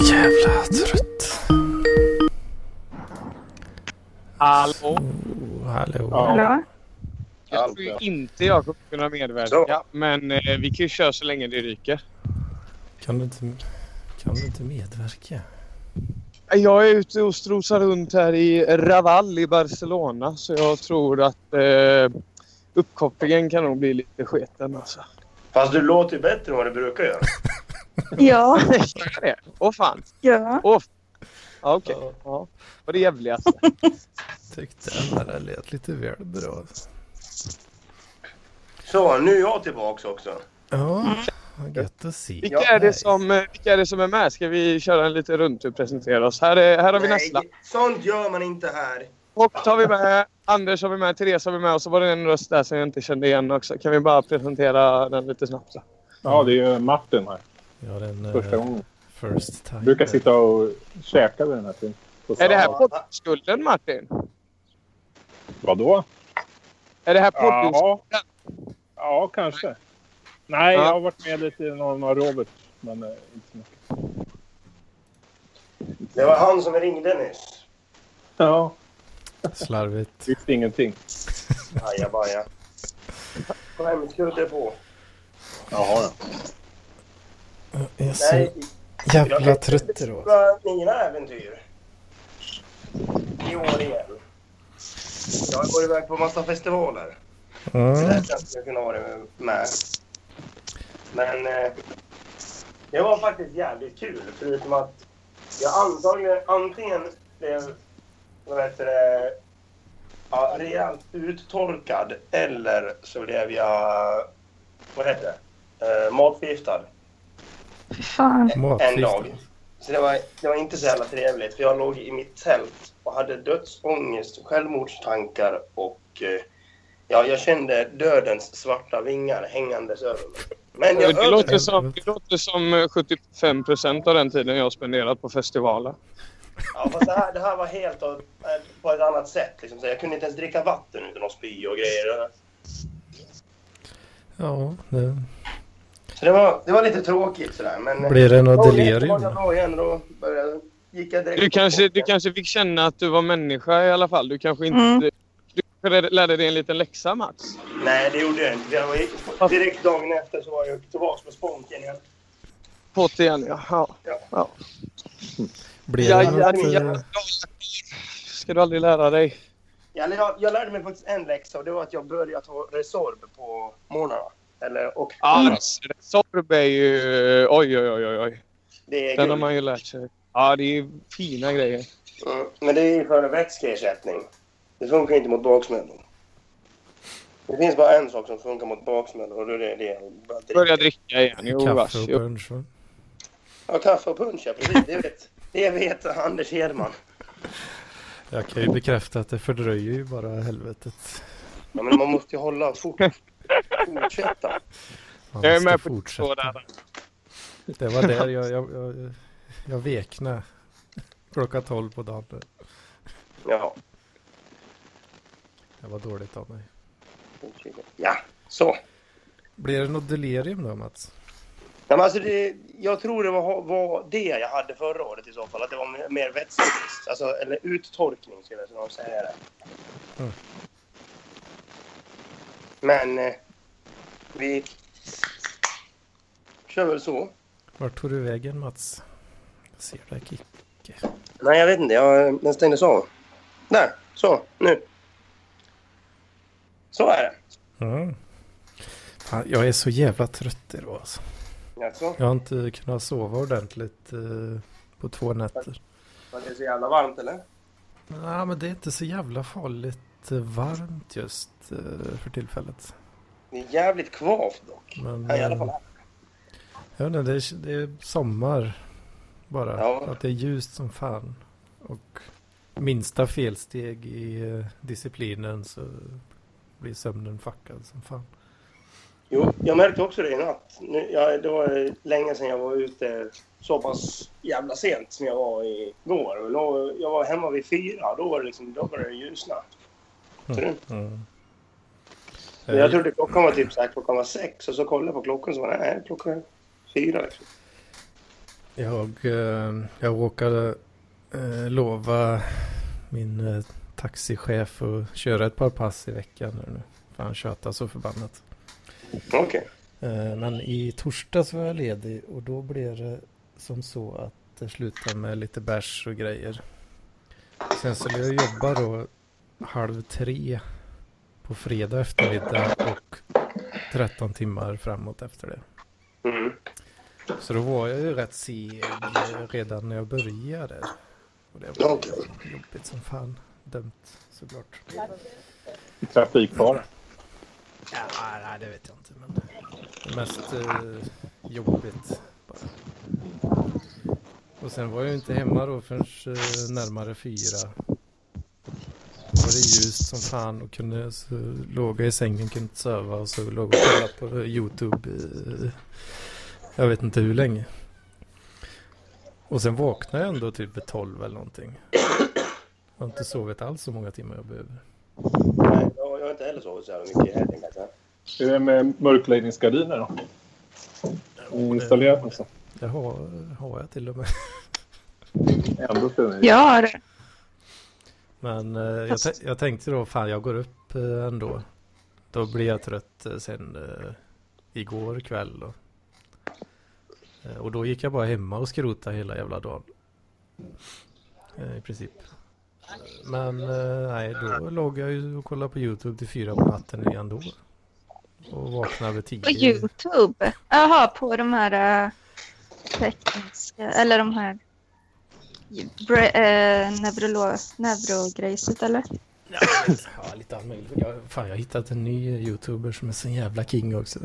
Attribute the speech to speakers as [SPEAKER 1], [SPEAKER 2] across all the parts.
[SPEAKER 1] jävla trött.
[SPEAKER 2] Hallå?
[SPEAKER 1] Oh, hallå.
[SPEAKER 2] Ja.
[SPEAKER 3] Hallå?
[SPEAKER 2] Jag tror ju inte jag kommer kunna medverka,
[SPEAKER 4] Så.
[SPEAKER 2] men eh, vi kan ju köra så länge det ryker.
[SPEAKER 1] Kan, du inte, kan du inte medverka?
[SPEAKER 2] Jag är ute och strosar runt här i Raval i Barcelona, så jag tror att eh, uppkopplingen kan nog bli lite sketen alltså.
[SPEAKER 4] Fast du låter ju bättre än vad du brukar göra.
[SPEAKER 3] Ja,
[SPEAKER 2] Kan jag det? Åh fan!
[SPEAKER 3] ja.
[SPEAKER 2] Åh! f- Ja, okej. Ja. Vad det jävligaste.
[SPEAKER 1] Tyckte den där lät lite väl bra.
[SPEAKER 4] Så, nu är jag tillbaks också.
[SPEAKER 1] Ja, vad gött att se.
[SPEAKER 2] Vilka är, det som, eh, vilka är det som är med? Ska vi köra en liten runt och presentera oss? Här, är, här har vi Nessla.
[SPEAKER 4] sånt gör man inte här.
[SPEAKER 2] Och tar vi med Anders har vi med, Therese har vi med och så var det en röst där som jag inte kände igen också. Kan vi bara presentera den lite snabbt? Då?
[SPEAKER 5] Ja, det är ju Martin här.
[SPEAKER 1] Ja, den
[SPEAKER 5] Första
[SPEAKER 1] eh,
[SPEAKER 5] gången.
[SPEAKER 1] first time.
[SPEAKER 5] Jag brukar sitta och käka vid den här tiden.
[SPEAKER 2] Är det här poddskulden Martin?
[SPEAKER 5] Vadå?
[SPEAKER 2] Är det här poddskulden?
[SPEAKER 5] Ja. Ja, kanske. Nej,
[SPEAKER 2] Ja.
[SPEAKER 5] jag har varit med lite i någon av Robert. Men eh, inte så mycket.
[SPEAKER 4] Det var han som ringde nyss.
[SPEAKER 5] Ja,
[SPEAKER 1] Slarvigt.
[SPEAKER 5] visst ingenting.
[SPEAKER 4] Ajabaja. Skämskudde på.
[SPEAKER 5] Jaha, ja.
[SPEAKER 1] Jag är så
[SPEAKER 4] Nej,
[SPEAKER 1] jävla
[SPEAKER 4] jag-
[SPEAKER 1] trött
[SPEAKER 4] det
[SPEAKER 1] idag.
[SPEAKER 4] var mina äventyr. I år igen. Jag har varit iväg på massa festivaler. Så
[SPEAKER 1] Mm.
[SPEAKER 4] där kanske jag kunde vara med. Men eh, det var faktiskt jävligt kul. Förutom att jag antagligen antingen blev vad heter det, ja, rejält uttorkad eller så blev jag vad heter det, eh, matförgiftad
[SPEAKER 3] Fan.
[SPEAKER 4] en
[SPEAKER 1] Matförgiftad.
[SPEAKER 4] dag. Så det var, det var inte så jävla trevligt för jag låg i mitt tält och hade dödsångest, självmordstankar och eh, ja, jag kände dödens svarta vingar hängandes över mig. Men jag
[SPEAKER 2] Det låter,
[SPEAKER 4] överlevde.
[SPEAKER 2] som, det låter som eh, 75 procent av den tiden jag har spenderat på festivaler.
[SPEAKER 4] Ja, fast det, här, det här var helt av, eh, på ett annat sätt. Liksom. Så jag kunde inte ens dricka vatten utan att spy och grejer.
[SPEAKER 1] Ja, det
[SPEAKER 4] Så det var, det var lite tråkigt sådär. Men,
[SPEAKER 1] blir det något
[SPEAKER 4] Jag
[SPEAKER 1] delirium.
[SPEAKER 4] var igen och då började, gick jag direkt
[SPEAKER 2] Du kanske, du kanske fick känna att du var människa i alla fall. Du kanske inte...
[SPEAKER 3] Mm.
[SPEAKER 2] Du kanske lärde dig en liten läxa Mats.
[SPEAKER 4] Nej, det gjorde jag inte. Jag var, direkt dagen efter så var jag tillbaka på sponken igen.
[SPEAKER 2] På det igen ja. ja.
[SPEAKER 1] Blir
[SPEAKER 2] Ja,
[SPEAKER 1] det
[SPEAKER 2] ja,
[SPEAKER 1] något,
[SPEAKER 2] ja,
[SPEAKER 1] eh,
[SPEAKER 2] ja. Ska du aldrig lära dig?
[SPEAKER 4] Jag, jag, jag lärde mig faktiskt en läxa och det var att jag började ta Resorb på morgnarna. Eller, och
[SPEAKER 2] Ah,
[SPEAKER 4] Mm.
[SPEAKER 2] Ja, Sorb är ju... eh, Oj, oj, oj, oj, oj.
[SPEAKER 4] det är
[SPEAKER 2] Den har
[SPEAKER 4] guld.
[SPEAKER 2] man ju lärt sig. Ja, det är ju fina grejer.
[SPEAKER 4] Mm, Men det är ju för en vätskeersättning. Det funkar inte mot baksmällor. Det finns bara en sak som funkar mot baksmällor och det är det jag börjar dricka.
[SPEAKER 2] Börja dricka igen. Jo, vars.
[SPEAKER 1] Kaffe och
[SPEAKER 2] Jo.
[SPEAKER 1] punsch. va?
[SPEAKER 4] Ja, kaffe och punsch, ja, precis. Det vet, det vet Anders Hedman.
[SPEAKER 1] Jag kan ju bekräfta att det fördröjer ju bara helvetet.
[SPEAKER 4] Ja, men man måste ju hålla fort. Fortsätta.
[SPEAKER 1] Man
[SPEAKER 2] Jag är
[SPEAKER 1] måste
[SPEAKER 2] med på två
[SPEAKER 1] fortsätta.
[SPEAKER 2] där.
[SPEAKER 1] Det var där jag, jag, jag, jag vekna klockan tolv på dagen.
[SPEAKER 4] Ja,
[SPEAKER 1] Det var dåligt av mig.
[SPEAKER 4] ja så.
[SPEAKER 1] Blir det något delirium då Mats?
[SPEAKER 4] Ja, men alltså det, jag tror det var, var det jag hade förra året i så fall. Att det var mer- mer vätskebrist. Alltså, eller uttorkning skulle jag snarare säga det.
[SPEAKER 1] Mm.
[SPEAKER 4] Men eh, vi kör väl så.
[SPEAKER 1] Vart tog du vägen Mats? Jag ser dig Kicke.
[SPEAKER 4] Nej, jag vet inte. Jag, eh, den stängdes av. Där, så, nu. Så är det.
[SPEAKER 1] Mm. Fan, jag är så jävla trött idag alltså.
[SPEAKER 4] Jaså?
[SPEAKER 1] Jag har inte kunnat sova ordentligt eh, på två nätter.
[SPEAKER 4] Var det så jävla varmt eller?
[SPEAKER 1] Nej men det är inte så jävla farligt eh, varmt just eh, för tillfället.
[SPEAKER 4] Det är jävligt kvavt dock.
[SPEAKER 1] Men,
[SPEAKER 4] Ja, i alla fall
[SPEAKER 1] eh,
[SPEAKER 4] här.
[SPEAKER 1] Jag vet inte, det är, det är sommar bara.
[SPEAKER 4] Ja.
[SPEAKER 1] Att det är ljust som fan. Och minsta felsteg i eh, disciplinen så blir sömnen fuckad som fan.
[SPEAKER 4] Jo, jag märkte också det i natt. Nu, ja, det var länge sedan jag var ute så pass jävla sent som jag var igår. Och då, jag var hemma vid fyra. Då, var det liksom, då började det ljusna. Mm. Men
[SPEAKER 1] Eh.
[SPEAKER 4] Jag trodde klockan var typ så här, klockan var sex och så kollade jag på klockan så var det nej, klockan fyra. Liksom.
[SPEAKER 1] Jag, eh, jag råkade eh, lova min eh, taxichef att köra ett par pass i veckan här nu. För han tjatar så förbannat.
[SPEAKER 4] Okej.
[SPEAKER 1] Eh, Men i torsdags var jag ledig och då blev det som så att det slutade med lite bärs och grejer. Sen skulle jag jobba då halv tre på fredag eftermiddag och 13 timmar framåt efter det.
[SPEAKER 4] Mm.
[SPEAKER 1] Så då var jag ju rätt seg eh, redan när jag började. Och det var
[SPEAKER 4] Okej.
[SPEAKER 1] jobbigt som fan. Dömt såklart.
[SPEAKER 5] Trafikfara.
[SPEAKER 1] Ja, nej, det vet jag inte. Men det mest eh, jobbigt. Bara. Och sen var jag ju inte hemma då förrän eh, närmare fyra. Då var det ljust som fan och kunde, så låg jag i sängen, kunde inte sova och så låg jag och kollade på eh, YouTube i, eh, jag vet inte hur länge. Och sen vaknade jag ändå typ vid tolv eller någonting. Jag har inte sovit alls så många timmar jag behöver.
[SPEAKER 4] Nej, jag jag har inte heller sovit så jävla mycket i helgen kanske.
[SPEAKER 5] Hur är det med mörkläggningsgardiner då? Installerat alltså. någonstans?
[SPEAKER 1] Det har, har jag till och med.
[SPEAKER 5] Ändå ser ni.
[SPEAKER 3] Jag har det.
[SPEAKER 1] Men eh, jag, tän- jag tänkte då, fan jag går upp eh, ändå. Då blir jag trött eh, sen eh, igår kväll då. Eh, och då gick jag bara hemma och skrotade hela jävla dagen. Eh, I princip. Men eh, nej, då låg jag ju och kollade på YouTube till fyra på natten igen då. Och vaknade vid
[SPEAKER 3] På
[SPEAKER 1] tio.
[SPEAKER 3] YouTube. Jaha, på de här eh, tekniska... Eller de här... Bre, eh, neurolo, neurogrejset eller?
[SPEAKER 1] Ja, lite allt möjligt. Jag, fan, jag har hittat en ny eh, YouTuber som är så jävla king också.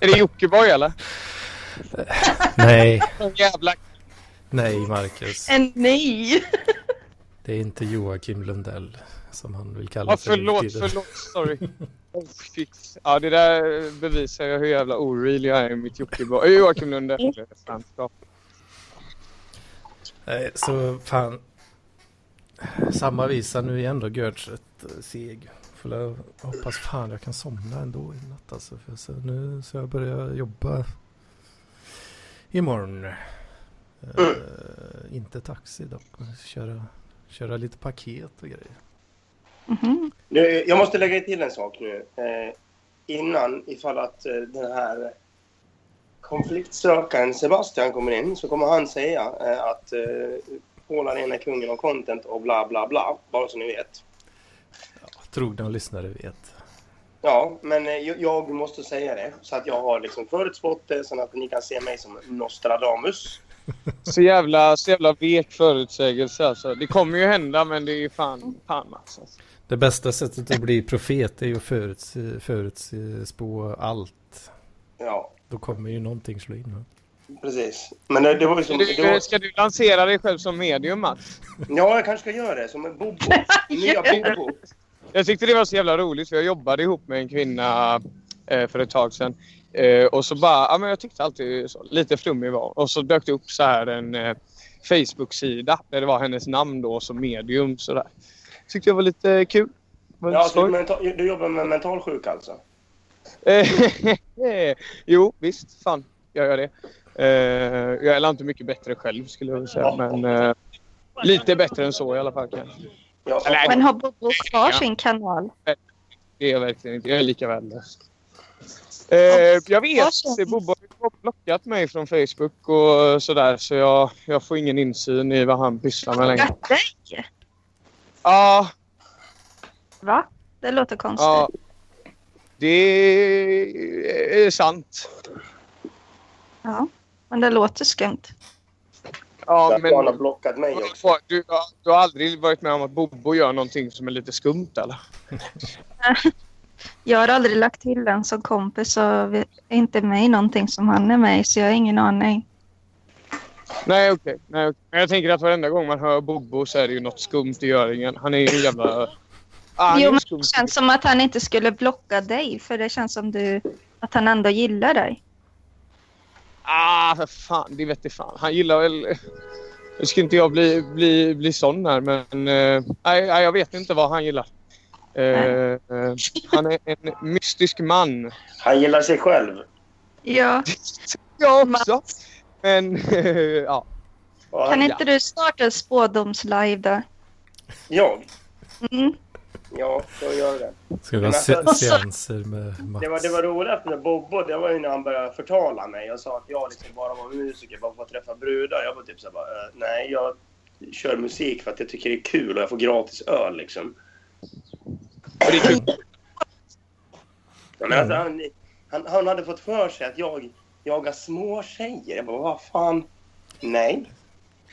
[SPEAKER 2] Är det Jockiboi eller?
[SPEAKER 1] nej,
[SPEAKER 2] Någon jävla...
[SPEAKER 1] nej Marcus.
[SPEAKER 3] En ny!
[SPEAKER 1] Det är inte Joakim Lundell som han vill kalla
[SPEAKER 2] Ja,
[SPEAKER 1] sig. nu för
[SPEAKER 2] förlåt,
[SPEAKER 1] tiden.
[SPEAKER 2] förlåt. Sorry. Oh, shit. Ja, det där bevisar jag hur jävla oreal jag är i mitt Jockiboi. Eh, Joakim Lunde. Fanskap.
[SPEAKER 1] Nej, så fan. Samma visa nu igen då, Görtset eh, seg. Får jag hoppas fan jag kan somna ändå i natt alltså. För så nu så jag börjar jobba imorgon. Eh,
[SPEAKER 2] Mm.
[SPEAKER 1] inte taxi dock, men köra, köra lite paket och grejer.
[SPEAKER 3] Mhm.
[SPEAKER 4] Nu, jag måste lägga till en sak nu. Eh, innan, ifall att eh, den här konfliktsökaren Sebastian kommer in så kommer han säga eh, att eh, Polarn är kungen av content och bla bla bla. Bara så ni vet.
[SPEAKER 1] Trogna lyssnare vet.
[SPEAKER 4] Ja, men eh, jag, jag måste säga det så att jag har liksom förutspått det så att ni kan se mig som Nostradamus.
[SPEAKER 2] Så jävla, så jävla vek förutsägelse alltså. Det kommer ju hända men det är fan, fan alltså.
[SPEAKER 1] Det bästa sättet att bli profet är ju att förutse- förutspå allt.
[SPEAKER 4] Ja,
[SPEAKER 1] Då kommer ju någonting slå in. va?
[SPEAKER 4] precis. Men det, det var ju
[SPEAKER 2] Ska
[SPEAKER 4] som... Det
[SPEAKER 2] du,
[SPEAKER 4] var,
[SPEAKER 2] ska du lansera dig själv som medium Mats?
[SPEAKER 4] ja, jag kanske ska göra det som en Bobo. Nya Bobo.
[SPEAKER 2] Jag tyckte det var så jävla roligt för jag jobbade ihop med en kvinna eh, för ett tag sedan. Eh, och så bara, ja men jag tyckte alltid så, lite flummig var Och så dök det upp så här en eh, Facebook-sida där det var hennes namn då som medium sådär. Tyckte jag var lite kul. Var lite
[SPEAKER 4] Ja, typ. du,
[SPEAKER 2] skoj.
[SPEAKER 4] mental, du jobbar med mentalsjuka alltså?
[SPEAKER 2] Eh, jo, visst. Fan, jag gör det. Eh, jag är inte mycket bättre själv skulle jag vilja säga. Men eh, lite bättre än så i alla fall kanske.
[SPEAKER 4] Ja,
[SPEAKER 2] Eller-
[SPEAKER 3] Men har Bobo kvar sin kanal?
[SPEAKER 2] Det är jag verkligen inte. Jag är lika värdelös. Eh, jag vet. det Bobo har blockat mig från Facebook och sådär så jag, jag får ingen insyn i vad han pysslar med längre.
[SPEAKER 3] Gatte?
[SPEAKER 2] Ja,
[SPEAKER 3] Va? Det låter konstigt.
[SPEAKER 2] ja. Det är sant.
[SPEAKER 3] Ja. Men det låter skumt.
[SPEAKER 2] Ja,
[SPEAKER 4] men... Han har
[SPEAKER 2] men
[SPEAKER 4] blockat mig också.
[SPEAKER 2] du, du har aldrig varit med om att Bobo gör någonting som är lite skumt eller?
[SPEAKER 3] Jag har aldrig lagt till den som kompis och är inte med i någonting som han är med i så jag har ingen aning.
[SPEAKER 2] Nej, okej. Nej, okej. Men jag tänker att varenda gång man hör Bobo så är det ju något skumt i göringen. Han är ju en jävla... Ah, han är
[SPEAKER 3] jo,
[SPEAKER 2] en
[SPEAKER 3] men
[SPEAKER 2] skum-
[SPEAKER 3] det känns som att han inte skulle blocka dig för det känns som du, att han ändå gillar dig.
[SPEAKER 2] Ah, för fan. Det vet jag fan. Han gillar väl... Nu ska inte jag bli, bli, bli sån här, men... eh, nej, nej, jag vet inte vad han gillar. Eh,
[SPEAKER 3] Nej.
[SPEAKER 2] eh, han är en mystisk man.
[SPEAKER 4] Han gillar sig själv.
[SPEAKER 3] Ja,
[SPEAKER 2] Jag också. Men ja.
[SPEAKER 4] Ja,
[SPEAKER 3] Kan inte du starta spådomslive där?
[SPEAKER 4] Jag?
[SPEAKER 3] Mm.
[SPEAKER 4] Ja, jag gör det.
[SPEAKER 1] Ska vi ha
[SPEAKER 4] Men
[SPEAKER 1] se-
[SPEAKER 4] alltså-
[SPEAKER 1] seanser med Mats?
[SPEAKER 4] Det var, det var roligt med Bobbo, det var ju när han började förtala mig och sa att jag liksom bara var musiker bara för att träffa brudar. Jag var typ såhär bara, eh, nej jag kör musik för att jag tycker det är kul och jag får gratis öl liksom.
[SPEAKER 2] Och det är kul.
[SPEAKER 4] Ja, Men alltså, han, han, han hade fått för sig att jag jagar små tjejer. Jag bara, vad fan? Nej.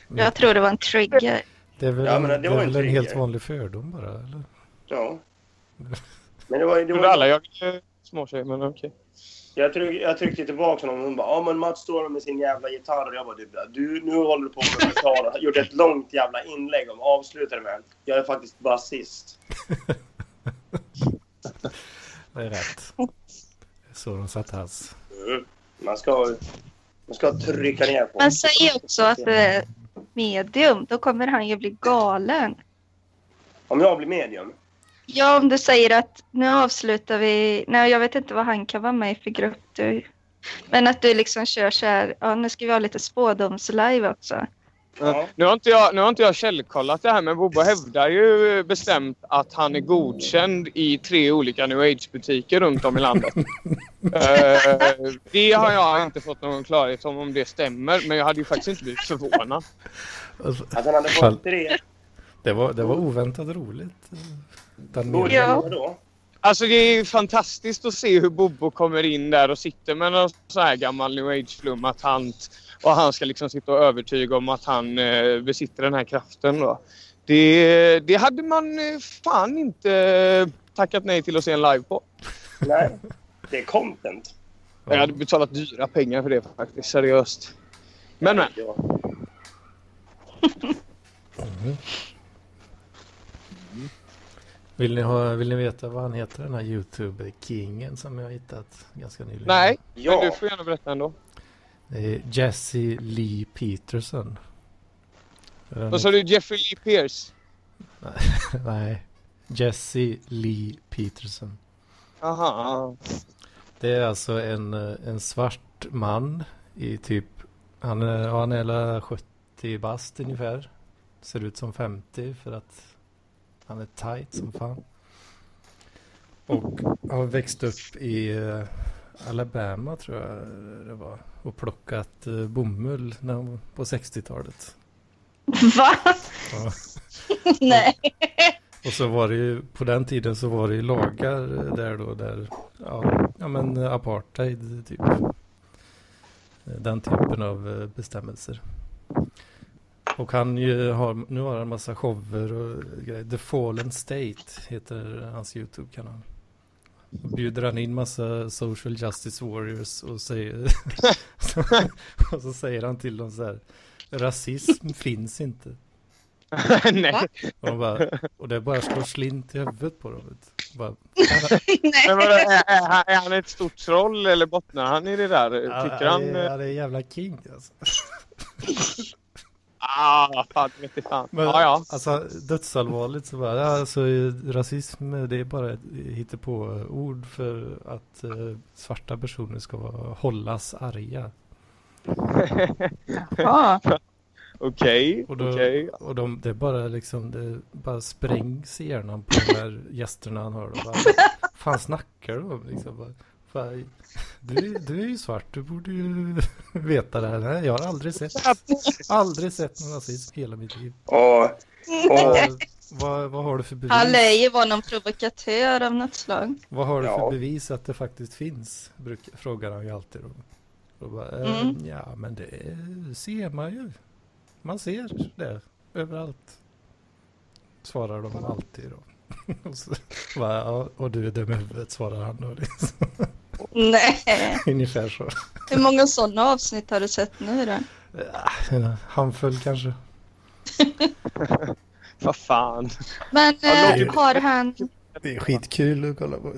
[SPEAKER 3] Jag tror det var en trigger.
[SPEAKER 1] Det är väl,
[SPEAKER 4] Ja,
[SPEAKER 1] en-
[SPEAKER 4] men det
[SPEAKER 1] det är
[SPEAKER 4] var
[SPEAKER 1] väl
[SPEAKER 4] inte
[SPEAKER 1] en helt
[SPEAKER 4] trigger.
[SPEAKER 1] vanlig fördom bara? Eller?
[SPEAKER 4] Ja. Men det var, det
[SPEAKER 2] Gjorde
[SPEAKER 4] var
[SPEAKER 2] alla jag eh, småtjejer, men okej.
[SPEAKER 4] jag, tryck, jag tryckte tillbaka honom och hon bara ja men Mats står med sin jävla gitarr och jag bara typ du nu håller du på med gitarr och har gjort ett långt jävla inlägg om avslutade med jag är faktiskt basist.
[SPEAKER 1] Det är rätt. Så de satte hans.
[SPEAKER 4] Mm. Man ska man ska trycka ner på
[SPEAKER 3] Men säg också att det är medium, då kommer han ju bli galen.
[SPEAKER 4] Om jag blir medium?
[SPEAKER 3] Ja, om du säger att nu avslutar vi. Nej, jag vet inte vad han kan vara med i för grupp. Du. Men att du liksom kör så här. Ja, nu ska vi ha lite spådomslive också.
[SPEAKER 4] Ja.
[SPEAKER 2] Nu har, inte jag, nu har inte jag källkollat det här, men Bobba hävdar ju bestämt att han är godkänd i tre olika new age-butiker runt om i landet. Eh, det har jag inte fått någon klarhet om, om det stämmer. Men jag hade ju faktiskt inte blivit förvånad.
[SPEAKER 1] Alltså,
[SPEAKER 4] Att han hade
[SPEAKER 1] Fall.
[SPEAKER 4] fått tre.
[SPEAKER 1] det, var, det var oväntat roligt. eh, Den
[SPEAKER 4] Borde
[SPEAKER 1] meningen.
[SPEAKER 4] han då?
[SPEAKER 2] Alltså det är ju fantastiskt att se hur Bobo kommer in där och sitter med någon sån här gammal new age-flumma tant. Och han ska liksom sitta och övertyga om att han eh, besitter den här kraften då. Det, det hade man eh, fan inte eh, tackat nej till att se en live på.
[SPEAKER 4] Nej. Det är content.
[SPEAKER 2] Jag hade betalat dyra pengar för det faktiskt, seriöst. Men men.
[SPEAKER 4] Ja.
[SPEAKER 1] Vill ni, ha, vill ni veta vad han heter, den här YouTube-kingen som jag har hittat ganska nyligen?
[SPEAKER 2] Nej, men du
[SPEAKER 4] Ja.
[SPEAKER 2] får gärna berätta ändå.
[SPEAKER 1] Det är Jesse Lee Peterson. Eh,
[SPEAKER 2] Vad sa du? Jeffrey Lee Pierce?
[SPEAKER 1] Nej, Jesse Lee Peterson.
[SPEAKER 2] Aha.
[SPEAKER 1] Det är alltså en, eh, en svart man i typ, han är, ja, han är hela 70 bast ungefär. Ser ut som 50 för att han är tight som fan. Och har växt upp i eh, Alabama tror jag det var. Och plockat eh, bomull när han, på 60-talet.
[SPEAKER 3] Va?
[SPEAKER 1] Ja.
[SPEAKER 3] Nej.
[SPEAKER 1] Och så var det ju, på den tiden så var det ju lagar eh, där då, där, ja, ja men eh, apartheid typ. Eh, Den typen av eh, bestämmelser. Och han ju har, nu har han massa shower och grejer. The Fallen State heter hans YouTube-kanal. Då bjuder han in massa social justice warriors och säger, och så säger han till dem så här, rasism finns inte.
[SPEAKER 2] nej.
[SPEAKER 1] Och, de bara, och det bara slår slint i huvudet på dem. vet du. Bara,
[SPEAKER 2] Men vadå, är, är, han- är han ett stort troll eller bottnar han i det där? Tycker
[SPEAKER 1] "Ja,
[SPEAKER 2] han...
[SPEAKER 1] det är-
[SPEAKER 2] eh,
[SPEAKER 1] ja, det är jävla king alltså.
[SPEAKER 2] Ah, fan, vete fan.
[SPEAKER 1] Men,
[SPEAKER 2] ja, ja.
[SPEAKER 1] Alltså dödsallvarligt så bara, ja, alltså rasism det är bara ett hittepå-ord för att eh, svarta personer ska vara, hållas arga.
[SPEAKER 3] Ja.
[SPEAKER 2] Okej,
[SPEAKER 1] Och, då,
[SPEAKER 2] okej.
[SPEAKER 1] och de, det är bara liksom, det bara sprängs i hjärnan på de här gästerna han har. De Bara, fan snackar de om liksom? Bara, fan, du, du är ju svart, du borde ju veta det här. Nej, jag har aldrig sett, aldrig sett någon rasism i hela mitt liv.
[SPEAKER 4] Och, och,
[SPEAKER 1] Vad, vad, vad har du för
[SPEAKER 3] Han lär
[SPEAKER 1] bevis?
[SPEAKER 3] ju vara någon provokatör av något slag.
[SPEAKER 1] Vad har du för
[SPEAKER 4] Ja.
[SPEAKER 1] bevis att det faktiskt finns? Bruk, frågar han ju alltid. Då. Och bara, eh,
[SPEAKER 3] Mm.
[SPEAKER 1] Ja, men det är- ser man ju. Man ser det överallt. Svarar de alltid då. och, så, bara, ja, och du är dum i huvudet, svarar han då. Liksom.
[SPEAKER 3] Nej.
[SPEAKER 1] Ungefär så.
[SPEAKER 3] Hur många sådana avsnitt har du sett nu då?
[SPEAKER 1] En handfull kanske.
[SPEAKER 2] Vad fan.
[SPEAKER 3] Men
[SPEAKER 1] Hallå.
[SPEAKER 3] eh, har han,
[SPEAKER 1] Det är skitkul att kolla på.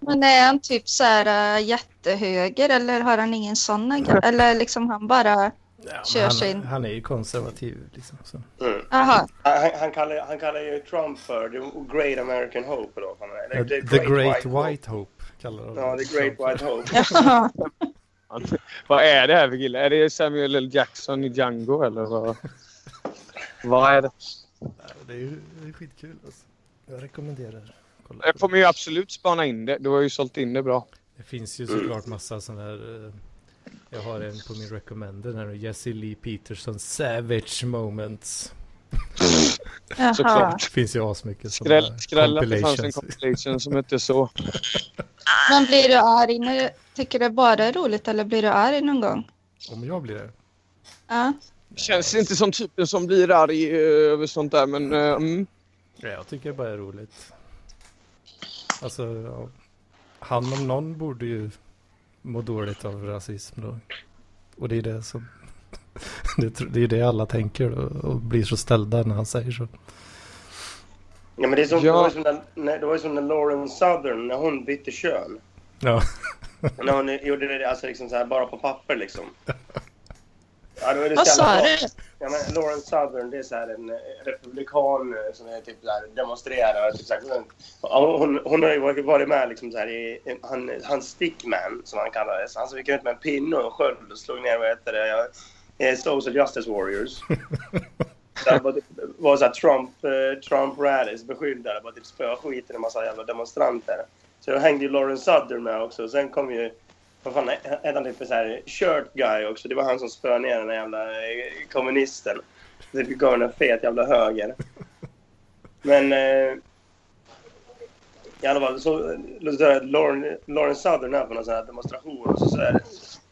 [SPEAKER 3] men är han typ så här eh, jättehöger eller har han ingen sån grej? Eller liksom han bara,
[SPEAKER 1] Ja,
[SPEAKER 3] Kör
[SPEAKER 1] men
[SPEAKER 3] sin-
[SPEAKER 1] han, han är ju konservativ liksom. Så.
[SPEAKER 4] mm.
[SPEAKER 3] aha.
[SPEAKER 4] han, han, kallar, han kallar ju Trump för the great American hope. Eller vad fan det är.
[SPEAKER 1] The, Great White Hope kallar de
[SPEAKER 4] Ja,
[SPEAKER 1] det.
[SPEAKER 4] the great white hope.
[SPEAKER 3] Ja.
[SPEAKER 2] fan. Vad är det här för kille? Är det Samuel L. Jackson i Django eller vad? vad är det?
[SPEAKER 1] Det är ju det är skitkul alltså. Jag rekommenderar. Kolla.
[SPEAKER 2] Jag kommer ju absolut spana in det. Du har ju sålt in det bra.
[SPEAKER 1] Det finns ju såklart massa sådana här. eh, Jag har en på min recommender här nu. Jesse Lee Peterson Savage Moments.
[SPEAKER 6] Jaha.
[SPEAKER 2] Såklart.
[SPEAKER 1] Det finns ju asmycket såna här
[SPEAKER 2] Skräll, skräll att det fanns en
[SPEAKER 1] compilations.
[SPEAKER 2] compilation som hette så.
[SPEAKER 6] Men blir du arg när du tycker det bara är roligt eller blir du arg någon gång?
[SPEAKER 1] Om jag blir det.
[SPEAKER 6] Ja.
[SPEAKER 2] Känns inte som typen som blir arg eh, över sånt där men... eh, Mm.
[SPEAKER 1] Ja, jag tycker det bara är roligt. Alltså, ja. han om någon borde ju må dåligt av rasism då. Och det är det som... Det, tr- det är det alla tänker och, och blir så ställda när han säger så.
[SPEAKER 4] Ja, men det, är som,
[SPEAKER 2] Ja.
[SPEAKER 4] det, var ju som när, när, det var ju som när Lauren Southern, när hon bytte kön.
[SPEAKER 1] Ja,
[SPEAKER 4] När hon gjorde det alltså liksom så här, bara på papper liksom. Ja, då är det
[SPEAKER 6] Vad
[SPEAKER 4] så jävla
[SPEAKER 6] sa
[SPEAKER 4] bra.
[SPEAKER 6] du?
[SPEAKER 4] Ja, men Lauren Southern, det är så här en eh, republikan eh, som är typ så här, demonstrerar. Typ så här, hon, ja, hon, hon har ju varit- varit med liksom så här i en- han, han stickman, som han kallades. Han som gick ut med en pinne och en sköld och slog ner vad heter det, eh, Social Justice Warriors. Där var, typ, var så här Trump, eh, Trump rallies beskyddade, bara typ spöa skiten i en massa jävla demonstranter. Så då hängde ju Lauren Southern med också. Sen kom ju vad fan hette han typ så här shirt guy också? Det var han som spöade ner den där jävla eh, kommunisten. Det gav den en fet jävla höger. Men... Eh, I alla fall så... så där Lauren, Lauren Southern är på någon sån här demonstration och så, så är det,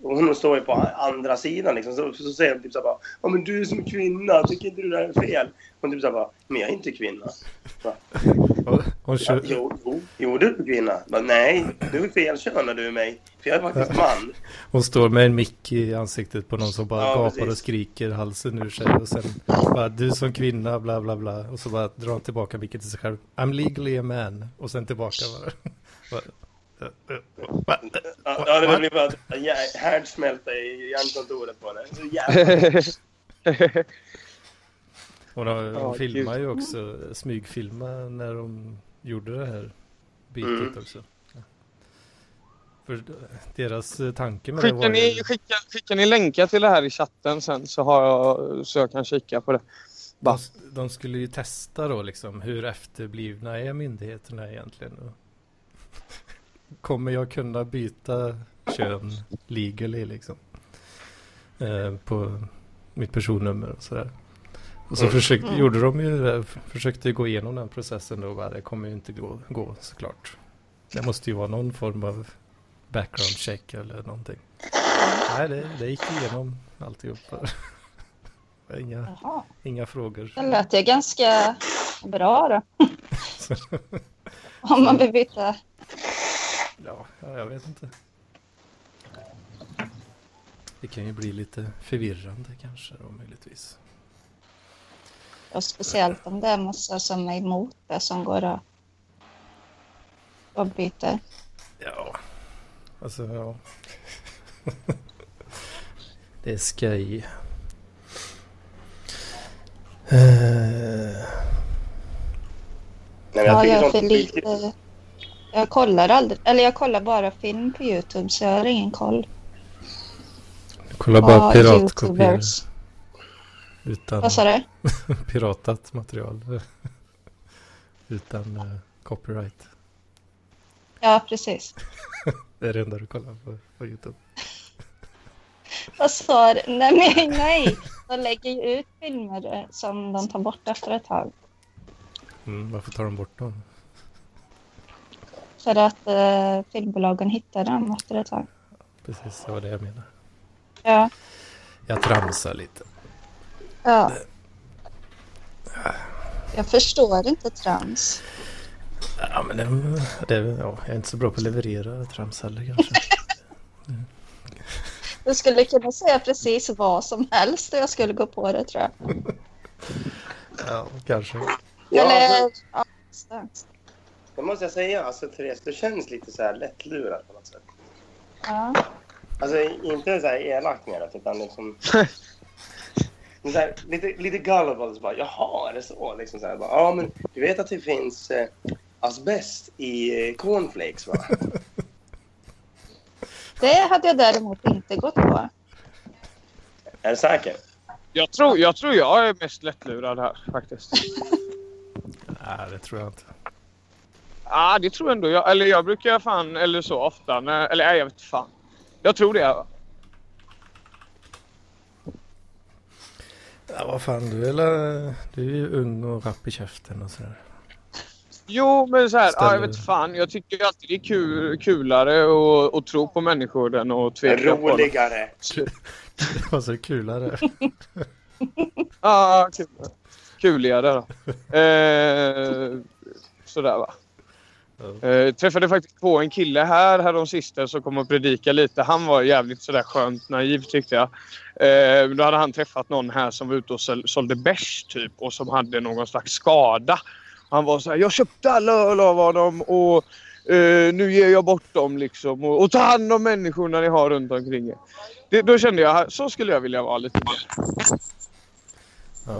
[SPEAKER 4] och hon står ju på andra sidan liksom. Så, så säger hon typ så här bara Ja men du som kvinna, tycker inte du det här är fel? Hon typ så här bara Men jag är inte kvinna. Bara,
[SPEAKER 1] och hon
[SPEAKER 4] Ja,
[SPEAKER 1] kör,
[SPEAKER 4] jo, jo, jo, du är kvinna. Bara, Nej, du är fel kön när du är mig. För jag är faktiskt man.
[SPEAKER 1] Hon står med en mick i ansiktet på någon som bara
[SPEAKER 4] Ja,
[SPEAKER 1] gapar
[SPEAKER 4] precis.
[SPEAKER 1] och skriker halsen ur sig och sen bara du som kvinna bla bla bla och så bara drar hon tillbaka micken till sig själv. I'm legally a man och sen tillbaka bara. Bara, eh, eh, va?
[SPEAKER 4] Ja, ja, det blir bara jä- härdsmälta i hjärnkontoret på det. Så jävla...
[SPEAKER 1] Hon, har, hon
[SPEAKER 2] Ja,
[SPEAKER 1] filmar ju också, smygfilmar när de gjorde det här bitet
[SPEAKER 4] Mm.
[SPEAKER 1] också. För deras eh, tanke med det
[SPEAKER 2] Skicka
[SPEAKER 1] var ju...
[SPEAKER 2] ni, skicka, skicka ni länkar till det här i chatten sen så, har jag, så jag kan kika på det.
[SPEAKER 1] De,
[SPEAKER 2] Va?
[SPEAKER 1] de skulle ju testa då liksom hur efterblivna är myndigheterna egentligen? Och Kommer jag kunna byta kön legally liksom? Eh, på mitt personnummer och sådär. Och så försökte, gjorde de ju det, försökte gå igenom den processen då och bara, det kommer ju inte gå, gå såklart. Det måste ju vara någon form av background check eller någonting. Nej, det, det gick igenom alltihopa. Det var Inga,
[SPEAKER 3] Jaha,
[SPEAKER 1] inga frågor.
[SPEAKER 3] det lät ju ganska bra då. Om man vill byta.
[SPEAKER 1] Ja, ja, jag vet inte. Det kan ju bli lite förvirrande kanske då möjligtvis.
[SPEAKER 3] Och speciellt om det är massa som är emot det som går och, och byter.
[SPEAKER 1] Ja, alltså ja. det är skoj. Eh,
[SPEAKER 4] Nej, men
[SPEAKER 3] Ja,
[SPEAKER 4] tycker
[SPEAKER 3] jag är
[SPEAKER 4] sånt
[SPEAKER 3] för
[SPEAKER 4] är skitkul.
[SPEAKER 3] lite... Jag kollar aldrig, eller jag kollar bara film på Youtube så jag har ingen koll
[SPEAKER 1] Kolla
[SPEAKER 3] på
[SPEAKER 1] bara piratkopior
[SPEAKER 3] Youtubers.
[SPEAKER 1] utan
[SPEAKER 3] Vad sa du?
[SPEAKER 1] piratat material. utan eh, copyright.
[SPEAKER 3] Ja, precis.
[SPEAKER 1] Det är det enda du kollar på, på Youtube.
[SPEAKER 3] Vad sa du? Nej, nej, nej. De lägger ju ut filmer eh, som de tar bort efter ett tag.
[SPEAKER 1] Mm, varför tar de bort dem?
[SPEAKER 3] För att eh, filmbolagen hittar dem efter ett tag.
[SPEAKER 1] Precis, det var det jag menade.
[SPEAKER 3] Ja.
[SPEAKER 1] Jag tramsar lite.
[SPEAKER 3] ja. Jag förstår inte trams.
[SPEAKER 1] Ja, men det, det, ja, jag är inte så bra på att leverera trams heller kanske.
[SPEAKER 3] Du skulle kunna säga precis vad som helst och jag skulle gå på det tror jag.
[SPEAKER 1] ja, kanske.
[SPEAKER 4] Ja,
[SPEAKER 3] Eller... Ja, just det.
[SPEAKER 4] Det måste jag säga. Alltså, Therese, du känns lite så här lättlurad på något sätt.
[SPEAKER 3] ja.
[SPEAKER 4] Alltså, inte så här elakt med det, utan liksom... Men så här, lite, lite gullible. Så bara, Jaha, är det så? Liksom så här, bara, ja, men du vet att det finns eh, asbest i eh, cornflakes, va?
[SPEAKER 3] Det hade jag däremot inte gått på.
[SPEAKER 4] Är du säker?
[SPEAKER 2] Jag tror, jag tror jag är mest lättlurad här faktiskt.
[SPEAKER 1] Nej, det tror jag inte.
[SPEAKER 2] Ja, ah, det tror jag ändå. Jag, eller jag brukar fan, eller så ofta, när, eller nej, jag vet fan. Jag tror det.
[SPEAKER 1] Ja, vad fan, du är, la- du är ju ung och rapp i käften och sådär.
[SPEAKER 2] Jo, men så här, ah, jag
[SPEAKER 1] Ställer-
[SPEAKER 2] vet fan. Jag tycker ju alltid det är kul, kulare att- att tro på människor än att tveka på dem.
[SPEAKER 4] Roligare.
[SPEAKER 1] Det var så kulare.
[SPEAKER 2] Ja, kul. Kuligare då. Eh, sådär va.
[SPEAKER 1] Ja.
[SPEAKER 2] Eh, träffade faktiskt på en kille här häromsistens som kom och predika lite. Han var jävligt sådär skönt naiv tyckte jag. Eh, då hade han träffat någon här som var ute och sål- sålde bärs typ och som hade någon slags skada. Han var så här, jag köpte alla öl av honom och eh, nu ger jag bort dem liksom. Och, och ta hand om människorna ni har runt omkring er. Det, då kände jag, så skulle jag vilja vara lite mer.
[SPEAKER 1] Ja.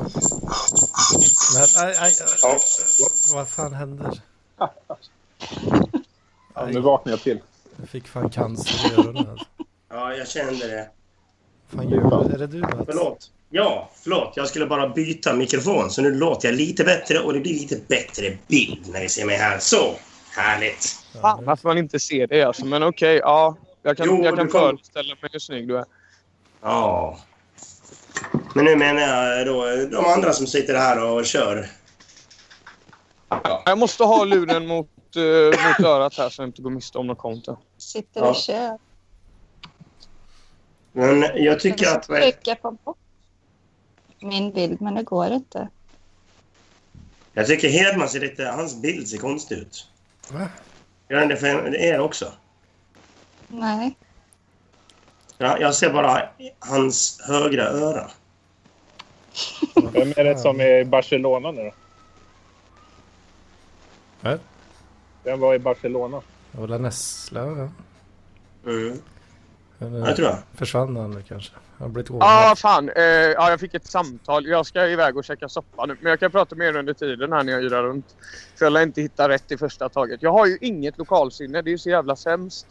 [SPEAKER 1] Men, aj, aj, aj,
[SPEAKER 4] Ja.
[SPEAKER 1] vad fan händer?
[SPEAKER 5] Ja, nu vaknar jag till.
[SPEAKER 1] Jag fick fan cancer i öronen. alltså.
[SPEAKER 4] ja, jag kände det.
[SPEAKER 1] Fan, Julia, är det du Mats?
[SPEAKER 4] Förlåt. Ja, förlåt. Jag skulle bara byta mikrofon, så nu låter jag lite bättre och det blir lite bättre bild när ni ser mig här. Så! Härligt!
[SPEAKER 1] Ja,
[SPEAKER 2] Fan
[SPEAKER 1] nu-
[SPEAKER 2] att man inte ser det alltså. Men okej, ja. Jag kan,
[SPEAKER 4] Jo,
[SPEAKER 2] jag kan
[SPEAKER 4] du kommer-
[SPEAKER 2] föreställa mig hur snygg du är.
[SPEAKER 4] Ja. Men nu menar jag då de andra som sitter här och kör.
[SPEAKER 2] Jag måste ha luren mot, eh, mot örat här så jag inte går miste om något konto.
[SPEAKER 3] Sitter
[SPEAKER 4] Ja.
[SPEAKER 3] och kör.
[SPEAKER 4] Men jag tycker
[SPEAKER 3] Jag
[SPEAKER 4] att...
[SPEAKER 3] ska trycka på bort min bild, men det går inte.
[SPEAKER 4] Jag tycker Hedman ser lite... Hans bild ser konstig ut.
[SPEAKER 1] Va?
[SPEAKER 4] Gör den det för er också?
[SPEAKER 3] Nej.
[SPEAKER 4] Ja, jag ser bara hans högra öra.
[SPEAKER 5] Vem är det som är i Barcelona nu då?
[SPEAKER 1] Va?
[SPEAKER 5] Vem var i Barcelona?
[SPEAKER 1] Det var väl Nessla? Ja.
[SPEAKER 4] Mm. Ja,
[SPEAKER 1] Eller,
[SPEAKER 4] det tror jag.
[SPEAKER 1] Försvann han nu kanske? Han har blivit ordnad.
[SPEAKER 2] Ja, ah, fan. Eh, ja, jag fick ett samtal. Jag ska iväg och käka soppa nu. Men jag kan prata med er under tiden här när jag yrar runt. För jag lär inte hitta rätt i första taget. Jag har ju inget lokalsinne. Det är ju så jävla sämst.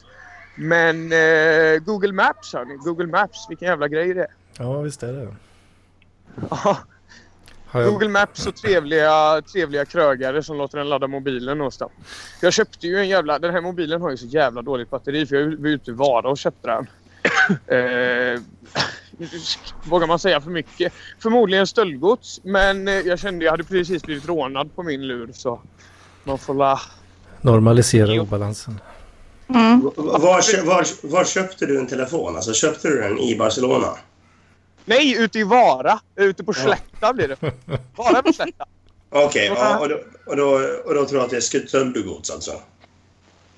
[SPEAKER 2] Men eh, Google Maps hörni. Google Maps. Vilken jävla grej det är.
[SPEAKER 1] Ja, visst är det.
[SPEAKER 2] Ja,
[SPEAKER 1] Har jag...
[SPEAKER 2] Google Maps och trevliga, trevliga krögare som låter en ladda mobilen någonstans. Jag köpte ju en jävla... Den här mobilen har ju så jävla dåligt batteri för jag var ute i Vara och köpte den. Eh, vågar man säga för mycket? Förmodligen stöldgods, men eh, jag kände jag hade precis blivit rånad på min lur så man får la...
[SPEAKER 1] Normalisera obalansen.
[SPEAKER 7] Mm.
[SPEAKER 4] V- Var, kö- var, var köpte du en telefon? Alltså, köpte du den i Barcelona?
[SPEAKER 2] Nej, ute i Vara! Ute på Slätta blir det. Vara på Slätta.
[SPEAKER 4] Okej, ja, och, då, och, då, och då tror jag att det är stöldgods alltså?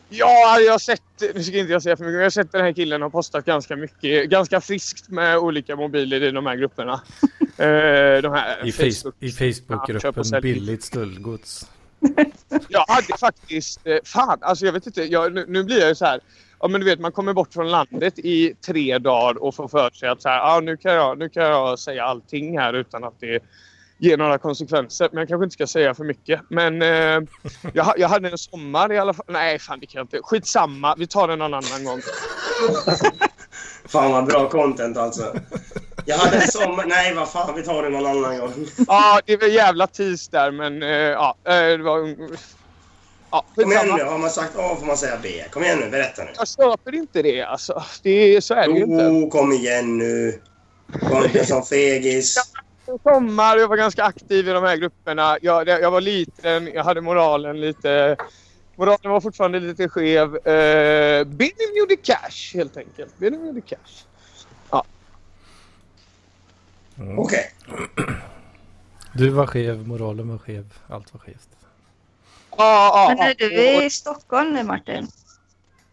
[SPEAKER 2] Ja, jag har sett, nu ska inte jag säga för mycket, men jag har sett den här killen har postat ganska mycket, ganska friskt med olika mobiler i de här grupperna. Eh, de här
[SPEAKER 1] I,
[SPEAKER 2] Facebook.
[SPEAKER 1] face... I
[SPEAKER 2] Ja, köp
[SPEAKER 1] Facebookgruppen
[SPEAKER 2] och sälj.
[SPEAKER 1] Billigt stöldgods.
[SPEAKER 2] Jag hade faktiskt, eh, fan alltså jag vet inte, jag, nu, nu blir jag ju så här. Ja men du vet man kommer bort från landet i tre dagar och får för sig att så här, ah, nu, kan jag, nu kan jag säga allting här utan att det ger några konsekvenser. Men jag kanske inte ska säga för mycket. Men eh, jag, ha- jag hade en sommar i alla fall. Nej fan det kan jag inte. Skitsamma, vi tar den någon annan gång.
[SPEAKER 4] Fan vad bra content alltså. Jag hade en sommar... Nej, vad fan. Vi tar det någon annan gång.
[SPEAKER 2] Ja, det var jävla tis där, men eh, ja, eh, det var... Ja,
[SPEAKER 4] Kom igen nu.
[SPEAKER 2] skitsamma.
[SPEAKER 4] Har man sagt A får man säga B. Kom igen nu. Berätta nu.
[SPEAKER 2] Jag köper inte det alltså. Det, är- så är det ju inte.
[SPEAKER 4] Jo, kom igen nu. Var inte som fegis.
[SPEAKER 2] Sommar, jag var ganska aktiv i de här grupperna. Jag, det- jag var liten, jag hade moralen lite... Moralen var fortfarande lite skev. Eh, Benjamin gjorde cash helt enkelt. Benjamin gjorde cash.
[SPEAKER 4] Okej.
[SPEAKER 1] Du var skev, moralen var skev, allt var skevt.
[SPEAKER 2] Ja,
[SPEAKER 7] Men
[SPEAKER 2] ja,
[SPEAKER 7] är du i Stockholm nu Martin?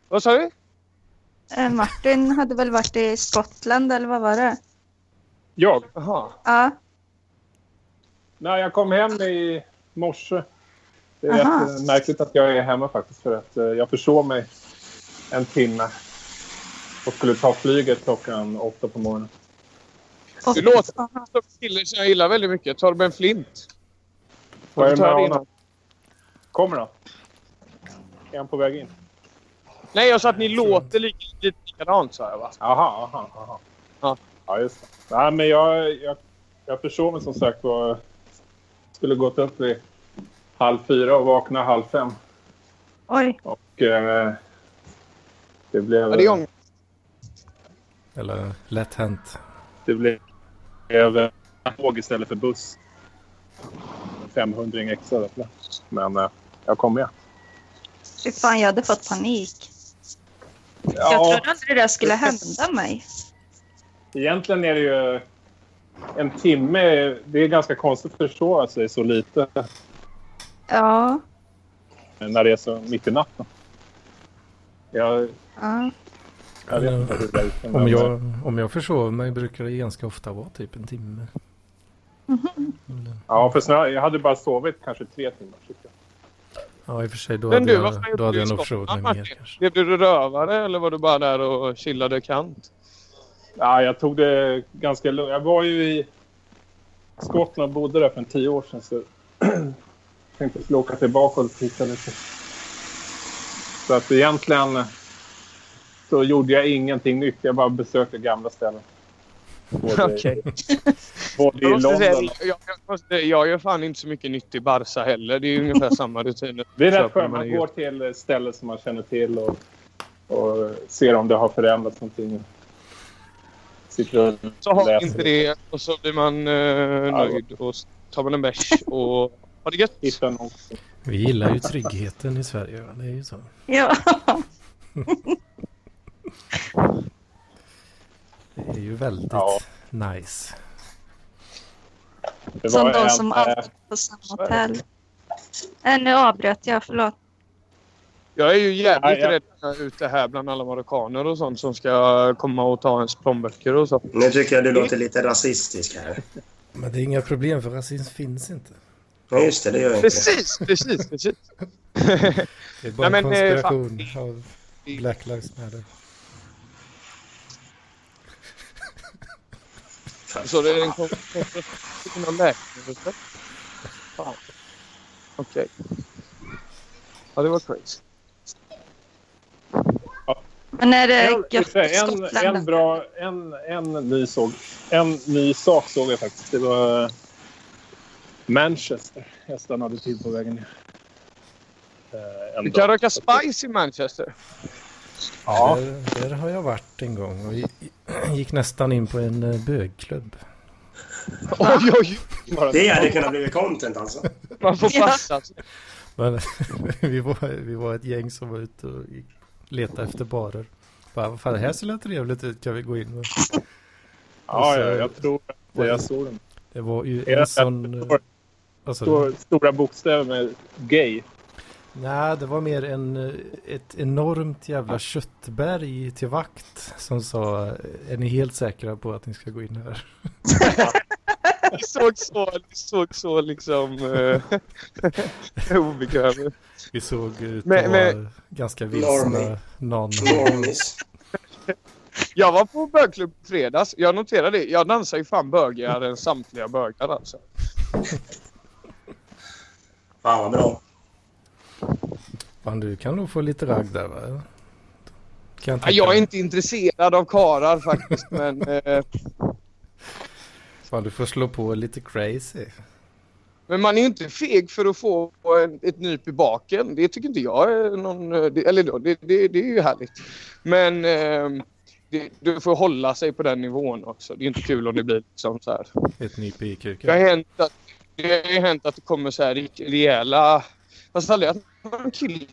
[SPEAKER 2] Vad sa du?
[SPEAKER 7] Eh, Martin hade väl varit i Skottland eller vad var det?
[SPEAKER 5] Jag?
[SPEAKER 2] Jaha.
[SPEAKER 7] Ja,
[SPEAKER 5] Nej, jag kom hem i morse. Det är
[SPEAKER 7] Aha.
[SPEAKER 5] rätt, eh, märkligt att jag är hemma faktiskt för att eh, jag försov mig en timme och skulle ta flyget klockan åtta på morgonen.
[SPEAKER 2] Du låter som en kille som jag gillar väldigt mycket. Torben Flint.
[SPEAKER 5] Vad är
[SPEAKER 2] Du
[SPEAKER 5] det
[SPEAKER 2] tar
[SPEAKER 5] med
[SPEAKER 2] det innan.
[SPEAKER 5] honom? Kommer han? Är han på väg in?
[SPEAKER 2] Nej, jag sa att ni
[SPEAKER 1] tror
[SPEAKER 2] låter lika, lite, likadant sa jag va?
[SPEAKER 5] Jaha, aha, aha.
[SPEAKER 2] Ja.
[SPEAKER 5] Ja, just det. Nej, men jag, jag, jag försov mig som sagt var. Skulle gått upp vid halv fyra och vakna halv fem.
[SPEAKER 8] Oj,
[SPEAKER 5] Och, eh, det blev...
[SPEAKER 2] Ja, det är ångest.
[SPEAKER 1] Eller lätt hänt.
[SPEAKER 5] Det blev blev tåg istället för buss. 500 extra. vet du. Men eh, jag kom med.
[SPEAKER 8] fy fan jag hade fått panik. Jag
[SPEAKER 5] Ja,
[SPEAKER 8] trodde aldrig det där skulle hända mig.
[SPEAKER 5] egentligen är det ju en timme. Det är ganska konstigt att försvara sig så lite
[SPEAKER 8] Ja,
[SPEAKER 5] när det är så mitt i natten. Jag,
[SPEAKER 8] ja.
[SPEAKER 5] jag vet inte hur det är. men-
[SPEAKER 1] Om jag, om jag försover mig brukar det ganska ofta vara typ en timme.
[SPEAKER 5] Ja, för snö, jag hade bara sovit kanske tre timmar. typ. tycker jag.
[SPEAKER 1] Ja, i och för sig då
[SPEAKER 2] Men
[SPEAKER 1] hade
[SPEAKER 2] du, vad fan
[SPEAKER 1] jag,
[SPEAKER 2] gjorde
[SPEAKER 1] då hade
[SPEAKER 2] du
[SPEAKER 1] jag
[SPEAKER 2] i
[SPEAKER 1] nog
[SPEAKER 2] Skottland,
[SPEAKER 1] försovit mig mer
[SPEAKER 2] Martin?
[SPEAKER 1] kanske.
[SPEAKER 2] Blev du rövare eller var du bara där och chillade kant?
[SPEAKER 5] Ja, jag tog det ganska lugnt. Jag var ju i Skottland och bodde där för en tio år sedan. Så tänkte jag skulle åka tillbaka och titta lite. Så att egentligen så gjorde jag ingenting nytt. Jag bara besökte gamla ställen. Både,
[SPEAKER 2] Okej.
[SPEAKER 5] både i
[SPEAKER 2] Jag, måste säga,
[SPEAKER 5] London.
[SPEAKER 2] jag, jag, måste, jag gör fan inte så mycket nytt i Barca heller. Det är ju ungefär samma rutiner.
[SPEAKER 5] Det är rätt
[SPEAKER 2] Så att
[SPEAKER 5] skönt.
[SPEAKER 2] man är
[SPEAKER 5] Man
[SPEAKER 2] ju-
[SPEAKER 5] går till ställen som man känner till och, och ser om det har förändrats någonting. Sitter och
[SPEAKER 2] Så har
[SPEAKER 5] läser.
[SPEAKER 2] vi inte det och så blir man eh, nöjd och så tar man en bärs och har det gött.
[SPEAKER 5] hittar någon.
[SPEAKER 1] Vi gillar ju tryggheten i Sverige. va? Det är ju så.
[SPEAKER 8] ja.
[SPEAKER 1] Det är ju väldigt
[SPEAKER 5] Ja.
[SPEAKER 1] nice.
[SPEAKER 5] Det
[SPEAKER 8] Som
[SPEAKER 5] var en,
[SPEAKER 8] de som
[SPEAKER 5] eh,
[SPEAKER 8] alltid är på samma hotell. Äh, nu avbröt jag, förlåt.
[SPEAKER 2] Jag är ju jävligt
[SPEAKER 5] Ja, ja.
[SPEAKER 2] rädd när jag är ute här bland alla marockaner och sånt som ska komma och ta ens plånböcker och så.
[SPEAKER 9] Nu tycker jag du låter lite rasistisk här.
[SPEAKER 1] Men det är inga problem för rasism finns inte.
[SPEAKER 9] Ja, just det. Det gör jag inte.
[SPEAKER 2] Precis, precis, precis.
[SPEAKER 1] Det är bara
[SPEAKER 2] Nej,
[SPEAKER 1] en
[SPEAKER 2] men, eh, fan.
[SPEAKER 1] konspiration av Black Lives Matter.
[SPEAKER 2] Så det är en kon- konfrontation inom läkemedel. Fan. Okej. Ja, det var crazy.
[SPEAKER 8] Men är
[SPEAKER 3] Eh,
[SPEAKER 8] det
[SPEAKER 5] En,
[SPEAKER 8] gött i
[SPEAKER 5] en, en
[SPEAKER 8] Skottland?
[SPEAKER 5] bra... En, en, ny såg, en ny sak såg jag faktiskt. Det var eh, Manchester. Jag stannade till på vägen ner. Eh, en
[SPEAKER 2] Du kan
[SPEAKER 5] dag.
[SPEAKER 2] röka spice i Manchester.
[SPEAKER 5] Ja.
[SPEAKER 1] Där, där har jag varit en gång och i- gick nästan in på en eh, bögklubb.
[SPEAKER 2] Oj, oj,
[SPEAKER 5] Bara,
[SPEAKER 9] Det hade kunnat bli content alltså.
[SPEAKER 2] man får
[SPEAKER 8] Ja.
[SPEAKER 2] passa sig.
[SPEAKER 1] Men vi, var, vi var ett gäng som var ute och gick- letade efter barer. Bara, vad fan, det här ser lite trevligt ut, kan vi gå in? Och
[SPEAKER 5] ja, ja, jag tror att jag såg den.
[SPEAKER 1] Det var ju
[SPEAKER 5] Är det
[SPEAKER 1] en sån... eh,
[SPEAKER 5] stor-
[SPEAKER 1] Vad sa du?
[SPEAKER 5] Stor, stora bokstäver med gay.
[SPEAKER 1] Nej, det var mer en, eh, ett enormt jävla köttberg till vakt som sa "Eh, är ni helt säkra på att ni ska gå in här?
[SPEAKER 2] Det såg så, det såg så liksom eh, obekväm ut.
[SPEAKER 1] Vi såg ut
[SPEAKER 2] Men-
[SPEAKER 1] att
[SPEAKER 2] men-
[SPEAKER 1] vara ganska
[SPEAKER 9] Normie.
[SPEAKER 1] vilsna nanar.
[SPEAKER 9] Normis.
[SPEAKER 2] Jag var på bögklubb i fredags. Jag noterade det. Jag dansar ju fan bögigare än samtliga bögar alltså.
[SPEAKER 9] Fan vad bra.
[SPEAKER 1] Fan, du kan nog få lite ragg där va? Kan
[SPEAKER 2] Ja,
[SPEAKER 1] tänka
[SPEAKER 2] Jag är
[SPEAKER 1] mig.
[SPEAKER 2] inte intresserad av karar faktiskt men eh,
[SPEAKER 1] Fan, du får slå på lite crazy.
[SPEAKER 2] Men man är ju inte feg för att få en, ett nyp i baken. Det tycker inte jag är någon... eh, Det, eller då, det, det, det är ju härligt. Men ehm, det, du får hålla sig på den nivån också. Det är inte kul om det blir liksom så här.
[SPEAKER 1] Ett nyp i
[SPEAKER 2] Det har
[SPEAKER 1] kuken.
[SPEAKER 2] hänt att det, har ju hänt att det kommer så här rik- rejäla... Fast aldrig att någon kille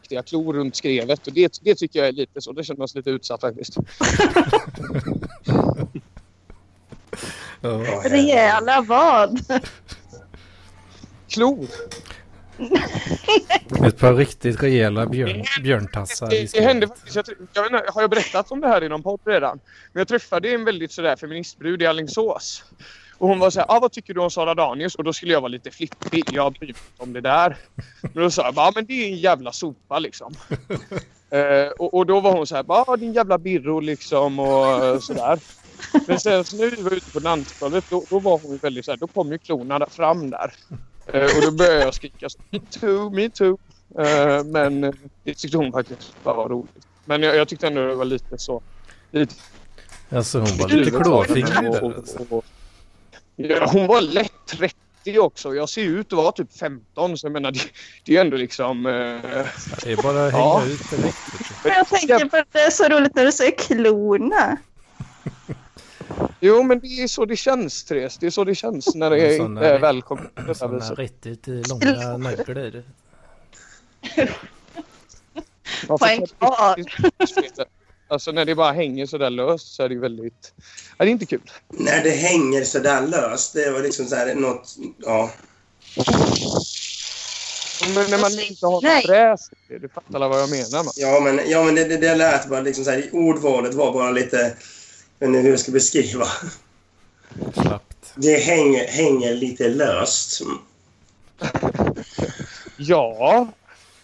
[SPEAKER 2] riktiga klor runt skrevet och det, det tycker jag är lite så. Det känner man sig lite utsatt faktiskt.
[SPEAKER 1] Ja.
[SPEAKER 9] Ja, herregud.
[SPEAKER 8] Rejäla vad?
[SPEAKER 2] Klor!
[SPEAKER 1] Ett par riktigt rejäla björn, björntassar i
[SPEAKER 2] Det, det hände
[SPEAKER 1] skrevet.
[SPEAKER 2] faktiskt. Jag, tr- jag vet inte, har jag berättat om det här i någon podd redan? Men jag träffade en väldigt sådär feministbrud i Alingsås. Och hon var såhär, ah, vad tycker du om Sara Danius? Och då skulle jag vara lite flippig. Jag bryr mig inte om det där. Men då sa jag, bara, ah, men det är en jävla sopa liksom. Eh, och, och då var hon såhär, bara, ah, din jävla birro liksom och eh, sådär. Men sen så när vi var ute på dansgolvet då, då var hon ju väldigt såhär, då kom ju klorna där fram där. Eh, och då började jag skrika så, me too, me too. Eh, men eh, det tyckte hon faktiskt bara var roligt. Men jag, jag tyckte ändå det var lite så. Lite
[SPEAKER 1] Alltså hon var lite klåfingrig där.
[SPEAKER 2] Och-
[SPEAKER 1] Alltså.
[SPEAKER 2] och- och- Ja, hon var lätt 30 också. Jag ser ut att vara typ 15 så jag menar det, det är ändå liksom... Eh,
[SPEAKER 1] Det är bara att hänga
[SPEAKER 2] Ja.
[SPEAKER 1] ut direkt. vet du.
[SPEAKER 3] Men jag tänker på att det är så roligt när du säger klorna.
[SPEAKER 2] jo men det är så det känns Therese. Det är så det känns när det
[SPEAKER 1] En
[SPEAKER 2] är
[SPEAKER 1] sån
[SPEAKER 2] inte
[SPEAKER 1] där-
[SPEAKER 2] är välkommen på det här
[SPEAKER 1] Sådana
[SPEAKER 2] viset.
[SPEAKER 1] riktigt eh, långa naglar.
[SPEAKER 2] Man
[SPEAKER 3] På en
[SPEAKER 2] får ta-
[SPEAKER 3] kvar.
[SPEAKER 2] Alltså när det bara hänger sådär löst så är det ju väldigt... Ja, det är inte kul.
[SPEAKER 4] När det hänger sådär löst, det var liksom så här något, ja.
[SPEAKER 2] Men när man inte har
[SPEAKER 3] Alltså, Nej.
[SPEAKER 2] något fräs. Du fattar alla vad jag menar man.
[SPEAKER 4] Ja men, ja, men det, det, det lät bara liksom så här, ordvalet var bara lite, jag vet inte hur jag ska beskriva.
[SPEAKER 1] Slappt.
[SPEAKER 4] Det hänger, hänger lite löst.
[SPEAKER 2] Ja,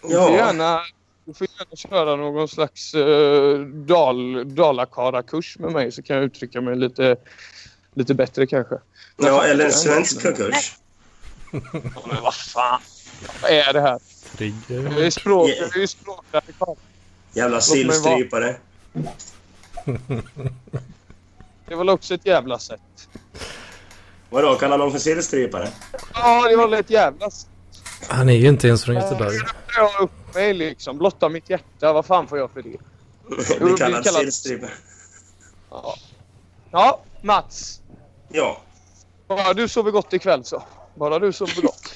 [SPEAKER 2] Du får
[SPEAKER 4] Ja,
[SPEAKER 2] gärna, du får gärna köra någon slags eh, dal, dalakara-kurs med mig så kan jag uttrycka mig lite, lite bättre kanske.
[SPEAKER 4] ja eller en svensk konkurs.
[SPEAKER 2] Ja, Men vad fan! Vad är det här? Jag är
[SPEAKER 1] Trigger.
[SPEAKER 2] språk, jag är ju språkradikal.
[SPEAKER 4] Jävla
[SPEAKER 2] mig vara.
[SPEAKER 4] sillstrypare.
[SPEAKER 2] Det var också ett jävla sätt.
[SPEAKER 4] Vadå, kallar någon för sillstrypare?
[SPEAKER 2] Ja, det var väl ett jävla sätt.
[SPEAKER 1] Han är ju inte ens från Göteborg.
[SPEAKER 2] Jag upp mig liksom. Blotta mitt hjärta. Vad fan får jag för det?
[SPEAKER 4] Blir
[SPEAKER 2] blir
[SPEAKER 4] kallad
[SPEAKER 2] kallad-
[SPEAKER 4] sillstrypare.
[SPEAKER 2] Ja, ja Mats.
[SPEAKER 4] Ja.
[SPEAKER 2] Bara du sover gott ikväll så. Bara du sover gott.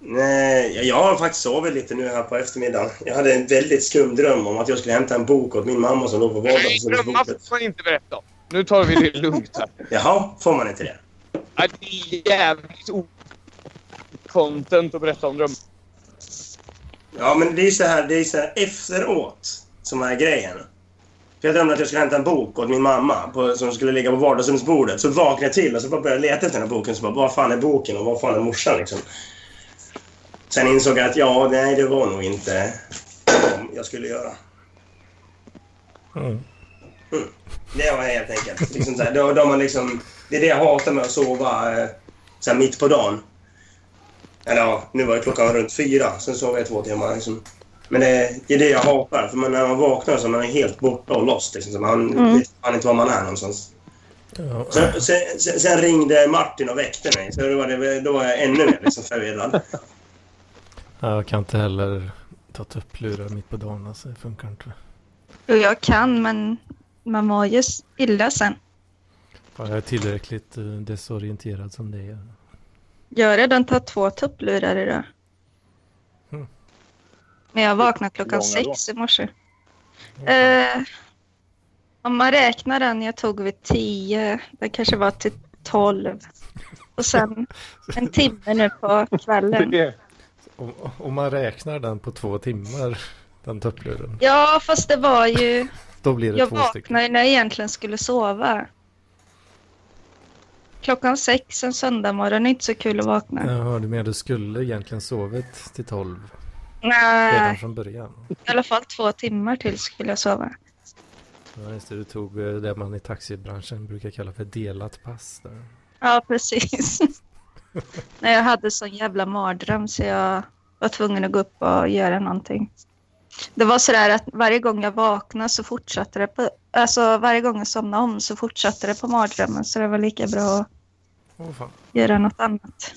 [SPEAKER 4] Nej, jag- jag har faktiskt sovit lite nu här på eftermiddagen. Jag hade en väldigt skum dröm om att jag skulle hämta en bok åt min mamma som låg på
[SPEAKER 2] Nej, drömmar
[SPEAKER 4] vardagen.
[SPEAKER 2] får man inte berätta om. Nu tar vi det lugnt här.
[SPEAKER 4] Jaha, får man inte det?
[SPEAKER 2] Ja, det är jävligt o- content att berätta om drömmar.
[SPEAKER 4] Ja, men det är så här, det är så här efteråt som är grejen. För jag drömde att jag skulle hämta en bok åt min mamma på, som skulle ligga på vardagsrumsbordet. Så vaknade jag till och så bara började jag leta efter den här boken. Så bara, vad fan är boken och vad fan är morsan liksom? Sen insåg jag att ja, nej, det var nog inte som jag skulle göra.
[SPEAKER 1] Mm.
[SPEAKER 4] Det var helt enkelt. Liksom så här, då, då man liksom, det är det jag hatar med att sova eh, så här mitt på dagen. Eller ja, nu var ju klockan runt fyra. Sen sov jag två timmar. Liksom. Men det, det är det jag hatar. För man, när man vaknar så är man helt borta och lost. Liksom, så man vet fan inte var man är någonstans.
[SPEAKER 1] Ja.
[SPEAKER 4] Sen, sen, sen, sen ringde Martin och väckte mig. Så då var, det, då var jag ännu mer liksom, förvirrad.
[SPEAKER 1] Ja, Jag kan inte heller ta tupplurar mitt på dagen. Alltså, det funkar inte.
[SPEAKER 3] Och jag kan, men man mår ju s- illa sen.
[SPEAKER 1] Fan, jag är tillräckligt eh, desorienterad som det är.
[SPEAKER 3] Jag har redan tagit två tupplurar idag.
[SPEAKER 1] Mm.
[SPEAKER 3] Men jag vaknade klockan
[SPEAKER 5] Hur många
[SPEAKER 3] sex i morse. Eh, om man räknar den jag tog vid tio, den kanske var till tolv. Och sen en timme nu på kvällen.
[SPEAKER 5] Det är,
[SPEAKER 1] Om, om man räknar den på två timmar, den tuppluren,
[SPEAKER 3] Ja, fast det var ju...
[SPEAKER 1] då blir det
[SPEAKER 3] Jag
[SPEAKER 1] två stycken.
[SPEAKER 3] vaknade ju när jag egentligen skulle sova. Klockan sex en söndagmorgon är inte så kul att vakna.
[SPEAKER 1] Jag hörde med, du skulle egentligen sovit till tolv redan
[SPEAKER 3] Nej,
[SPEAKER 1] från början.
[SPEAKER 3] i alla fall två timmar till skulle jag sova.
[SPEAKER 1] Ja, just det, du tog eh, det man i taxibranschen brukar kalla för delat pass. Där.
[SPEAKER 3] Ja, precis. När jag hade sån jävla mardröm så jag var tvungen att gå upp och göra någonting. Det var sådär att varje gång jag vaknade så fortsatte det på... Alltså varje gång jag somnade om så fortsatte det på mardrömmen så det var lika bra att
[SPEAKER 1] Åh fan.
[SPEAKER 3] göra något annat.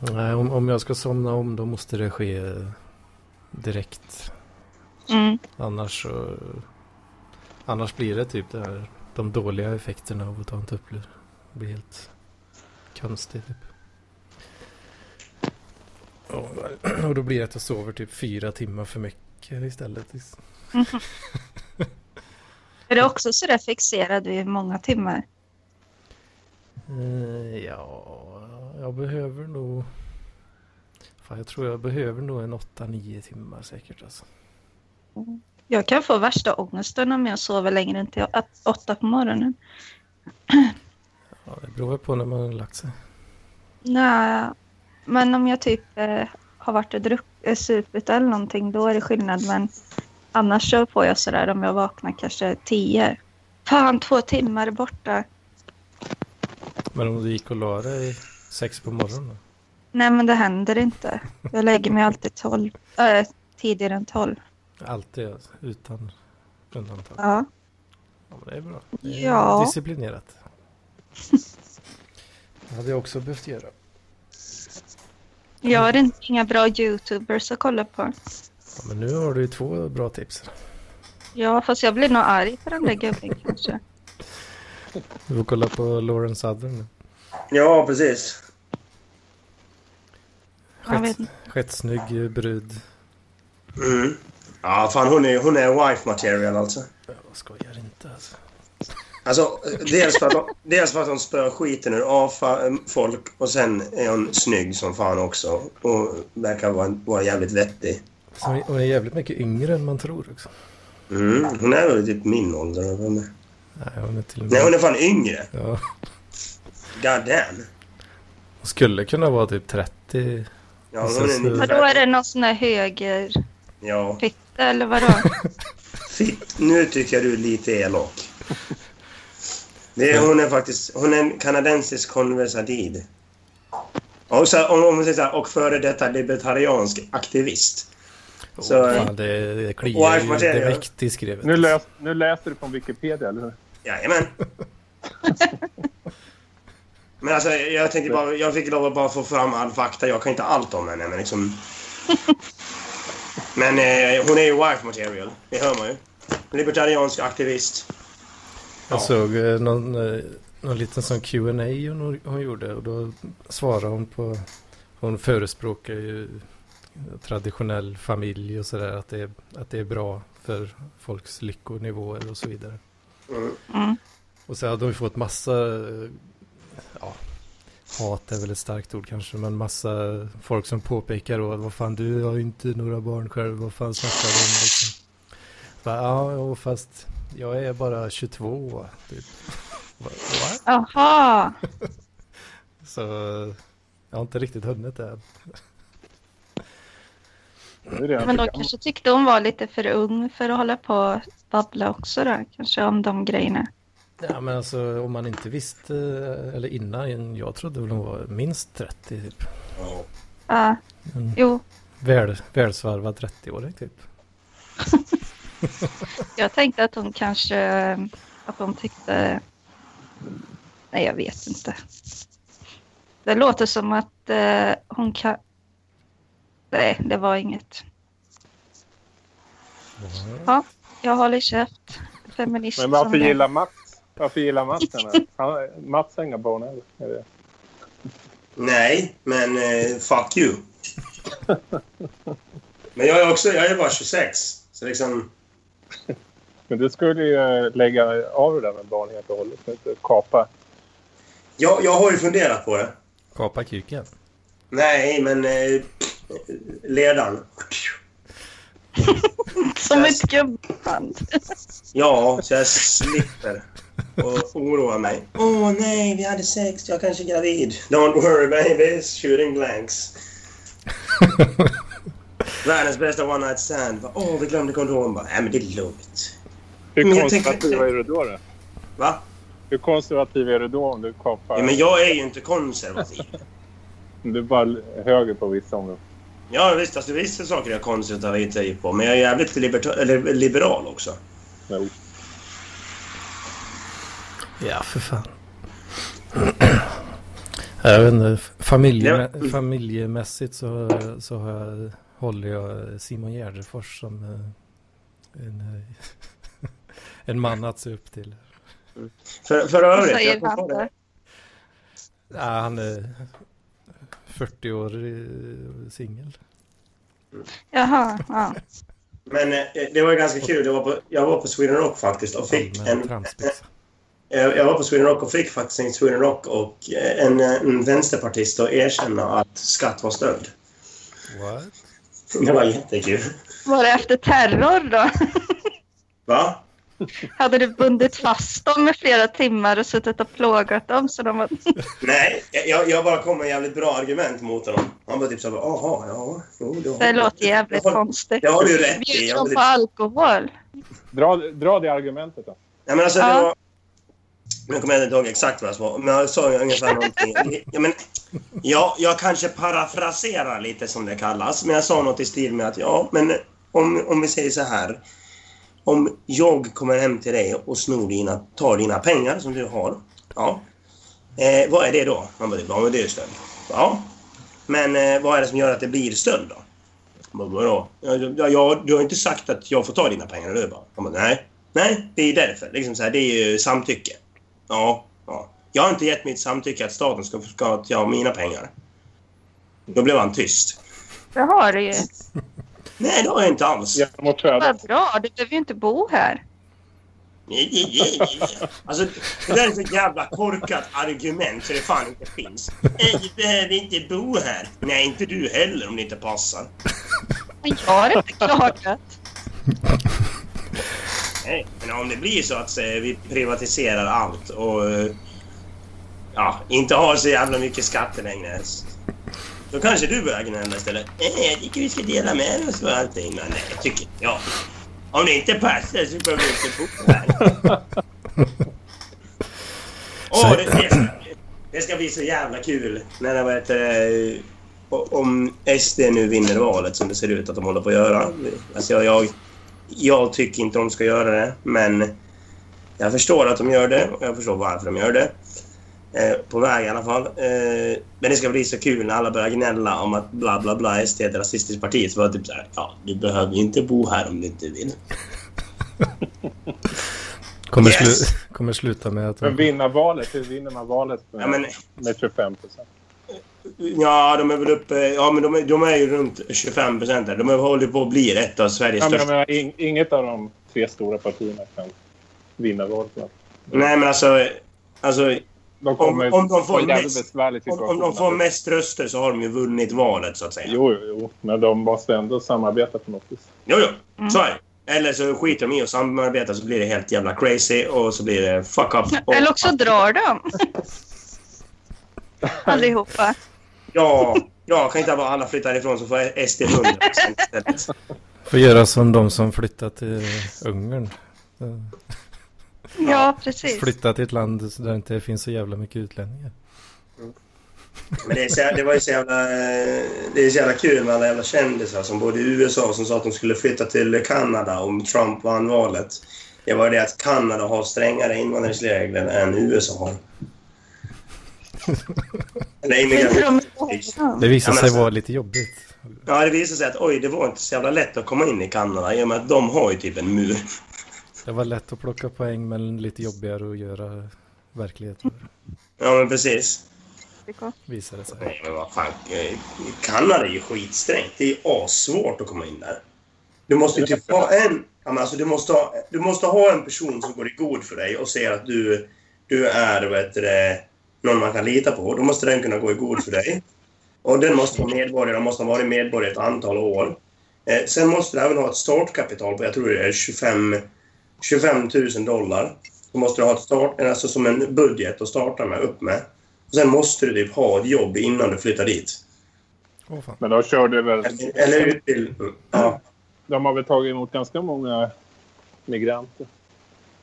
[SPEAKER 1] Nej, om, om jag ska somna om då måste det ske eh, direkt.
[SPEAKER 3] Mm.
[SPEAKER 1] Annars så... Annars blir det typ det här, de dåliga effekterna av att ta en tupplur. Det blir helt konstigt typ. Och- Och då blir det att jag sover typ fyra timmar för mycket istället.
[SPEAKER 3] Är du också sådär fixerad vid många timmar?
[SPEAKER 1] Eh, Ja, jag behöver nog... Fan, jag tror jag behöver nog en 8-9 timmar säkert alltså.
[SPEAKER 3] Jag kan få värsta ångesten om jag sover längre än till åt- åtta på morgonen.
[SPEAKER 1] Ja, det beror väl på när man har lagt sig.
[SPEAKER 3] Nej, men om jag typ eh, har varit och druck, eh, supit eller någonting, då är det skillnad. Men annars så får jag sådär om jag vaknar kanske tio. Fan, två timmar borta.
[SPEAKER 1] Men om du gick och la dig sex på morgonen då?
[SPEAKER 3] Nej, men det händer inte. Jag lägger mig alltid 12, äh, tidigare än 12.
[SPEAKER 1] Alltid alltså, utan undantag.
[SPEAKER 3] Ja.
[SPEAKER 1] Ja, men det är bra. Det är
[SPEAKER 3] Ja.
[SPEAKER 1] Disciplinerat. Det hade jag också behövt göra.
[SPEAKER 3] Jag har inte inga bra YouTubers att kolla på.
[SPEAKER 1] Ja, men nu har du ju två bra tips.
[SPEAKER 3] Ja, fast jag blir nog arg på den där gubben kanske.
[SPEAKER 1] Du får kolla på Lauren Southern. nu.
[SPEAKER 4] Ja, precis.
[SPEAKER 3] Jag vet inte.
[SPEAKER 1] Skett snygg eh, brud.
[SPEAKER 4] Mm. Ja, fan hon är, hon är wife material alltså.
[SPEAKER 1] Jag skojar inte alltså.
[SPEAKER 4] Alltså, dels för, att hon, dels för att hon spör skiten ur avfa- folk och sen är hon snygg som fan också. Och verkar vara, vara jävligt vettig.
[SPEAKER 1] Så Alltså, Hon hon är jävligt mycket yngre än man tror också.
[SPEAKER 4] Mm. Hon är väl typ min ålder. eller vad hon är.
[SPEAKER 1] Nej, hon är till och
[SPEAKER 4] Nej, hon
[SPEAKER 1] med...
[SPEAKER 4] är fan yngre.
[SPEAKER 1] Ja.
[SPEAKER 4] God damn.
[SPEAKER 1] Hon skulle kunna vara typ 30.
[SPEAKER 4] Ja, hon är
[SPEAKER 3] Vadå, är det någon sån där högerfitta
[SPEAKER 4] Ja.
[SPEAKER 3] eller vadå?
[SPEAKER 4] Fitt, nu tycker jag du är lite elak. Det är, hon är faktiskt hon är en kanadensisk konversadid. Och, så, om, om man säger så här, och före detta libertariansk aktivist. Så,
[SPEAKER 1] Åh, fan, det, det kliar
[SPEAKER 4] Wife
[SPEAKER 1] ju
[SPEAKER 4] material.
[SPEAKER 1] direkt i skrevet.
[SPEAKER 5] Nu, läs, nu läser du från Wikipedia, eller hur?
[SPEAKER 4] Jajamän. Men alltså, jag tänkte bara, jag fick lov att bara få fram all fakta. Jag kan inte allt om henne, men liksom... Men eh, hon är ju wife material, det hör man ju. Libertariansk aktivist.
[SPEAKER 1] Jag såg eh, någon, eh, någon liten sån Q&A hon, hon gjorde och då svarade hon på, hon förespråkar ju traditionell familj och sådär, att, det är- att det är bra för folks lyckonivåer och så vidare.
[SPEAKER 4] Mm.
[SPEAKER 3] Mm.
[SPEAKER 1] Och sen hade hon ju fått massa, eh, ja, hat är väl ett starkt ord kanske, men massa folk som påpekar då, vad fan du har ju inte några barn själv, vad fan snackar du om liksom. Bara, ja, jo, fast jag är bara 22 typ. Bara, "Va?"
[SPEAKER 3] Jaha,
[SPEAKER 1] Så eh, jag har inte riktigt hunnit det. än.
[SPEAKER 5] Nu är det
[SPEAKER 3] men de
[SPEAKER 5] program.
[SPEAKER 3] kanske tyckte hon var lite för ung för att hålla på och babbla också då, kanske om de grejerna.
[SPEAKER 1] Ja, men alltså om man inte visste, eh, eller innan, jag trodde väl hon var minst 30 typ.
[SPEAKER 4] Ja.
[SPEAKER 3] Ja,
[SPEAKER 1] Mm.
[SPEAKER 3] jo,
[SPEAKER 1] Väl, välsvarvad 30-åring typ.
[SPEAKER 3] jag tänkte att hon kanske, att hon tyckte, nej jag vet inte. Det låter som att eh, hon kan, nej det var inget.
[SPEAKER 1] Mm.
[SPEAKER 3] Ja, jag håller käft. Feminist
[SPEAKER 5] Men varför
[SPEAKER 3] som jag.
[SPEAKER 5] gillar Mats? Varför gillar Mats henne? Han, Mats har inga barn heller. Är det-
[SPEAKER 4] Nej, men eh, fuck you. Men jag är också, jag är bara 26. Så liksom,
[SPEAKER 5] Men du skulle ju eh, lägga av det där med barn helt och hållet. Inte kapa.
[SPEAKER 4] jag, jag har ju funderat på det.
[SPEAKER 1] Kapa kuken.
[SPEAKER 4] Nej, men eh, ledaren.
[SPEAKER 3] Som ett gubband.
[SPEAKER 4] Ja, så jag slipper och oroa mig. Åh oh, nej, vi hade sex. Jag kanske är gravid. Don't worry babies, shooting blanks. Världens bästa one night stand. Bara, Åh, vi glömde kondom. Bara, Nej, men det är lugnt. Men
[SPEAKER 5] Hur
[SPEAKER 4] jag tänker-
[SPEAKER 5] konservativ är du då? då?
[SPEAKER 4] Va?
[SPEAKER 5] Hur konservativ är du då om du kapar?
[SPEAKER 4] Ja, men jag är ju inte konservativ.
[SPEAKER 5] Om Du är bara höger på vissa områden.
[SPEAKER 4] Ja, visst. Alltså, vissa saker är jag konservativ på, men jag är jävligt liberta- eller, liberal också.
[SPEAKER 5] Jo.
[SPEAKER 1] Ja, för fan. Jag vet inte, familje, familjemässigt så, så har jag, håller jag Simon Gärdefors som eh, en, eh, en man att se upp till.
[SPEAKER 4] För, för
[SPEAKER 3] Vad
[SPEAKER 4] övrigt...
[SPEAKER 3] säger
[SPEAKER 4] jag kom på
[SPEAKER 3] han då?
[SPEAKER 4] det.
[SPEAKER 1] Ja, han är 40 år eh, singel.
[SPEAKER 3] Jaha, ja.
[SPEAKER 4] Men eh, det var ju ganska kul. Jag var på, jag var på Sweden Rock faktiskt och fick en...
[SPEAKER 1] Allmän tramsbyxa.
[SPEAKER 4] Eh, Jag jag var på Sweden Rock och fick faktiskt en Sweden Rock och eh, en, eh, en vänsterpartist att erkänna att skatt var stöld.
[SPEAKER 1] What?
[SPEAKER 4] Det var jättekul.
[SPEAKER 3] Var det efter terror då?
[SPEAKER 4] Va?
[SPEAKER 3] Hade du bundit fast dem i flera timmar och suttit och plågat dem så de var...
[SPEAKER 4] Nej, jag, jag bara kom med jävligt bra argument mot honom. Han var typ såhär, jaha, ja, jo, det har
[SPEAKER 3] Det låter jävligt
[SPEAKER 4] Jag har-
[SPEAKER 3] konstigt.
[SPEAKER 4] Det har du ju rätt i.
[SPEAKER 3] Bjud
[SPEAKER 4] Jag var
[SPEAKER 3] dem
[SPEAKER 4] typ,
[SPEAKER 3] på alkohol.
[SPEAKER 5] Dra, dra det argumentet då.
[SPEAKER 4] nej, men alltså, det
[SPEAKER 3] Ja.
[SPEAKER 4] var, nu kommer jag inte ihåg exakt vad jag sa, men jag sa ju ungefär någonting. Ja, men Ja, jag kanske parafraserar lite som det kallas, men jag sa något i stil med att ja, men om, om vi säger så här. Om jag kommer hem till dig och snor dina, tar dina pengar som du har. Ja. Eh, vad är det då? Man bara, ja men det är ju stöld. Ja. Men eh, vad är det som gör att det blir stöld då? Man bara, Vadå? Ja, ja, ja, du har inte sagt att jag får ta dina pengar, eller hur? Jag bara, nej. Nej, det är därför. Liksom så här, det är ju samtycke. Ja, ja. Jag har inte gett mitt samtycke att staten ska, ska ta mina pengar. Då blev han tyst.
[SPEAKER 8] Det har du ju.
[SPEAKER 4] Nej, det har jag inte alls.
[SPEAKER 5] Genom att föda.
[SPEAKER 8] Vad bra, du behöver ju inte bo här.
[SPEAKER 4] Nej, nej, nej, nej. Alltså, det där är så jävla korkat argument så det fan inte finns. Nej, du behöver inte bo här. Nej, inte du heller om det inte passar.
[SPEAKER 8] Men jag har inte klagat.
[SPEAKER 4] Nej, men om det blir så att eh, vi privatiserar allt och eh, ja, inte har så jävla mycket skatter längre. Då kanske du börjar gnälla istället. Nej, jag tycker vi ska dela med oss av allting. Men nej, jag tycker jag. Om det inte passar så behöver vi inte bo här. Åh, det, det, ska, det ska bli så jävla kul när det, vad heter det, o- om SD nu vinner valet som det ser ut att de håller på att göra. Alltså jag, jag, jag tycker inte de ska göra det, men jag förstår att de gör det och jag förstår varför de gör det. Eh, på väg i alla fall. Eh, men det ska bli så kul när alla börjar gnälla om att bla bla bla SD är ett rasistiskt parti. Så var det typ så här, ja, du behöver ju inte bo här om du inte vill.
[SPEAKER 1] Kommer,
[SPEAKER 4] Yes.
[SPEAKER 1] slu- kommer sluta med att...
[SPEAKER 5] Men vinna valet, hur vinner man valet med,
[SPEAKER 4] Ja, men,
[SPEAKER 5] med 25 procent?
[SPEAKER 4] ja de är väl uppe, ja men de är, de är ju runt 25 procent där. De har hållit på att bli ett av Sveriges
[SPEAKER 5] Ja, men jag
[SPEAKER 4] största.
[SPEAKER 5] menar, ing- inget av de tre stora partierna kan vinna valet. va?
[SPEAKER 4] Nej men alltså, alltså
[SPEAKER 5] De kommer
[SPEAKER 4] Om- om de får
[SPEAKER 5] få en jävligt
[SPEAKER 4] mest-
[SPEAKER 5] besvärlig
[SPEAKER 4] om,
[SPEAKER 5] situation.
[SPEAKER 4] om de får mest röster så har de ju vunnit valet så att säga.
[SPEAKER 5] Jo, jo, jo, men de måste ändå samarbeta på något vis.
[SPEAKER 4] Jo, jo. Så är det. Eller så skiter de i att samarbeta så blir det helt jävla crazy och så blir det fuck up. Och,
[SPEAKER 8] Eller också drar de. Allihopa.
[SPEAKER 4] ja, ja, kan inte bara alla flytta ifrån så får SD 100 istället.
[SPEAKER 1] Får göra som de som flyttat till Ungern. Eh,
[SPEAKER 8] Ja, precis.
[SPEAKER 1] Flytta till ett land där det inte finns så jävla mycket utlänningar.
[SPEAKER 4] Men det, är så, det var ju så jävla, eh, det är så jävla kul med alla jävla kändisar som bodde i USA som sa att de skulle flytta till Kanada om Trump vann valet. Det var det att Kanada har strängare invandringsregler än USA har. Eller
[SPEAKER 8] Inte
[SPEAKER 4] immigration.
[SPEAKER 8] de ihop
[SPEAKER 1] Det
[SPEAKER 8] dem.
[SPEAKER 1] visar
[SPEAKER 4] Ja, men
[SPEAKER 1] sig
[SPEAKER 4] alltså-
[SPEAKER 1] vara lite jobbigt.
[SPEAKER 4] Ja, det visade sig att oj, det var inte så jävla lätt att komma in i Kanada i och med att de har ju typ en mur.
[SPEAKER 1] Det var lätt att plocka poäng men lite jobbigare att göra verklighet av det,
[SPEAKER 4] Ja, men precis.
[SPEAKER 1] visar det sig.
[SPEAKER 4] Nej, men vad fan. eh, Kanada är ju skitsträngt. Det är assvårt att komma in där. Du måste ju typ ha en... ja, men Alltså, du, måste ha, du måste ha en person som går i god för dig och ser att du, du är vad heter det, någon man kan lita på. Då måste den kunna gå i god för dig. Och den måste vara medborgare. Den måste ha varit medborgare ett antal år. Eh, sen måste du även ha ett startkapital på, jag tror det är 25, 25 000 dollar. Då måste du ha ett start, alltså som en budget att starta med, upp med. Och sen måste du typ ha ett jobb innan du flyttar dit.
[SPEAKER 1] Åh fan.
[SPEAKER 5] Men de körde väl...
[SPEAKER 4] Eller, eller utbildning. Ja.
[SPEAKER 5] De har väl tagit emot ganska många migranter.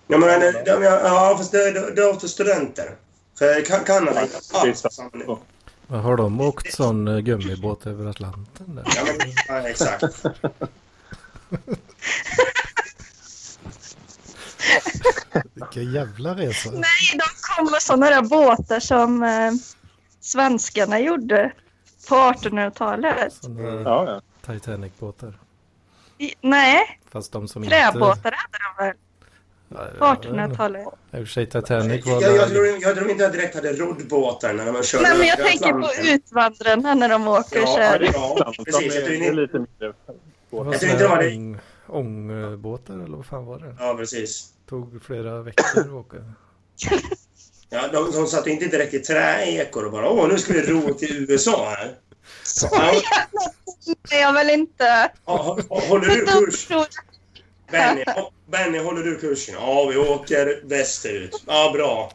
[SPEAKER 4] Ja, men, eller, de- ja, fast det, det, det är för studenter. För Ka- Kanada är inte alls samma-
[SPEAKER 1] Men Har de åkt sån eh, gummibåt över Atlanten där?
[SPEAKER 4] Ja, men, ja, exakt.
[SPEAKER 1] Vilka jävla resa.
[SPEAKER 8] Nej, de kom med sådana där båtar som eh, svenskarna gjorde på 1800-talet.
[SPEAKER 1] Såna
[SPEAKER 5] Ja, ja.
[SPEAKER 1] Titanic-båtar.
[SPEAKER 8] I- Nej,
[SPEAKER 1] Fast de som inte...
[SPEAKER 8] träbåtar hade de väl på
[SPEAKER 1] Ja, jag vet inte.
[SPEAKER 8] 1800-talet.
[SPEAKER 1] I och för sig Titanic var...
[SPEAKER 4] Jag, jag,
[SPEAKER 1] väl-
[SPEAKER 4] tror, jag tror inte jag direkt hade roddbåtar när man körde
[SPEAKER 8] Nej, men jag
[SPEAKER 4] över
[SPEAKER 8] tänker på
[SPEAKER 4] Atlanten.
[SPEAKER 8] utvandrarna när de åker
[SPEAKER 4] Ja,
[SPEAKER 8] så
[SPEAKER 4] ja,
[SPEAKER 8] här.
[SPEAKER 4] det- ja,
[SPEAKER 5] De
[SPEAKER 4] precis. Jag
[SPEAKER 5] är,
[SPEAKER 4] tror
[SPEAKER 5] det är
[SPEAKER 4] inte,
[SPEAKER 5] lite mindre.
[SPEAKER 1] det var
[SPEAKER 4] jag tror
[SPEAKER 1] såna
[SPEAKER 4] inte det var det.
[SPEAKER 1] ång- Ångbåtar eller vad fan var det?
[SPEAKER 4] ja, precis.
[SPEAKER 1] Tog flera veckor att åka.
[SPEAKER 4] Ja, de, de satt ju inte direkt i träekor och bara åh, nu ska vi ro till USA här. Ja,
[SPEAKER 8] Nej, jag vill inte.
[SPEAKER 4] hå- hå- håller du
[SPEAKER 8] De
[SPEAKER 4] kurs?
[SPEAKER 8] tror-
[SPEAKER 4] Benny, hå- Benny, håller du kursen? Ja, vi åker västerut. Ja, bra.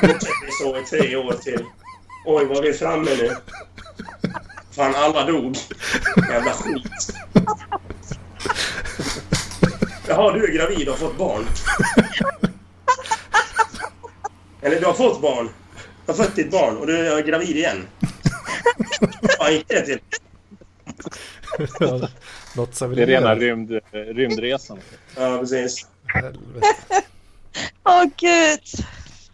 [SPEAKER 4] Fortsätter vi så i tre år till. Oj, var vi framme nu? Fan, alla dog. Jävla skit. Jaha, du är gravid och har fått barn. Eller du har fått barn. Du har fött ditt barn och du är gravid igen. Ja, inte det till.
[SPEAKER 1] Ja, Något som vi
[SPEAKER 5] Det är rena
[SPEAKER 1] göra.
[SPEAKER 5] rymd, rymdresan.
[SPEAKER 4] Ja, precis.
[SPEAKER 1] Helvete.
[SPEAKER 8] Åh gud!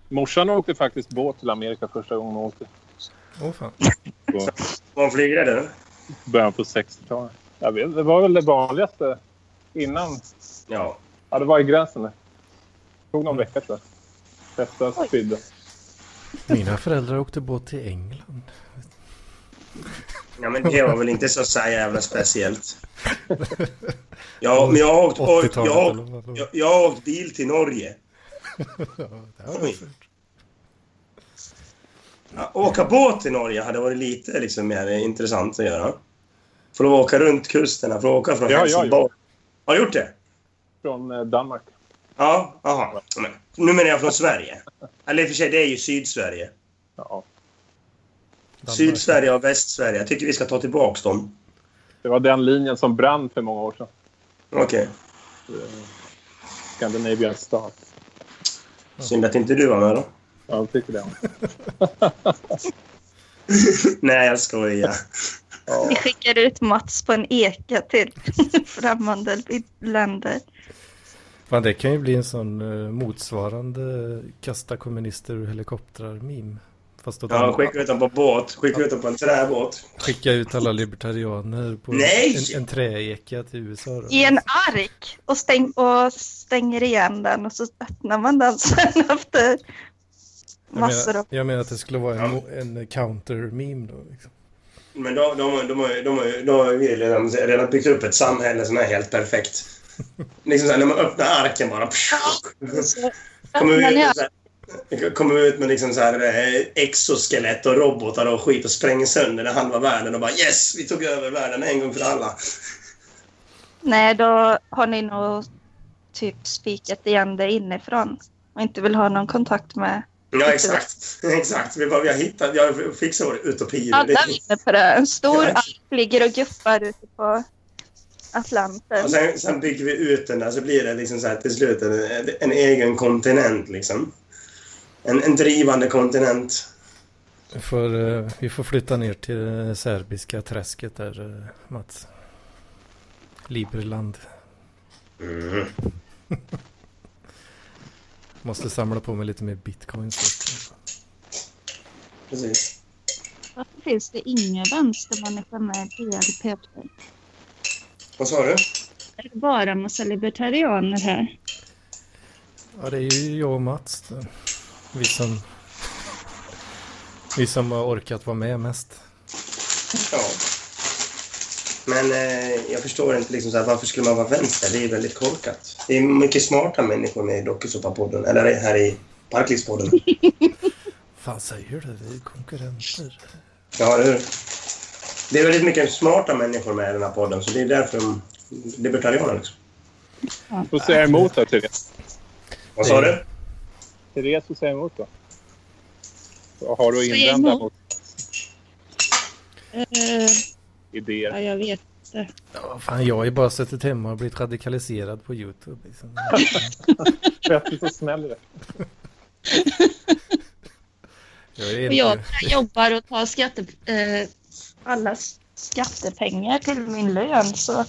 [SPEAKER 5] Morsan åkte faktiskt båt till Amerika första gången hon åkte.
[SPEAKER 1] Åh fan.
[SPEAKER 5] På
[SPEAKER 4] Var hon flygrädd eller?
[SPEAKER 5] början på 60-talet. Jag vet, det var väl det vanligaste innan.
[SPEAKER 4] Ja.
[SPEAKER 5] Ja, det var i gränsen. Det tog någon vecka tror jag. Testa spydde.
[SPEAKER 1] Mina föräldrar åkte båt till England.
[SPEAKER 4] ja, men det var väl inte så, så här jävla speciellt. Ja, men jag har åkt, oj, jag,
[SPEAKER 1] 80-talet
[SPEAKER 4] har åkt,
[SPEAKER 1] eller vad det var.
[SPEAKER 4] jag, jag har åkt bil till Norge.
[SPEAKER 1] Det här var
[SPEAKER 4] Oj.
[SPEAKER 1] fint.
[SPEAKER 4] Ja, åka båt till Norge hade varit lite liksom, mer intressant att göra. För att åka runt kusterna, för att åka från
[SPEAKER 5] Det har jag
[SPEAKER 4] Helsingborg. Har du gjort det?
[SPEAKER 5] Från eh, Danmark.
[SPEAKER 4] Ja, aha. Men, nu menar jag från Sverige. Eller i och för sig, det är ju Sydsverige.
[SPEAKER 5] Ja,
[SPEAKER 1] Danmark.
[SPEAKER 4] Sydsverige och Västsverige. Jag tycker vi ska ta tillbaka dem.
[SPEAKER 5] det var den linjen som brann för många år sedan.
[SPEAKER 4] Okej.
[SPEAKER 5] Scandinavian Star.
[SPEAKER 4] Synd att inte du var med då.
[SPEAKER 5] Ja, jag tycker det.
[SPEAKER 4] Nej, jag skojar.
[SPEAKER 5] Ja.
[SPEAKER 8] Vi skickar ut Mats på en eka till främmande länder.
[SPEAKER 1] Fan, det kan ju bli en sån eh, motsvarande kasta kommunister ur helikoptrar-meme. Fast åt
[SPEAKER 4] Ja,
[SPEAKER 1] andra-
[SPEAKER 4] skicka ut dem på båt. Skicka ut dem på en träbåt.
[SPEAKER 1] skicka ut alla libertarianer på
[SPEAKER 4] Nej!
[SPEAKER 1] en, en träeka till USA. Då.
[SPEAKER 8] I en ark och, stäng, och stänger igen den och så öppnar man den sen efter massor
[SPEAKER 1] jag,
[SPEAKER 8] av...
[SPEAKER 1] menar, jag menar att det skulle vara en, en counter-meme då. Liksom.
[SPEAKER 4] Men de, de, har- de, har ju- de, har ju- de har ju redan, redan byggt upp ett samhälle som är helt perfekt. Liksom så här, när man öppnar arken bara.
[SPEAKER 3] Så
[SPEAKER 4] Kommer vi
[SPEAKER 3] öppnar ni
[SPEAKER 4] ut med, så här, kommer vi ut med liksom så här, eh, exoskelett och robotar och skit och spränger sönder den halva världen och bara yes, vi tog över världen en gång för alla.
[SPEAKER 8] Nej, då har ni nog typ spikat igen det inifrån och inte vill ha någon kontakt med...
[SPEAKER 4] Ja, exakt. exakt. Vi, bara, vi har hittat, vi har fixat vår utopi. Det-
[SPEAKER 8] Alla vinner på det. En stor
[SPEAKER 4] Ja.
[SPEAKER 8] ark ligger och guppar ute på Atlanten.
[SPEAKER 4] Och sen, sen bygger vi ut den där så blir det liksom så här, till slut en, en egen kontinent. Liksom. En, en drivande kontinent.
[SPEAKER 1] Vi får, eh, vi får flytta ner till det serbiska träsket där, eh, Mats. Liberland.
[SPEAKER 4] Mm.
[SPEAKER 1] Måste samla på mig lite mer bitcoins. först.
[SPEAKER 4] Precis.
[SPEAKER 3] varför finns det inga vänstermänniskor med i DLP?
[SPEAKER 4] Vad sa du?
[SPEAKER 3] Är det bara en massa libertarianer här?
[SPEAKER 1] Ja, det är ju jag och Mats. då. Vi som, vi som har orkat vara med mest.
[SPEAKER 4] Ja. Men eh, jag förstår inte liksom så här, varför skulle man vara vänster? Det är väldigt korkat. Det är mycket smarta människor med i Dokusåpa-podden, eller här i Parklivspodden.
[SPEAKER 1] Fan säger du? Det är konkurrenter.
[SPEAKER 4] Ja, det är, det är väldigt mycket smarta människor med i den här podden, så det är därför de libertarianer. Liksom.
[SPEAKER 5] Då säger jag emot då, Therese.
[SPEAKER 4] Vad sa du?
[SPEAKER 5] Therese, då säger jag emot då. Vad har du att
[SPEAKER 3] Säg
[SPEAKER 5] invända
[SPEAKER 3] emot.
[SPEAKER 5] mot
[SPEAKER 3] Eh, ja,
[SPEAKER 5] idéer?
[SPEAKER 3] jag vet inte.
[SPEAKER 1] Ja, fan, jag har ju bara suttit hemma och blivit radikaliserad på YouTube. Liksom.
[SPEAKER 5] Rätt så smäller det.
[SPEAKER 1] Jag är
[SPEAKER 3] Och jag
[SPEAKER 1] inte...
[SPEAKER 3] jobbar och tar skatte, eh, alla s- skattepengar till min lön. Så
[SPEAKER 1] Ja,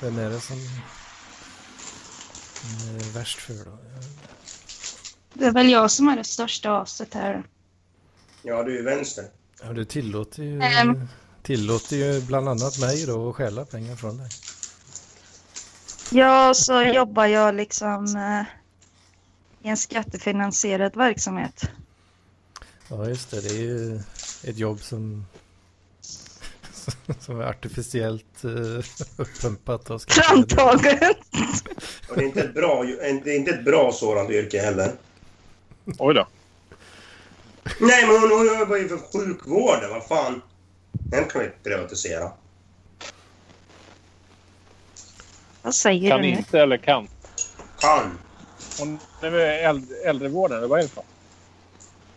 [SPEAKER 1] vem är det som som är värst för då?
[SPEAKER 3] det är väl jag som är det största aset här.
[SPEAKER 4] Ja, du är vänster.
[SPEAKER 1] Ja, du tillåter ju,
[SPEAKER 3] Ehm.
[SPEAKER 1] tillåter ju bland annat mig då att stjäla pengar från dig.
[SPEAKER 8] Ja, så jobbar jag liksom eh, i en skattefinansierad verksamhet.
[SPEAKER 1] Ja, just det. Det är ju ett jobb som, som är artificiellt uh, uppumpat. av skattemedel.
[SPEAKER 8] Framtagen!
[SPEAKER 4] Och det är inte ett bra, det är inte ett bra sådant yrke heller.
[SPEAKER 5] Oj då.
[SPEAKER 4] Nej, men hon, hon jobbar ju för sjukvården. Vad fan? Den kan vi privatisera.
[SPEAKER 8] Vad säger
[SPEAKER 5] Kan
[SPEAKER 8] du nu?
[SPEAKER 5] inte eller kan.
[SPEAKER 4] Kan.
[SPEAKER 5] Hon det är väl äldre, äldrevården, eller vad är det för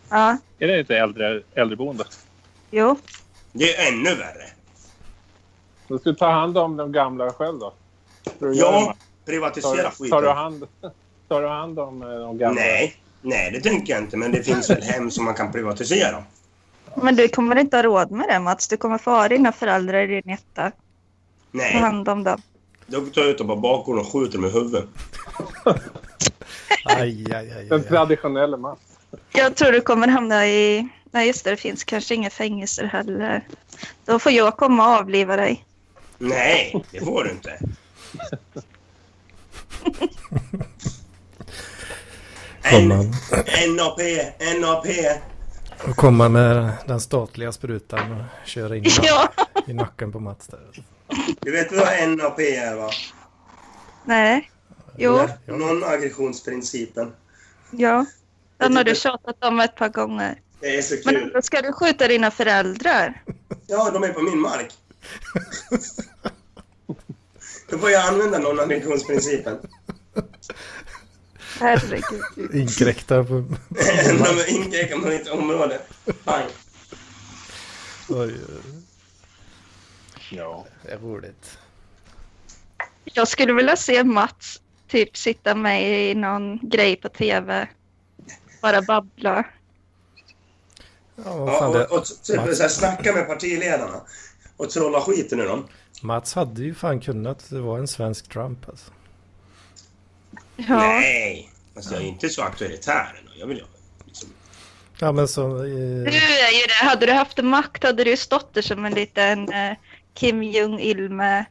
[SPEAKER 8] Ja,
[SPEAKER 5] Är det inte äldre, äldreboende?
[SPEAKER 8] jo.
[SPEAKER 4] Det är ännu värre.
[SPEAKER 5] Du ska ta hand om de gamla själv då? Tror du gör det,
[SPEAKER 4] Ja,
[SPEAKER 5] Mats?
[SPEAKER 4] privatisera
[SPEAKER 5] tar, tar, du
[SPEAKER 4] skiten.
[SPEAKER 5] hand, tar du hand om eh, de gamla?
[SPEAKER 4] Nej, nej, det tänker jag inte. Men det finns väl hem som man kan privatisera.
[SPEAKER 3] Men du kommer inte ha råd med det Mats. Du kommer få ha dina föräldrar i din etta. Ta
[SPEAKER 4] Nej,
[SPEAKER 3] hand om dem.
[SPEAKER 4] då tar jag ut dem på bakgården och skjuter dem i huvudet.
[SPEAKER 1] Aj, aj, aj,
[SPEAKER 5] Den
[SPEAKER 1] aj, aj.
[SPEAKER 5] traditionella Mats.
[SPEAKER 3] Jag tror du kommer hamna i... Nej just det, det finns kanske inga fängelser heller. Då får jag komma och avliva dig.
[SPEAKER 4] Nej, det får du inte.
[SPEAKER 1] Kommer han,
[SPEAKER 4] NAP, NAP.
[SPEAKER 1] och kommer han med den statliga sprutan och kör in i-
[SPEAKER 3] Ja.
[SPEAKER 1] i nacken på Mats där.
[SPEAKER 4] Du vet vad NAP är va?
[SPEAKER 3] Nej. Jo,
[SPEAKER 4] Non-aggressionsprincipen.
[SPEAKER 3] ja. Den har du tjatat om ett par gånger.
[SPEAKER 4] Det är så
[SPEAKER 3] Men
[SPEAKER 4] kul.
[SPEAKER 3] ändå ska du skjuta dina föräldrar.
[SPEAKER 4] Ja, de är på min mark. Då får jag använda non-aggressionsprincipen.
[SPEAKER 3] Herregud.
[SPEAKER 1] Inkräktar på...
[SPEAKER 4] De inkräktar på mitt område. Pang.
[SPEAKER 1] Oj,
[SPEAKER 5] Ja.
[SPEAKER 1] det är roligt.
[SPEAKER 3] Jag skulle vilja se Mats typ sitta med i någon grej på tv. Bara babbla.
[SPEAKER 1] Ja, vad
[SPEAKER 4] Ja,
[SPEAKER 1] fan det...
[SPEAKER 4] och, och typ, så här, snacka med partiledarna och trolla skiten ur dem.
[SPEAKER 1] Mats hade ju fan kunnat vara en svensk Trump alltså.
[SPEAKER 3] Ja.
[SPEAKER 4] Nej! Alltså, jag är inte så auktoritär. ändå. Jag vill ju... Liksom,
[SPEAKER 1] Ja men som...
[SPEAKER 3] Du
[SPEAKER 1] Eh,
[SPEAKER 3] är ju det. Hade du haft makt hade du ju stått där som en liten eh, Kim Jong-Il med...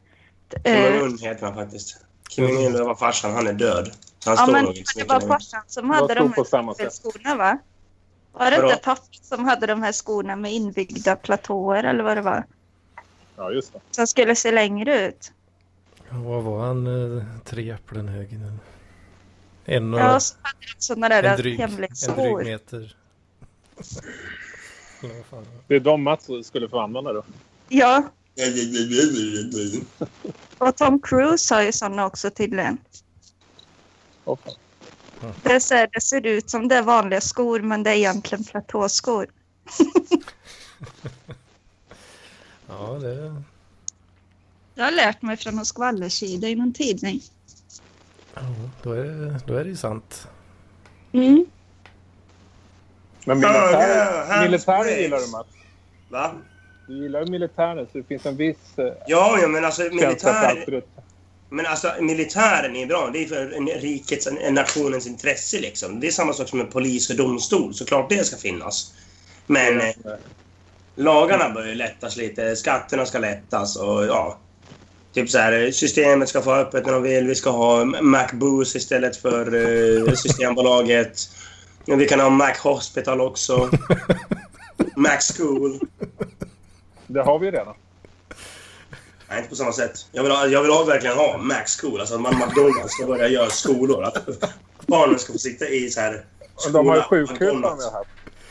[SPEAKER 4] Kim
[SPEAKER 3] Eh,
[SPEAKER 4] Jong-Un heter han faktiskt. Kim Jong-Un det var farsan, han är död.
[SPEAKER 3] ja,
[SPEAKER 4] Han står
[SPEAKER 3] men
[SPEAKER 4] nog inte så
[SPEAKER 3] det
[SPEAKER 4] mycket
[SPEAKER 3] var
[SPEAKER 4] längre.
[SPEAKER 3] farsan som hade
[SPEAKER 5] stod
[SPEAKER 3] de
[SPEAKER 5] på samma
[SPEAKER 3] här
[SPEAKER 5] sätt.
[SPEAKER 3] skorna va? Var det
[SPEAKER 4] Vadå?
[SPEAKER 3] inte pappa som hade de här skorna med inbyggda platåer eller vad det var?
[SPEAKER 5] Ja, just det.
[SPEAKER 3] Som skulle se längre ut.
[SPEAKER 1] vad var han? Eh, tre äpplen hög nu. En och...
[SPEAKER 3] Ja, och så hade de sådana där
[SPEAKER 1] en, dryg,
[SPEAKER 3] hemliga
[SPEAKER 1] en dryg
[SPEAKER 3] skor.
[SPEAKER 1] meter. Eller vad fan det var.
[SPEAKER 5] Det är de Mats skulle få använda då.
[SPEAKER 3] Ja, och Tom Cruise har ju sådana också tydligen.
[SPEAKER 5] Åh, fan.
[SPEAKER 3] Det, är så här, det ser ut som det är vanliga skor men det är egentligen platåskor.
[SPEAKER 1] Ja, det...
[SPEAKER 3] Jag har lärt mig från någon skvallersida i någon tidning.
[SPEAKER 1] ja, Då är, det- då är det ju sant.
[SPEAKER 3] Mm.
[SPEAKER 5] Men militär, militären gillar du Mats.
[SPEAKER 4] Va?
[SPEAKER 5] Du gillar ju militären så det finns en viss eh,
[SPEAKER 4] Ja, ja, men alltså
[SPEAKER 5] känsla för
[SPEAKER 4] militär,
[SPEAKER 5] auktoritet.
[SPEAKER 4] men alltså militären är bra. Det är för en rikets, en, en nationens intresse liksom. Det är samma sak som en polis och domstol. Såklart det ska finnas. Men eh, lagarna börjar ju lättas lite. Skatterna ska lättas och ja. Typ så här, systemet ska få öppet när de vill. Vi ska ha MacBoost istället för eh, Systembolaget. Vi kan ha Mac Hospital också. Mac School.
[SPEAKER 5] Det har vi ju redan.
[SPEAKER 4] Nej, inte på samma sätt. Jag vill, ha, jag vill ha, verkligen ha Max School. Alltså att man McDonalds ska börja göra skolor. Att barnen ska få sitta i så här...
[SPEAKER 5] Och de har ju
[SPEAKER 4] skola,
[SPEAKER 5] sjukhus
[SPEAKER 4] McDonald's.
[SPEAKER 5] här.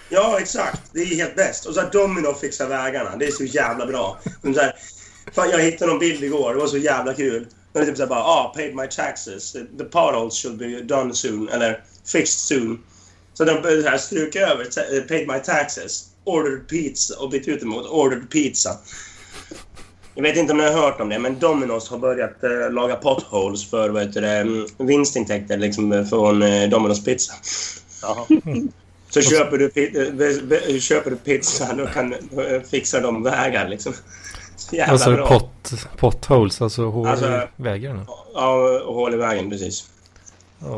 [SPEAKER 4] Ja, exakt. Det är helt bäst. Och så att Domino fixar vägarna. Det är så jävla bra. De så här, fan, jag hittade någon bild igår. Det var så jävla kul. De är typ så här bara ah, paid my taxes. The potholes should be done soon. Eller fixed soon. Så de började så här stryka över ta- eh, paid my taxes. Ordered pizza och bytt ut det mot ordered pizza. Jag vet inte om ni har hört om det, men Domino's har börjat eh, laga potholes för vad heter det, mm, vinstintäkter liksom, eh, från eh, Domino's pizza.
[SPEAKER 5] Jaha.
[SPEAKER 4] Så köper du, pi- eh, be- be- köper du pizza, då kan eh, fixa de vägar liksom. Så jävla
[SPEAKER 1] alltså
[SPEAKER 4] bra.
[SPEAKER 1] pot, potholes, alltså hål
[SPEAKER 4] Alltså-
[SPEAKER 1] i vägarna.
[SPEAKER 4] Ja, och hål i vägen, precis.
[SPEAKER 1] Ja.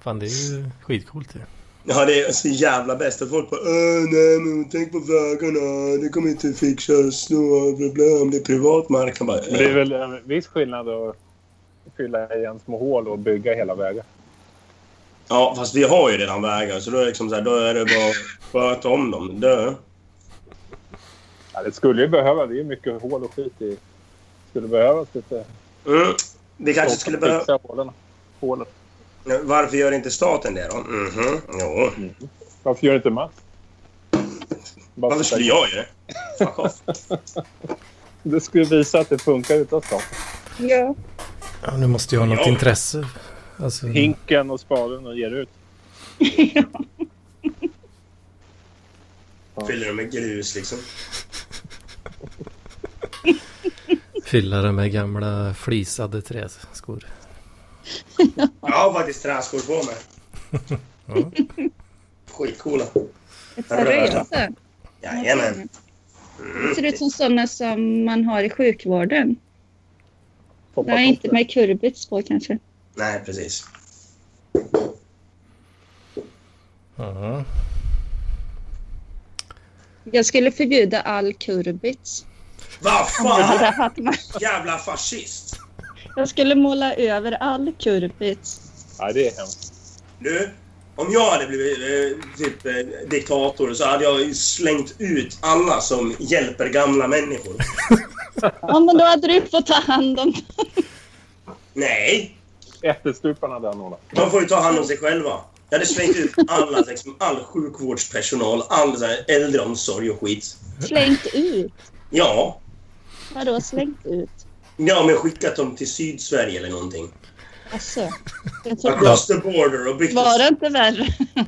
[SPEAKER 1] Fan, det är ju skitcoolt ju.
[SPEAKER 4] Ja, det är så jävla bäst att folk bara äh, nej men tänk på vägarna, det kommer inte fixas, då, bla, bla, om det är privat mark. Man Bara,
[SPEAKER 5] Men det är
[SPEAKER 4] äh.
[SPEAKER 5] väl en viss skillnad att fylla igen små hål och bygga hela vägen.
[SPEAKER 4] Ja, fast vi har ju redan vägar, så då är det, liksom så här, då är det bara att sköta om dem. Dö.
[SPEAKER 5] Ja, det skulle ju behöva. Det är ju mycket hål och skit i. skulle behövas lite.
[SPEAKER 4] Mm. Vi kanske skulle behöva...
[SPEAKER 5] fixa hålen. Hålen.
[SPEAKER 4] Varför gör inte staten det då? Mhm, jo.
[SPEAKER 5] Varför gör inte Mats? Bara
[SPEAKER 4] Varför
[SPEAKER 5] sitta-
[SPEAKER 4] skulle jag göra det? Fuck off.
[SPEAKER 5] Det skulle visa att det funkar utan staten.
[SPEAKER 3] Ja.
[SPEAKER 1] Ja, nu måste jag ha något
[SPEAKER 4] Ja.
[SPEAKER 1] intresse. Alltså,
[SPEAKER 5] Hinken och spaden och ger ut.
[SPEAKER 4] Fyller dem med grus liksom.
[SPEAKER 1] fylla det med gamla flisade träskor.
[SPEAKER 4] Jag har faktiskt träskor på mig.
[SPEAKER 1] Ja.
[SPEAKER 4] Skitcoola.
[SPEAKER 3] Seriöst?
[SPEAKER 4] Jajamän.
[SPEAKER 3] Det ser ut som sådana som man har i sjukvården. Nej, inte med kurbits på kanske.
[SPEAKER 4] Nej, precis.
[SPEAKER 1] Ja.
[SPEAKER 3] Jag skulle förbjuda all kurbits.
[SPEAKER 4] Vad
[SPEAKER 3] Bara
[SPEAKER 4] fan!
[SPEAKER 3] att man-
[SPEAKER 4] Jävla fascist!
[SPEAKER 3] Jag skulle måla över all kurbits.
[SPEAKER 5] Nej, det är hemskt.
[SPEAKER 4] Du, om jag hade blivit eh, typ eh, diktator så hade jag ju slängt ut alla som hjälper gamla människor.
[SPEAKER 3] Ja, men då hade du fått ta hand om
[SPEAKER 4] Nej!
[SPEAKER 5] Ättestuparna där några.
[SPEAKER 4] De får ju ta hand om sig själva. Jag hade slängt ut alla, liksom, all sjukvårdspersonal, all så här äldreomsorg och skit.
[SPEAKER 3] Slängt ut.
[SPEAKER 4] Ja,
[SPEAKER 3] Vadå slängt ut?
[SPEAKER 4] ja men skickat dem till Sydsverige eller någonting.
[SPEAKER 3] Alltså, jag tror-
[SPEAKER 4] Across the border och byggt...
[SPEAKER 3] var det inte värre?
[SPEAKER 1] Till,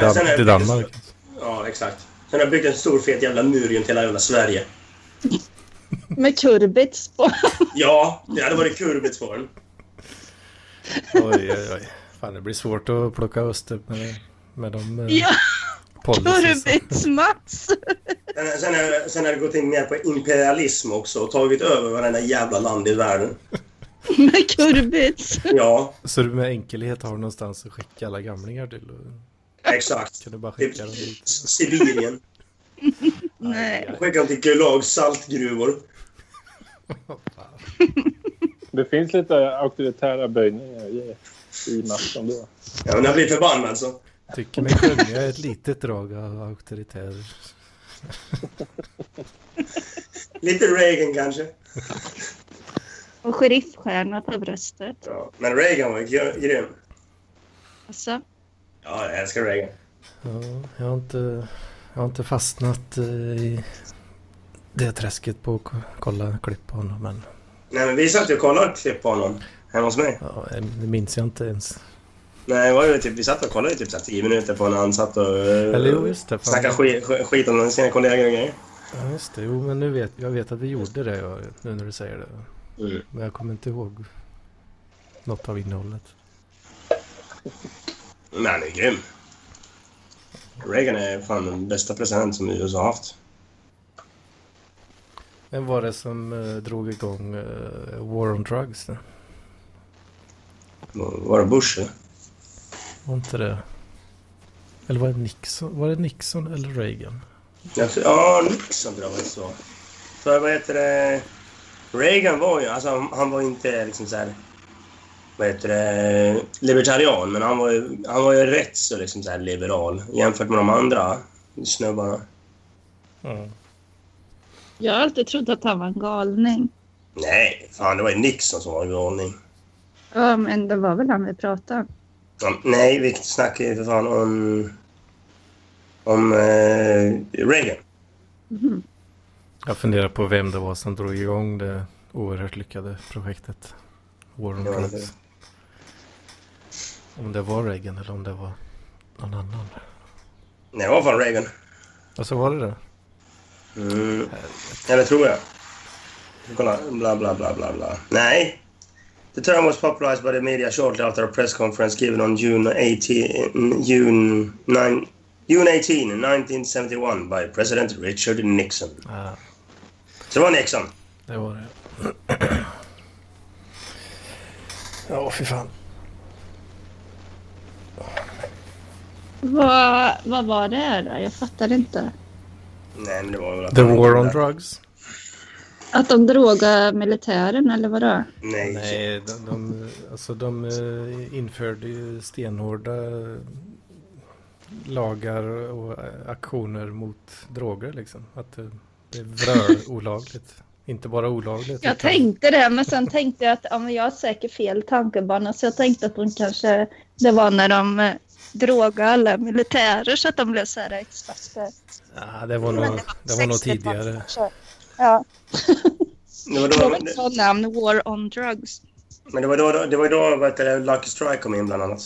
[SPEAKER 1] Dan-
[SPEAKER 4] sen har jag
[SPEAKER 1] till
[SPEAKER 4] byggt en
[SPEAKER 1] Danmark.
[SPEAKER 4] stor- Ja, exakt. Sen har jag byggt en stor fet jävla mur runt hela jävla Sverige.
[SPEAKER 3] Med kurbits på.
[SPEAKER 4] Ja, det hade varit kurbits på den.
[SPEAKER 1] Oj, oj, oj. Fan, det blir svårt att plocka öster med, med de eh,
[SPEAKER 3] Ja,
[SPEAKER 1] policies.
[SPEAKER 3] kurbits-Mats!
[SPEAKER 4] Sen, Eh, sen, har- sen har det gått in mer på imperialism också och tagit över varenda jävla land i världen.
[SPEAKER 3] Med kurbits.
[SPEAKER 4] Ja,
[SPEAKER 1] Så du med enkelhet har någonstans att skicka alla gamlingar till. och-
[SPEAKER 4] exakt.
[SPEAKER 1] Kan du bara
[SPEAKER 4] Typ
[SPEAKER 1] skicka dem dit?
[SPEAKER 4] S- Sibirien.
[SPEAKER 3] Nej.
[SPEAKER 4] Skicka dem till Gulag saltgruvor.
[SPEAKER 5] Det finns lite auktoritära böjningar i, i Mats ändå.
[SPEAKER 4] Ja, men jag blir förbannad alltså. så.
[SPEAKER 1] Tycker mig skönja ett litet drag av auktoritär.
[SPEAKER 4] Lite Reagan kanske.
[SPEAKER 3] Och sheriffstjärna på bröstet.
[SPEAKER 4] Ja, men Reagan var ju gr- grym.
[SPEAKER 3] Alltså,
[SPEAKER 4] Ja, jag älskar Reagan.
[SPEAKER 1] Ja, jag har inte, jag har inte fastnat eh, i det träsket på att k- kolla klipp på honom. Men
[SPEAKER 4] Nej, men vi satt ju och kollade klipp på honom hemma hos mig.
[SPEAKER 1] ja, det minns jag inte ens.
[SPEAKER 4] Nej, det var ju typ, vi satt och kollade i typ så här 10 minuter på när han satt och eh,
[SPEAKER 1] Eller jo, just det. fan.
[SPEAKER 4] snackade skit, skit om sina kollegor och grejer.
[SPEAKER 1] Ja, just det. Jo, men nu vet jag vet att vi gjorde det ja, nu när du säger det.
[SPEAKER 4] Mm.
[SPEAKER 1] Men jag kommer inte ihåg något av innehållet.
[SPEAKER 4] Men han är grym. Reagan är fan den bästa president som USA har haft.
[SPEAKER 1] Vem var det som eh, drog igång eh, War on Drugs? då?
[SPEAKER 4] Var det Bush? eller?
[SPEAKER 1] Var inte det? Eller var det Nixon? Var det Nixon eller Reagan?
[SPEAKER 4] Jag tror- Ja, Nixon tror jag var det så. För vad heter det? Reagan var ju, alltså han- han var ju inte liksom så här, vad heter det, libertarian, men han var ju, han var ju rätt så liksom så här liberal jämfört med de andra snubbarna.
[SPEAKER 3] jag har alltid trott att han var en galning.
[SPEAKER 4] Nej, fan det var ju Nixon som var galning.
[SPEAKER 3] Ja, men det var väl han vi pratade om.
[SPEAKER 4] Ja, Nej, vi snackar ju för fan om... Om eh, Reagan.
[SPEAKER 1] Jag funderar på vem det var som drog igång det oerhört lyckade projektet. War on
[SPEAKER 4] Ja, det-
[SPEAKER 1] Drugs. Om det var Reagan eller om det var någon annan.
[SPEAKER 4] Nej, det var fan Reagan.
[SPEAKER 1] Och så var det det.
[SPEAKER 4] Mm. Eller tror jag. Kolla, bla bla bla bla bla. Nej. The term was popularized by the media shortly after a press conference given on June 18, June 9, June 18 1971 by President Richard Nixon.
[SPEAKER 1] Ah,
[SPEAKER 4] Så det var Nixon.
[SPEAKER 1] det var det. Ja, fy fan.
[SPEAKER 3] Vad, vad var det här då? Jag fattar inte.
[SPEAKER 4] Nej, men det var väl...
[SPEAKER 1] The War on Drugs?
[SPEAKER 3] Att de drogade militären eller vadå?
[SPEAKER 4] Nej. Nej.
[SPEAKER 1] Nej, de, de, alltså de eh, införde ju stenhårda lagar och eh, aktioner mot droger liksom. Att det, det är vrör olagligt. Inte bara olagligt.
[SPEAKER 3] Jag
[SPEAKER 1] utan-
[SPEAKER 3] tänkte det, men sen tänkte jag att ja, men jag har säkert fel tankebana. Så jag tänkte att de kanske, det var när de eh, drogade alla militärer så att de blev så här experter.
[SPEAKER 1] Ja, det var
[SPEAKER 3] Men
[SPEAKER 1] nog, det var nog
[SPEAKER 3] 60-talet
[SPEAKER 1] tidigare.
[SPEAKER 3] kanske. Ja,
[SPEAKER 4] Det var
[SPEAKER 3] det
[SPEAKER 4] då,
[SPEAKER 3] var ett sånt namn, War on Drugs.
[SPEAKER 4] men det var då, det var då vad heter det, Lucky Strike kom in bland annat.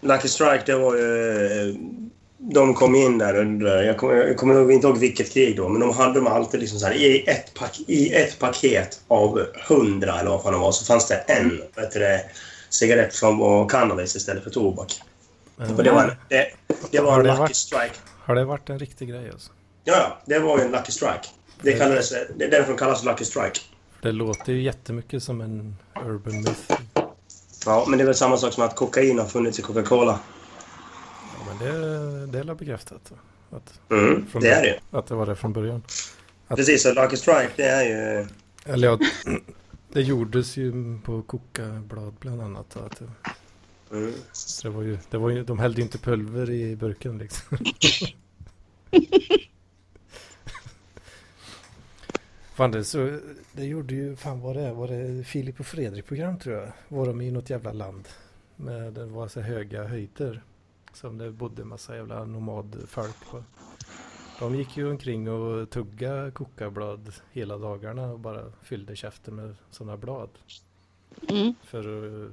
[SPEAKER 4] Lucky Strike, det var ju... eh, De kom in där under... Jag kommer, jag kommer nog inte ihåg vilket krig då, men de hade dem alltid liksom så här, i, ett pak, i ett paket av hundra eller vad fan det var så fanns det en vad heter det, cigarett som var cannabis istället för tobak. Och det var en, det, det var
[SPEAKER 1] Har
[SPEAKER 4] en
[SPEAKER 1] det
[SPEAKER 4] lucky
[SPEAKER 1] varit-
[SPEAKER 4] strike.
[SPEAKER 1] Har det varit en riktig grej alltså?
[SPEAKER 4] Ja, ja, det var ju en lucky strike. Det, kallades, det är därför de kallas lucky strike.
[SPEAKER 1] Det låter ju jättemycket som en urban myth.
[SPEAKER 4] Ja, men det är väl samma sak som att kokain har funnits i Coca-Cola.
[SPEAKER 1] Ja, men det, det är väl bekräftat. Att,
[SPEAKER 4] Mm, det är det ju.
[SPEAKER 1] Att det var det från början.
[SPEAKER 4] Precis, så lucky strike det är ju...
[SPEAKER 1] Eller ja, det gjordes ju på kokablad bland annat. Att det,
[SPEAKER 4] Mm.
[SPEAKER 1] så det var ju, det var ju, de hällde ju inte pulver i burken liksom. Fan det, så, det gjorde ju, fan vad det är, var det Filip och Fredrik program tror jag? Var de i något jävla land? Med, det var så höga höjder. Som det bodde massa jävla nomadfolk på. De gick ju omkring och tugga kokablad hela dagarna och bara fyllde käften med sådana blad.
[SPEAKER 3] Mm.
[SPEAKER 1] För att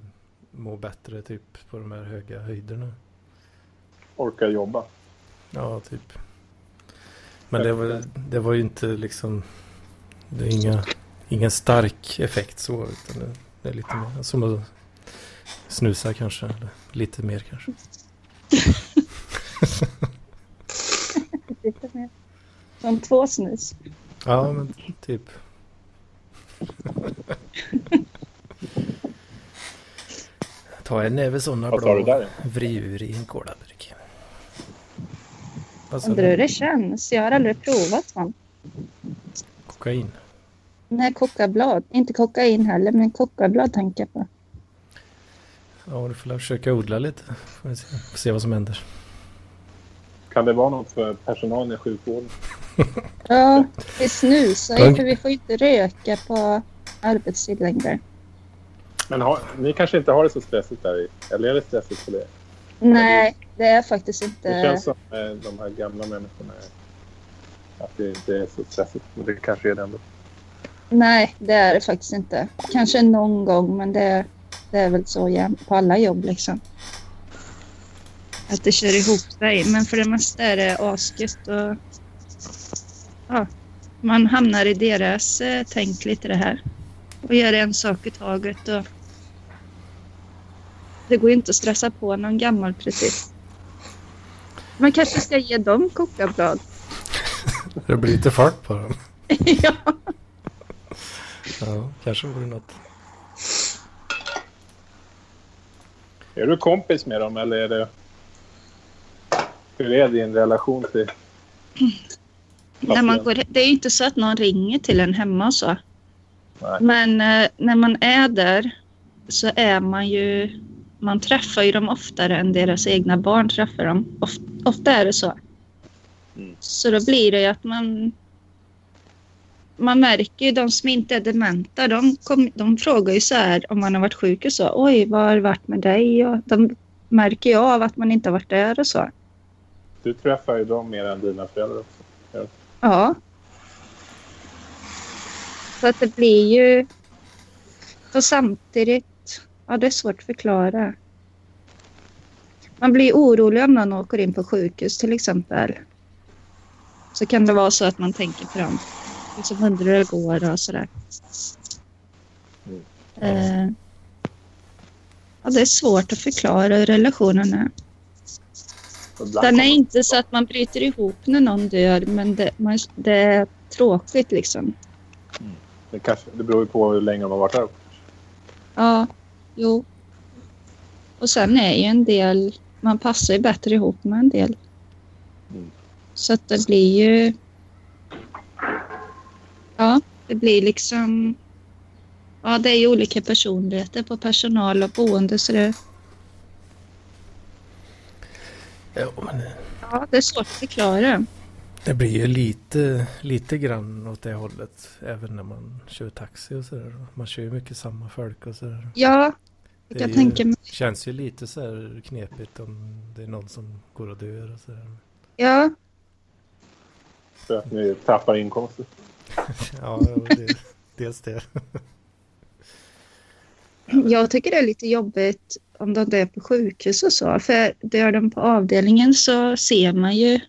[SPEAKER 1] må bättre typ på de här höga höjderna.
[SPEAKER 5] Orkar jobba.
[SPEAKER 1] Ja, typ. Men det var, det var ju inte liksom... Det är inga, ingen stark effekt så. Utan det, det är lite mer som att snusa kanske. Eller lite mer kanske.
[SPEAKER 3] Lite mer. Som två snus.
[SPEAKER 1] Ja, men typ. Ta en näve sådana
[SPEAKER 5] Vad tar du
[SPEAKER 1] blå.
[SPEAKER 5] där?
[SPEAKER 1] Vri ur i en kolaburk. Vad sa
[SPEAKER 3] Undrar hur
[SPEAKER 1] du?
[SPEAKER 3] det känns. Jag har aldrig provat sånt.
[SPEAKER 1] Kokain.
[SPEAKER 3] Nej, kokablad. Inte kokain heller, men kokablad tänker jag på.
[SPEAKER 1] Ja, du får väl försöka odla lite. Får vi se, får se vad som händer.
[SPEAKER 5] Kan det vara något för personalen i sjukvården?
[SPEAKER 3] Ja, vi snusar ju
[SPEAKER 1] Punkt.
[SPEAKER 3] för vi får ju inte röka på arbetstid längre.
[SPEAKER 5] Men har, ni kanske inte har det så stressigt där i? Eller är det stressigt för det?
[SPEAKER 3] Nej, det är faktiskt inte...
[SPEAKER 5] Det känns som eh, de här gamla människorna är- att det inte är så stressigt. Men det kanske är det ändå.
[SPEAKER 3] Nej, det är det faktiskt inte. Kanske någon gång, men det, det är väl så jämt på alla jobb liksom. Att det kör ihop sig, men för det mesta är det asgött och... Ja, man hamnar i deras eh, tänk lite det här. Och gör en sak i taget och... Det går ju inte att stressa på någon gammal precis. Man kanske ska ge dem kokablad.
[SPEAKER 1] Det blir lite fart på dem.
[SPEAKER 3] ja.
[SPEAKER 1] Ja, kanske vore något.
[SPEAKER 5] Är du kompis med dem eller är det... Hur är din relation till...
[SPEAKER 3] När man
[SPEAKER 5] Absolut.
[SPEAKER 3] går, det är inte så att någon ringer till en hemma och så.
[SPEAKER 5] Nej.
[SPEAKER 3] Men eh, när man är där så är man ju... Man träffar ju dem oftare än deras egna barn träffar dem. Of, ofta är det så.
[SPEAKER 5] Mm.
[SPEAKER 3] Så då blir det ju att man... Man märker ju de som inte är dementa. De, kom, de frågar ju så här om man har varit sjuk och så. Oj, vad har det varit med dig? Och de märker ju av att man inte har varit där och så.
[SPEAKER 5] Du träffar ju dem mer än dina föräldrar också.
[SPEAKER 3] Ja. Så att det blir ju... Och samtidigt... Ja, det är svårt att förklara. Man blir orolig om någon åker in på sjukhus till exempel. Så kan det vara så att man tänker på dem. Liksom undrar hur det går och sådär.
[SPEAKER 5] Mm.
[SPEAKER 3] Eh, ja, det är svårt att förklara hur relationen är. Den är inte så att man bryter ihop när någon dör, men det, man, det är tråkigt liksom.
[SPEAKER 5] Det, kanske, det beror ju på hur länge de har varit där.
[SPEAKER 3] Ja, jo. Och sen är ju en del, man passar ju bättre ihop med en del.
[SPEAKER 5] Mm.
[SPEAKER 3] Så att det blir ju... Ja, det blir liksom... Ja, det är ju olika personligheter på personal och boende så det,
[SPEAKER 1] Ja, men
[SPEAKER 3] ja, det är svårt att förklara.
[SPEAKER 1] det blir ju lite, lite grann åt det hållet. Även när man kör taxi och sådär. Man kör ju mycket samma folk och sådär.
[SPEAKER 3] Ja,
[SPEAKER 1] Det
[SPEAKER 3] jag kan
[SPEAKER 1] är
[SPEAKER 3] tänka mig.
[SPEAKER 1] ju, känns ju lite så här knepigt om det är någon som går och dör och sådär.
[SPEAKER 3] Ja,
[SPEAKER 5] För att ni tappar inkomster.
[SPEAKER 1] Ja, jo, det, dels det.
[SPEAKER 3] Jag tycker det är lite jobbigt om de dör på sjukhus och så. För dör de på avdelningen så ser man ju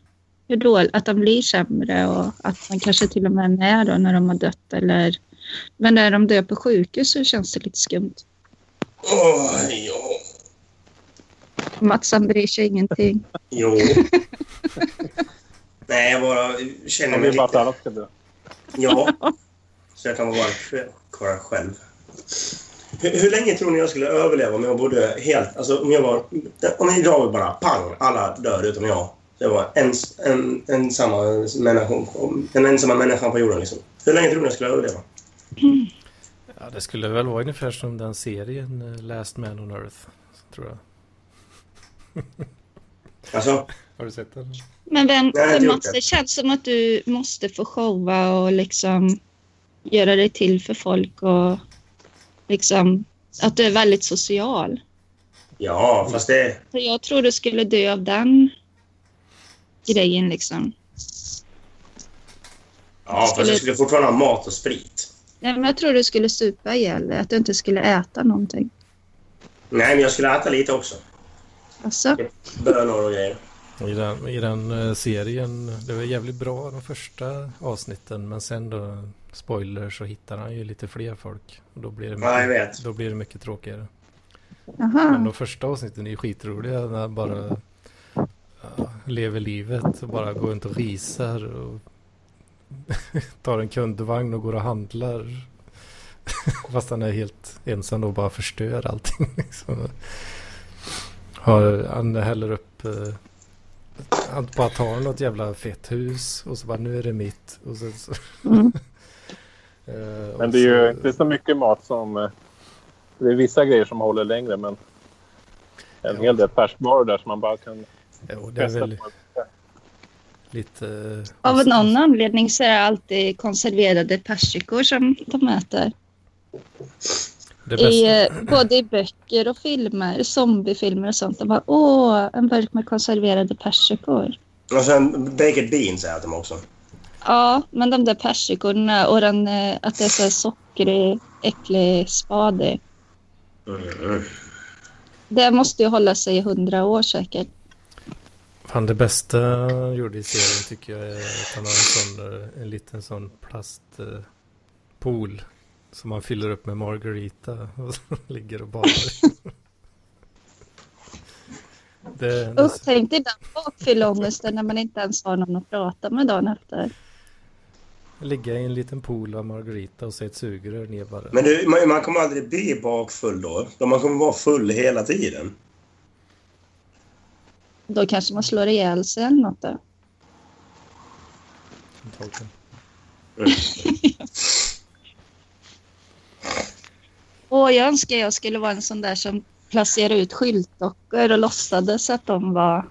[SPEAKER 3] hur dåligt, att de blir sämre och att man kanske till och med är med då när de har dött. Eller... Men när de dör på sjukhus så känns det lite skumt.
[SPEAKER 4] Oj, ja.
[SPEAKER 3] Mats han bryr sig ingenting.
[SPEAKER 4] Jo. Nej, jag bara känner
[SPEAKER 5] Han
[SPEAKER 4] mig
[SPEAKER 5] vill bara att
[SPEAKER 4] lite...
[SPEAKER 5] alla ska dö.
[SPEAKER 4] Ja. Så jag kan vara kvar- kvar själv. Hur, hur länge tror ni jag skulle överleva om jag bodde helt... Alltså om jag var... Om idag bara pang, alla dör utom jag. Så jag var ens, en, ensamma människa, den ensamma människan på jorden liksom. Hur länge tror ni jag skulle överleva?
[SPEAKER 1] Ja, det skulle väl vara ungefär som den serien eh, Last Man on Earth. Tror jag.
[SPEAKER 4] Alltså,
[SPEAKER 1] Har du sett den?
[SPEAKER 3] Men vem,
[SPEAKER 4] Nej, det
[SPEAKER 3] för
[SPEAKER 4] gjorde
[SPEAKER 3] Mats,
[SPEAKER 4] jag.
[SPEAKER 3] det känns som att du måste få showa och liksom göra dig till för folk och liksom att du är väldigt social.
[SPEAKER 4] ja, fast det...
[SPEAKER 3] Så jag tror du skulle dö av den grejen liksom.
[SPEAKER 4] Ja, fast jag skulle fortfarande ha mat och sprit.
[SPEAKER 3] Nej, men jag tror du skulle supa ihjäl dig, att du inte skulle äta någonting.
[SPEAKER 4] Nej, men jag skulle äta lite också.
[SPEAKER 3] Alltså,
[SPEAKER 4] Bönor och grejer.
[SPEAKER 1] I den, I den eh, serien, det var jävligt bra de första avsnitten men sen då, spoiler, så hittar han ju lite fler folk. Och då blir det
[SPEAKER 4] Ja, jag
[SPEAKER 1] mycket,
[SPEAKER 4] vet.
[SPEAKER 1] då blir det mycket tråkigare. Men
[SPEAKER 3] aha.
[SPEAKER 1] de första avsnitten är ju skitroliga när han bara ja, lever livet och bara går runt och risar och tar en kundvagn och går och handlar. Fast han är helt ensam och bara förstör allting. Liksom. Har, han häller upp... Eh, han bara tar något jävla fett hus och så bara nu är det mitt. Och sen så,
[SPEAKER 3] Mm.
[SPEAKER 1] Eh, och
[SPEAKER 5] Men det är ju
[SPEAKER 1] så-
[SPEAKER 5] inte så mycket mat som... eh, Det är vissa grejer som håller längre, men en
[SPEAKER 1] Ja.
[SPEAKER 5] hel del färskvaror där som man bara kan
[SPEAKER 1] Jo, det är
[SPEAKER 5] testa.
[SPEAKER 1] väl
[SPEAKER 5] på.
[SPEAKER 1] lite... eh,
[SPEAKER 3] Av någon anledning så är det alltid konserverade persikor som de äter.
[SPEAKER 1] det
[SPEAKER 3] I,
[SPEAKER 1] bästa-
[SPEAKER 3] eh, både i böcker och filmer, zombiefilmer och sånt. De bara åh, en burk med konserverade persikor.
[SPEAKER 4] Och sen baked beans äter de också.
[SPEAKER 3] Ja, men de där persikorna och den, eh, att det är så här sockrig, äcklig spad i.
[SPEAKER 4] Mm.
[SPEAKER 3] Det måste ju hålla sig i hundra år säkert.
[SPEAKER 1] Fan det bästa han gjorde i serien tycker jag är att han har en, sån, eh, en liten sån plastpool som han fyller upp med margarita och så ligger och badar. i. det, det,
[SPEAKER 3] Usch, tänk dig den bakfylleångesten när man inte ens har någon att prata med dagen efter.
[SPEAKER 1] ligga i en liten pool av margarita och se ett sugrör ner bara.
[SPEAKER 4] Men du, man, man kommer aldrig bli bakfull då. Då Man kommer vara full hela tiden.
[SPEAKER 3] Då kanske man slår ihjäl sig eller något då.
[SPEAKER 1] antagligen.
[SPEAKER 3] Åh, jag önskar jag skulle vara en sån där som placerar ut skyltdockor och låtsades att de var...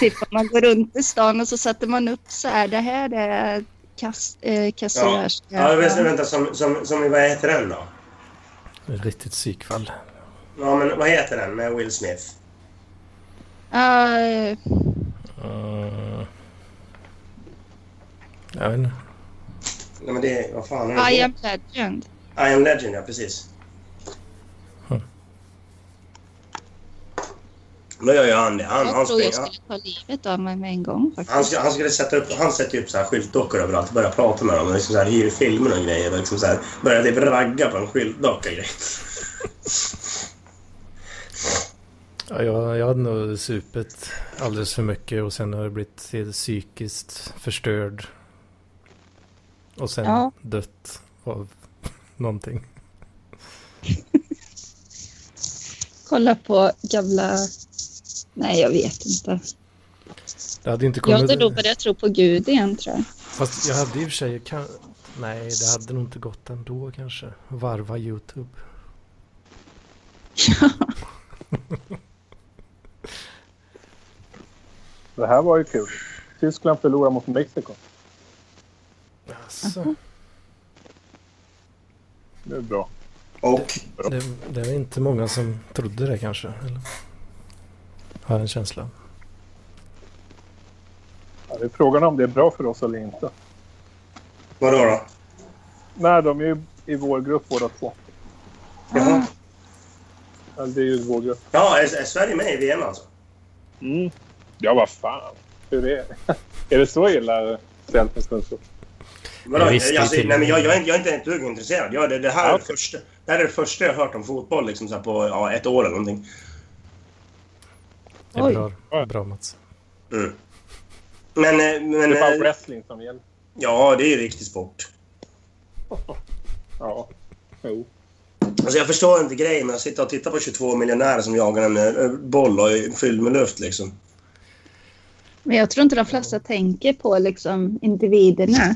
[SPEAKER 3] Typ om man går runt i stan och så sätter man upp så här, det här det är kass, eh, kassörs...
[SPEAKER 4] Ja, vänta, vänta som, som, som, vad heter den då?
[SPEAKER 1] Ett riktigt psykfall.
[SPEAKER 4] Ja, men vad heter den med Will Smith?
[SPEAKER 3] Ja, eh,
[SPEAKER 1] Uh, jag vet inte.
[SPEAKER 4] Nej, men det är, vad fan är det?
[SPEAKER 3] I am legend.
[SPEAKER 4] I am legend, ja precis.
[SPEAKER 1] Hm.
[SPEAKER 4] Då gör ju han det. Han, han,
[SPEAKER 3] Jag tror
[SPEAKER 4] springer,
[SPEAKER 3] jag skulle ta livet av mig med en gång
[SPEAKER 4] han,
[SPEAKER 3] faktiskt.
[SPEAKER 4] skulle, han skulle sätta upp, han sätter ju upp så här skyltdockor överallt och börjar prata med dem. Och liksom så här, hyr filmer och grejer. Och liksom så här, börjar typ ragga på en skyltdocka och grejer.
[SPEAKER 1] Ja, jag, jag hade nog supit alldeles för mycket och sen har jag blivit helt psykiskt förstörd. Och sen
[SPEAKER 3] Ja.
[SPEAKER 1] dött av någonting.
[SPEAKER 3] Kolla på gamla... Nej, jag vet inte.
[SPEAKER 1] Det hade inte
[SPEAKER 3] Jag
[SPEAKER 1] kommit...
[SPEAKER 3] hade då börjat tro på Gud igen tror jag.
[SPEAKER 1] Fast jag hade i och för sig... Kan... Nej, det hade nog inte gått ändå kanske. Varva YouTube.
[SPEAKER 5] Det här var ju kul. Tyskland förlorar mot Mexiko.
[SPEAKER 3] Mhm.
[SPEAKER 1] Alltså,
[SPEAKER 5] Det är bra.
[SPEAKER 4] Och
[SPEAKER 1] det, det var inte många som trodde det kanske. Eller? Har jag en känsla.
[SPEAKER 5] Ja, det är frågan om det är bra för oss eller inte.
[SPEAKER 4] vadå då?
[SPEAKER 5] Nej, de är ju i vår grupp båda två.
[SPEAKER 4] Jaha.
[SPEAKER 5] Eller det är ju vår grupp.
[SPEAKER 4] Ja, är, är Sverige med i VM alltså?
[SPEAKER 5] Mm. Ja, vad fan. Hur är det? är det så illa ställt med kunskap?
[SPEAKER 4] Vadå?
[SPEAKER 1] Ja, visst, det är
[SPEAKER 4] alltså,
[SPEAKER 1] till-
[SPEAKER 4] nej, men jag, jag, är inte, jag är inte ett dugg intresserad. Jag, det, det, här
[SPEAKER 5] Ja,
[SPEAKER 4] är det,
[SPEAKER 5] okej.
[SPEAKER 4] första, det här är det första jag har hört om fotboll liksom, så här, på ja, ett år eller någonting.
[SPEAKER 1] Det är
[SPEAKER 3] Oj.
[SPEAKER 1] bra, bra Mats.
[SPEAKER 4] Mm. Men, eh,
[SPEAKER 5] Det
[SPEAKER 4] men
[SPEAKER 5] är bara
[SPEAKER 4] eh,
[SPEAKER 5] wrestling som gäller.
[SPEAKER 4] ja, det är ju riktig sport.
[SPEAKER 5] Ja. Jo.
[SPEAKER 4] Alltså jag förstår inte grejen med att sitta och titta på 22 miljonärer som jagar en eh, boll och är fylld med luft liksom.
[SPEAKER 3] Men jag tror inte de flesta tänker på liksom individerna.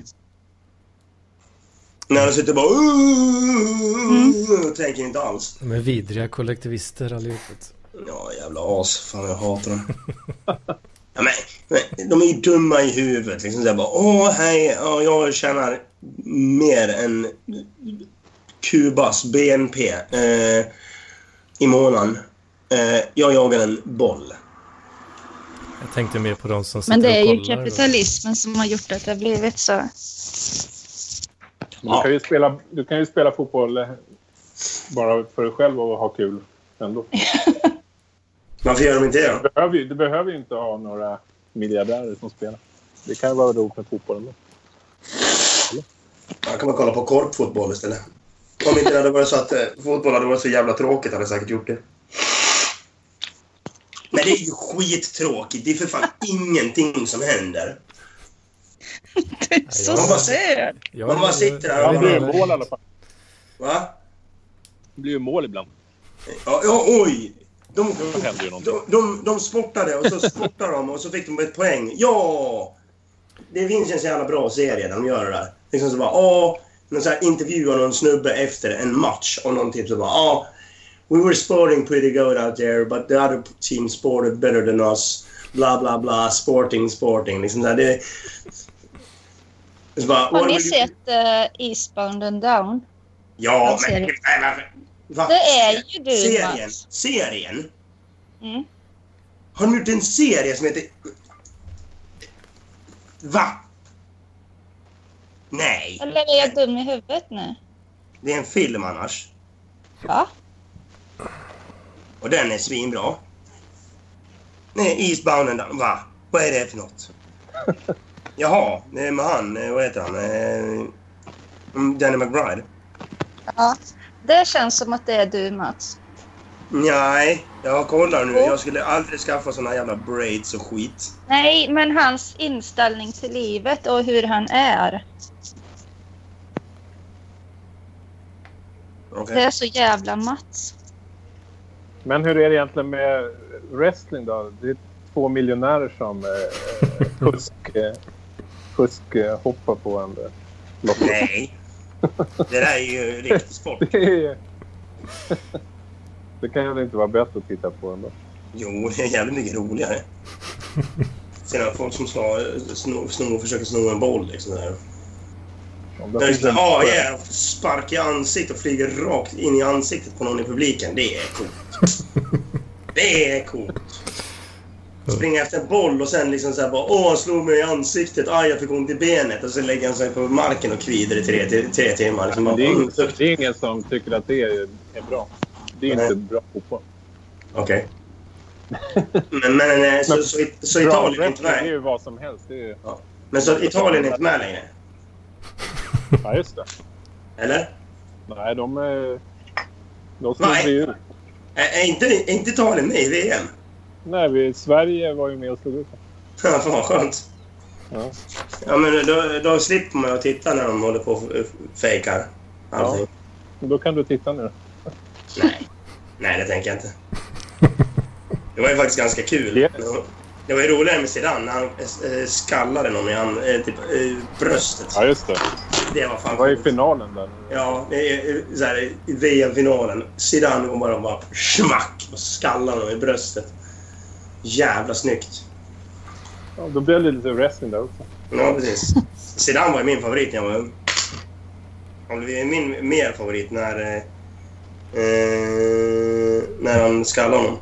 [SPEAKER 4] När de sitter bara mm. tänker inte alls.
[SPEAKER 1] De är vidriga kollektivister allihopet.
[SPEAKER 4] Ja, jävla as. Fan, jag hatar dem. ja, men, men, de är ju dumma i huvudet. Liksom så här bara åh hej, ja, jag tjänar mer än Kubas BNP eh, i månaden. Eh, jag jagar en boll.
[SPEAKER 1] Jag tänkte mer på de som sitter
[SPEAKER 3] Men det är
[SPEAKER 1] och
[SPEAKER 3] ju
[SPEAKER 1] kollar.
[SPEAKER 3] kapitalismen som har gjort att det har blivit så.
[SPEAKER 5] Men Du, kan ju spela, du kan ju spela fotboll eh, bara för dig själv och ha kul ändå.
[SPEAKER 4] Varför gör de inte det? då?
[SPEAKER 5] Du behöver, ju, du behöver ju inte ha några miljardärer som spelar. Det kan ju vara roligt med fotboll ändå.
[SPEAKER 4] Ja, kan man kolla på korpfotboll istället. Om inte det hade varit så att eh, fotboll hade varit så jävla tråkigt hade jag säkert gjort det. Men det är ju skittråkigt. Det är för fan ingenting som händer.
[SPEAKER 3] Så
[SPEAKER 4] Ja, jag-
[SPEAKER 3] söt!
[SPEAKER 1] Ja,
[SPEAKER 4] Man bara
[SPEAKER 1] jag-
[SPEAKER 4] sitter där och-
[SPEAKER 1] jag
[SPEAKER 5] Han
[SPEAKER 1] vet
[SPEAKER 5] blir ju
[SPEAKER 1] inte.
[SPEAKER 5] mål i alla fall.
[SPEAKER 4] Va?
[SPEAKER 5] Det blir ju mål ibland.
[SPEAKER 4] Ja, ja oj! De,
[SPEAKER 5] Då händer ju någonting.
[SPEAKER 4] de, de, de sportade och så sportade de och så fick de ett poäng. Ja! Det finns en så jävla bra serie när de gör det där. Liksom så bara, ja... Men så här intervjuar någon snubbe efter en match och någon typ så bara, ja... We were sporting pretty good out there but the other team sported better than us. Bla, bla, bla. Sporting, sporting. Liksom så här, det... Så bara,
[SPEAKER 3] Har
[SPEAKER 4] "What
[SPEAKER 3] ni
[SPEAKER 4] will you-"
[SPEAKER 3] sett eh, Eastbound and Down?
[SPEAKER 4] Ja,
[SPEAKER 3] den
[SPEAKER 4] men...
[SPEAKER 3] serien?
[SPEAKER 4] Nej, varför- Va?
[SPEAKER 3] Det är ju du,
[SPEAKER 4] Serien.
[SPEAKER 3] Mats.
[SPEAKER 4] Serien?
[SPEAKER 3] Mm.
[SPEAKER 4] Har de gjort en serie som heter... Va? Nej,
[SPEAKER 3] Eller är jag dum i huvudet nu?
[SPEAKER 4] det är en film annars.
[SPEAKER 3] Ja.
[SPEAKER 4] Och den är svinbra. Nej, Eastbound and Down. Va? Vad är det för något? Jaha, det är med han, eh, vad heter han? Eh, mm, Danny McBride?
[SPEAKER 3] ja. Det känns som att det är du, Mats.
[SPEAKER 4] Nej, jag kollar nu. Jag skulle aldrig skaffa såna jävla braids och skit.
[SPEAKER 3] Nej, men hans inställning till livet och hur han är.
[SPEAKER 4] Okej.
[SPEAKER 3] Det är så jävla Mats.
[SPEAKER 5] Men hur är det egentligen med wrestling då? Det är två miljonärer som eh, fusk, eh, fusk eh, hoppar på varandra.
[SPEAKER 4] Nej. Det där är ju riktig sport.
[SPEAKER 5] Det är- Det kan ju inte vara bättre att titta på ändå.
[SPEAKER 4] Jo, det är jävligt mycket roligare. Sen har folk som slår, snor, snor, försöker sno en boll. Liksom där.
[SPEAKER 5] Om
[SPEAKER 4] Där är det
[SPEAKER 5] finns en-
[SPEAKER 4] sådär, ah, yeah, spark i ansiktet och flyger rakt in i ansiktet på någon i publiken. Det är coolt. Det är coolt. Springa efter en boll och sen liksom såhär bara åh han slog mig i ansiktet, aj jag fick ont i benet och sen lägger han sig på marken och kvider i tre, tre timmar. Liksom bara,
[SPEAKER 5] Det är,
[SPEAKER 4] mm,
[SPEAKER 5] ingen,
[SPEAKER 4] duktig.
[SPEAKER 5] det är ingen som tycker att det är, är bra. Det är
[SPEAKER 4] Nej.
[SPEAKER 5] inte bra fotboll.
[SPEAKER 4] Okej. Men, men, eh, så, så, så
[SPEAKER 5] Bra
[SPEAKER 4] Italien är inte
[SPEAKER 5] wrestling, Det är
[SPEAKER 4] med.
[SPEAKER 5] ju vad som helst. Det är,
[SPEAKER 4] Men så Italien är inte med längre?
[SPEAKER 5] ja, just det.
[SPEAKER 4] Eller?
[SPEAKER 5] Nej, de... eh, De
[SPEAKER 4] Nej.
[SPEAKER 5] slog vi ut.
[SPEAKER 4] Är, är, inte, är inte Italien med i VM?
[SPEAKER 5] Nej, vi, Sverige var ju med och slog ut dem.
[SPEAKER 4] Ja, Fan vad skönt.
[SPEAKER 5] Ja.
[SPEAKER 4] Ja, men då, då slipper man att titta när de håller på och f- fejkar allting.
[SPEAKER 5] Men Då kan du titta nu.
[SPEAKER 4] Nej. Nej, det tänker jag inte. Det var ju faktiskt ganska kul.
[SPEAKER 5] Ja.
[SPEAKER 4] Det var ju roligare med Zidane när han eh, skallade någon i han, eh, typ, eh, bröstet.
[SPEAKER 5] Ja, just det.
[SPEAKER 4] Det var fan
[SPEAKER 5] Det var ju
[SPEAKER 4] coolt.
[SPEAKER 5] finalen där.
[SPEAKER 4] Ja, det är eh, så här, i VM-finalen. Zidane går bara och bara smack och skallar honom i bröstet. Jävla snyggt.
[SPEAKER 5] Ja, då blev det lite wrestling där också.
[SPEAKER 4] Ja, precis. Zidane var ju min favorit när jag var ung. Han blev ju min mer favorit när... eh, Eh, när han skallade honom.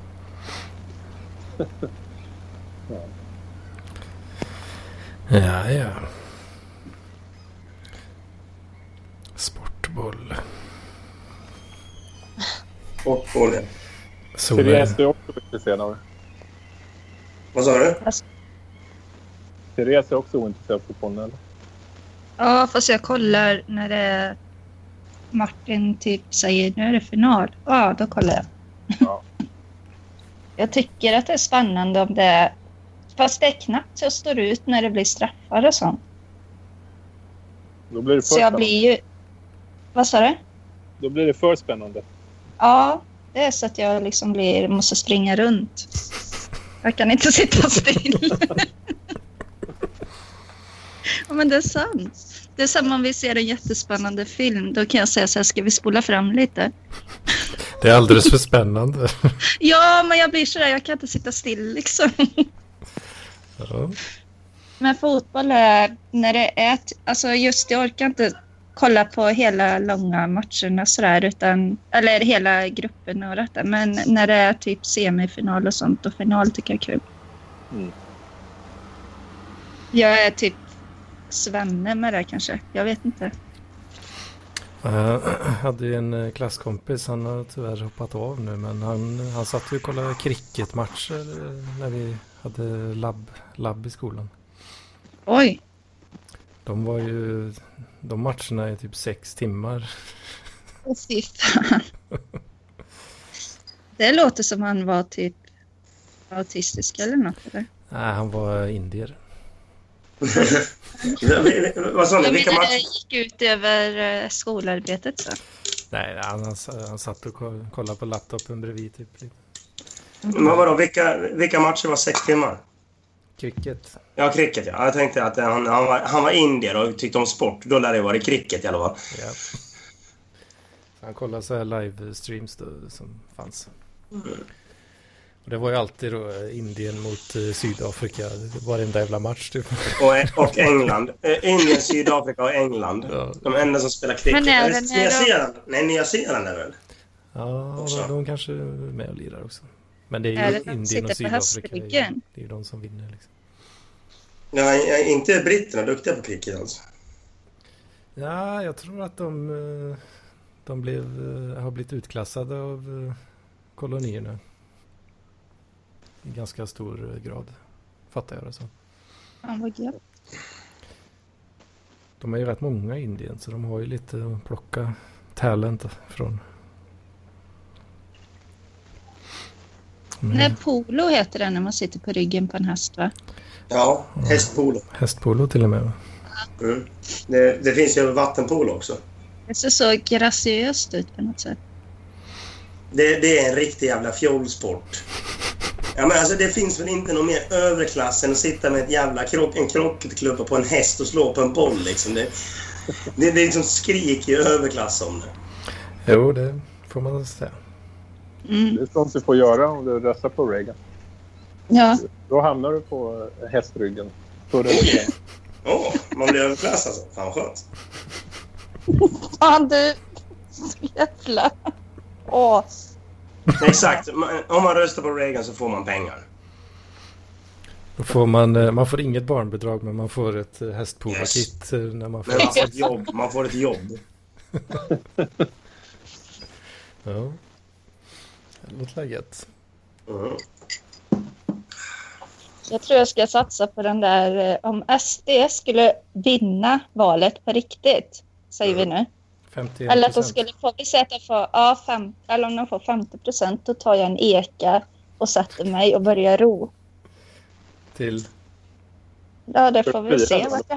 [SPEAKER 1] Ja, ja. Sportboll.
[SPEAKER 4] Och bollen.
[SPEAKER 1] Så,
[SPEAKER 5] Therese är också ointresserad av det.
[SPEAKER 4] Vad sa du?
[SPEAKER 5] Therese är också ointresserad av fotbollen. Eller?
[SPEAKER 3] Ja, fast jag kollar när det är Martin typ säger nu är det final. Ja, då kollar jag. Jag tycker att det är spännande om det är... Fast det är knappt jag står ut när det blir straffar och sånt.
[SPEAKER 5] Då blir det för
[SPEAKER 3] Så jag
[SPEAKER 5] spännande.
[SPEAKER 3] blir ju... Vad sa du?
[SPEAKER 5] Då blir det för spännande.
[SPEAKER 3] Ja, det är så att jag liksom blir, måste springa runt. Jag kan inte sitta still. ja, men det är sant. Det är samma om vi ser en jättespännande film. Då kan jag säga så här, ska vi spola fram lite?
[SPEAKER 1] Det är alldeles för spännande.
[SPEAKER 3] Ja, men jag blir sådär, jag kan inte sitta still liksom.
[SPEAKER 1] Ja.
[SPEAKER 3] Men fotboll är, när det är, ett- alltså just jag orkar inte kolla på hela långa matcherna sådär, utan, eller hela gruppen och detta. Men när det är typ semifinal och sånt och final tycker jag är kul.
[SPEAKER 5] Mm.
[SPEAKER 3] Jag är typ Svenne med det kanske. Jag vet inte.
[SPEAKER 1] Jag hade ju en eh, klasskompis, han har tyvärr hoppat av nu, men han, han satt ju och kollade cricketmatcher eh, när vi hade labb, labb i skolan.
[SPEAKER 3] Oj!
[SPEAKER 1] De var ju, de matcherna är typ sex timmar.
[SPEAKER 3] Åh, Fy fan. Det låter som han var typ autistisk eller något. Eller?
[SPEAKER 1] Nej, han var indier.
[SPEAKER 4] Vad sa ni?
[SPEAKER 3] Jag
[SPEAKER 4] Vilka
[SPEAKER 3] menar det
[SPEAKER 4] matcher?
[SPEAKER 3] gick ut över eh, skolarbetet så.
[SPEAKER 1] Nej, han, han, han satt och ko- kollade på laptopen bredvid typ.
[SPEAKER 4] Men vadå, vilka, vilka matcher var sex timmar?
[SPEAKER 1] Cricket.
[SPEAKER 4] Ja, cricket ja. Jag tänkte att han, han, var, han var indier och tyckte om sport. Då lär det vara cricket i alla fall.
[SPEAKER 1] Ja. Han kollade så här livestreams då, som fanns.
[SPEAKER 3] Mm.
[SPEAKER 1] Och det var ju alltid då eh, Indien mot eh, Sydafrika, varenda jävla match typ.
[SPEAKER 4] Och, och England. Eh, Indien, Sydafrika och England.
[SPEAKER 1] Ja.
[SPEAKER 4] De enda som spelar cricket.
[SPEAKER 3] Men är det
[SPEAKER 4] Eller
[SPEAKER 3] när
[SPEAKER 4] Nya
[SPEAKER 3] de-
[SPEAKER 4] Zeeland? Nej, Nya Zeeland är väl?
[SPEAKER 1] Ja,
[SPEAKER 4] Också.
[SPEAKER 1] de, de kanske är med och lirar också. Men det är
[SPEAKER 3] Är
[SPEAKER 1] ju
[SPEAKER 3] det de som
[SPEAKER 1] Indien och
[SPEAKER 3] sitter på
[SPEAKER 1] Sydafrika. Det är, ju,
[SPEAKER 3] hästryggen?
[SPEAKER 1] det är ju de som vinner liksom.
[SPEAKER 4] Nej, jag- inte britterna duktiga på cricket alltså.
[SPEAKER 1] Ja, jag tror att de, eh, de blev, eh, har blivit utklassade av eh, kolonierna. I ganska stor eh, grad. Fattar jag det som.
[SPEAKER 3] Fan vad gött.
[SPEAKER 1] De är ju rätt många i Indien så de har ju lite att plocka talent från. Men
[SPEAKER 3] Nej, polo heter det när man sitter på ryggen på en häst va?
[SPEAKER 4] Ja, hästpolo.
[SPEAKER 1] Hästpolo till och med. va?
[SPEAKER 4] Mm. Det, det finns ju vattenpolo också.
[SPEAKER 3] Det ser så graciöst ut på något sätt.
[SPEAKER 4] Det, det är en riktig jävla fjolsport. Ja, men alltså, det finns väl inte någon mer överklass än att sitta med ett jävla krock, en krocketklubba på en häst och slå på en boll. Liksom. Det, det, det liksom skriker ju överklass om det.
[SPEAKER 1] Jo, det får man säga.
[SPEAKER 3] Mm.
[SPEAKER 5] Det är sånt du får göra om du röstar på Reagan.
[SPEAKER 3] Ja,
[SPEAKER 5] Då hamnar du på hästryggen. Så det är
[SPEAKER 4] Åh, man blir överklass alltså. Fan vad skönt.
[SPEAKER 3] fan du! Jävla as!
[SPEAKER 4] Exakt. Man- Om man röstar på Reagan så får man pengar.
[SPEAKER 1] Då får man, eh, man får inget barnbidrag men man får ett eh, hästpolo-kit eh, när man
[SPEAKER 4] Men man
[SPEAKER 1] föds.
[SPEAKER 4] får ett jobb. Man får ett jobb.
[SPEAKER 1] Ja. Det låter väl gött.
[SPEAKER 4] Mm.
[SPEAKER 3] Jag tror jag ska satsa på den där eh, om SD skulle vinna valet på riktigt, säger vi nu.
[SPEAKER 1] 51
[SPEAKER 3] Eller att de skulle få, vi säger att de får, ja, fem, eller om de får 50 procent, då tar jag en eka och sätter mig och börjar ro.
[SPEAKER 1] till...
[SPEAKER 3] Ja, det får vi se vart det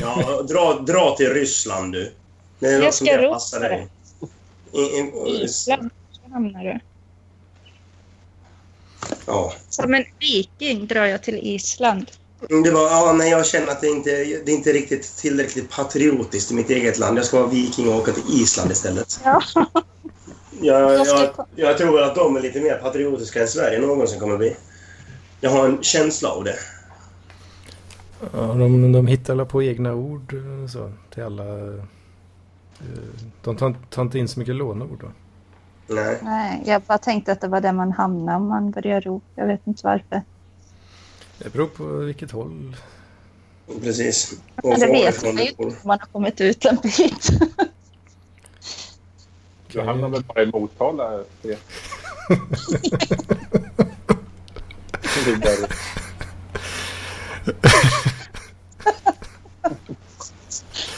[SPEAKER 3] hamnar.
[SPEAKER 4] Ja, dra, dra till Ryssland du. Det är
[SPEAKER 3] Jag
[SPEAKER 4] något som
[SPEAKER 3] ska
[SPEAKER 4] jag
[SPEAKER 3] ropa
[SPEAKER 4] passar
[SPEAKER 3] det.
[SPEAKER 4] dig. I, i,
[SPEAKER 3] Island vart hamnar du.
[SPEAKER 4] ja.
[SPEAKER 3] Som en viking drar jag till Island.
[SPEAKER 4] Mm, Det var, ja, nej, jag känner att det inte det är inte riktigt tillräckligt patriotiskt i mitt eget land. Jag ska vara viking och åka till Island istället.
[SPEAKER 3] Ja.
[SPEAKER 4] Jag,
[SPEAKER 3] Jag ska
[SPEAKER 4] jag,
[SPEAKER 3] ko-
[SPEAKER 4] jag tror att de är lite mer patriotiska än Sverige någonsin kommer bli. Jag har en känsla av det.
[SPEAKER 1] Ja, de, de hittar alla på egna ord eh, så, till alla... eh, De tar, tar inte in så mycket låneord då.
[SPEAKER 4] Nej.
[SPEAKER 3] Nej, jag bara tänkte att det var där man hamnade om man börjar ro. Jag vet inte varför.
[SPEAKER 1] Det beror på vilket håll.
[SPEAKER 4] Precis.
[SPEAKER 3] Men det vet
[SPEAKER 4] varifrån
[SPEAKER 3] man
[SPEAKER 4] du
[SPEAKER 3] ju inte
[SPEAKER 4] bor.
[SPEAKER 3] om man har kommit ut en bit.
[SPEAKER 5] Du hamnar väl bara i Motala? Det. Vidare.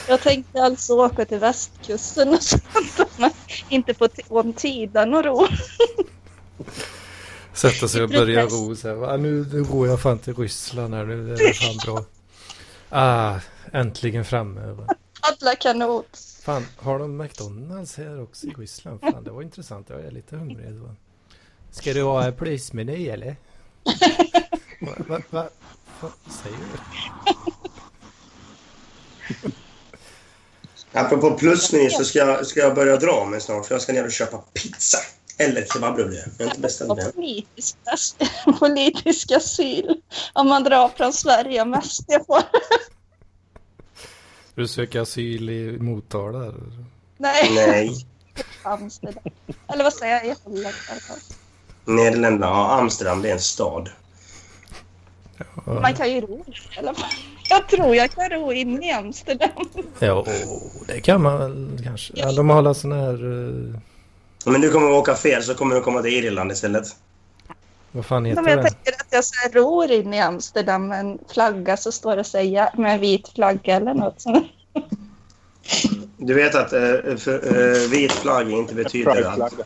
[SPEAKER 3] Jag tänkte alltså åka till västkusten och sånt. Men inte på t- om Tidan och ro.
[SPEAKER 1] Sätta sig och börja
[SPEAKER 3] Utpress.
[SPEAKER 1] ro. Så här, "Va, nu, nu går jag fan till Ryssland här. Nu är det fan bra. Ah, äntligen framme. va.
[SPEAKER 8] Paddla kanot.
[SPEAKER 1] Fan, har de McDonalds här också i Ryssland? Fan, det var intressant. Jag är lite hungrig. va. Ska du ha en plusmeny eller? Vad va, va, va, säger du?
[SPEAKER 4] Apropå plusmeny så ska jag, ska jag börja dra mig snart för jag ska ner och köpa pizza. Eller kebabrulle. Jag har inte beställt
[SPEAKER 3] Och
[SPEAKER 4] det.
[SPEAKER 3] politisk, as- politisk asyl. Om man drar från Sverige mest. Jag får.
[SPEAKER 1] Du söker asyl i Motala? eller?
[SPEAKER 3] Nej,
[SPEAKER 4] Nej,
[SPEAKER 3] Amsterdam. Eller vad säger jag? I Holland i alla fall.
[SPEAKER 4] Nederländerna. Ja, Amsterdam, det är en stad.
[SPEAKER 3] Man kan ju ro i alla fall. Jag tror jag kan ro in i Amsterdam.
[SPEAKER 1] Ja, åh, det kan man väl kanske. Ja, de har alla sådana här... eh,
[SPEAKER 4] Men du kommer att åka fel så kommer du komma till Irland istället.
[SPEAKER 1] vad fan heter
[SPEAKER 3] Men jag
[SPEAKER 1] det?
[SPEAKER 3] tänker att jag så här ror in i Amsterdam med en flagga så står det säga med en vit flagga eller något sånt.
[SPEAKER 4] Du vet att eh, för, eh, vit flagg inte betyder att...
[SPEAKER 5] Pride-flagga.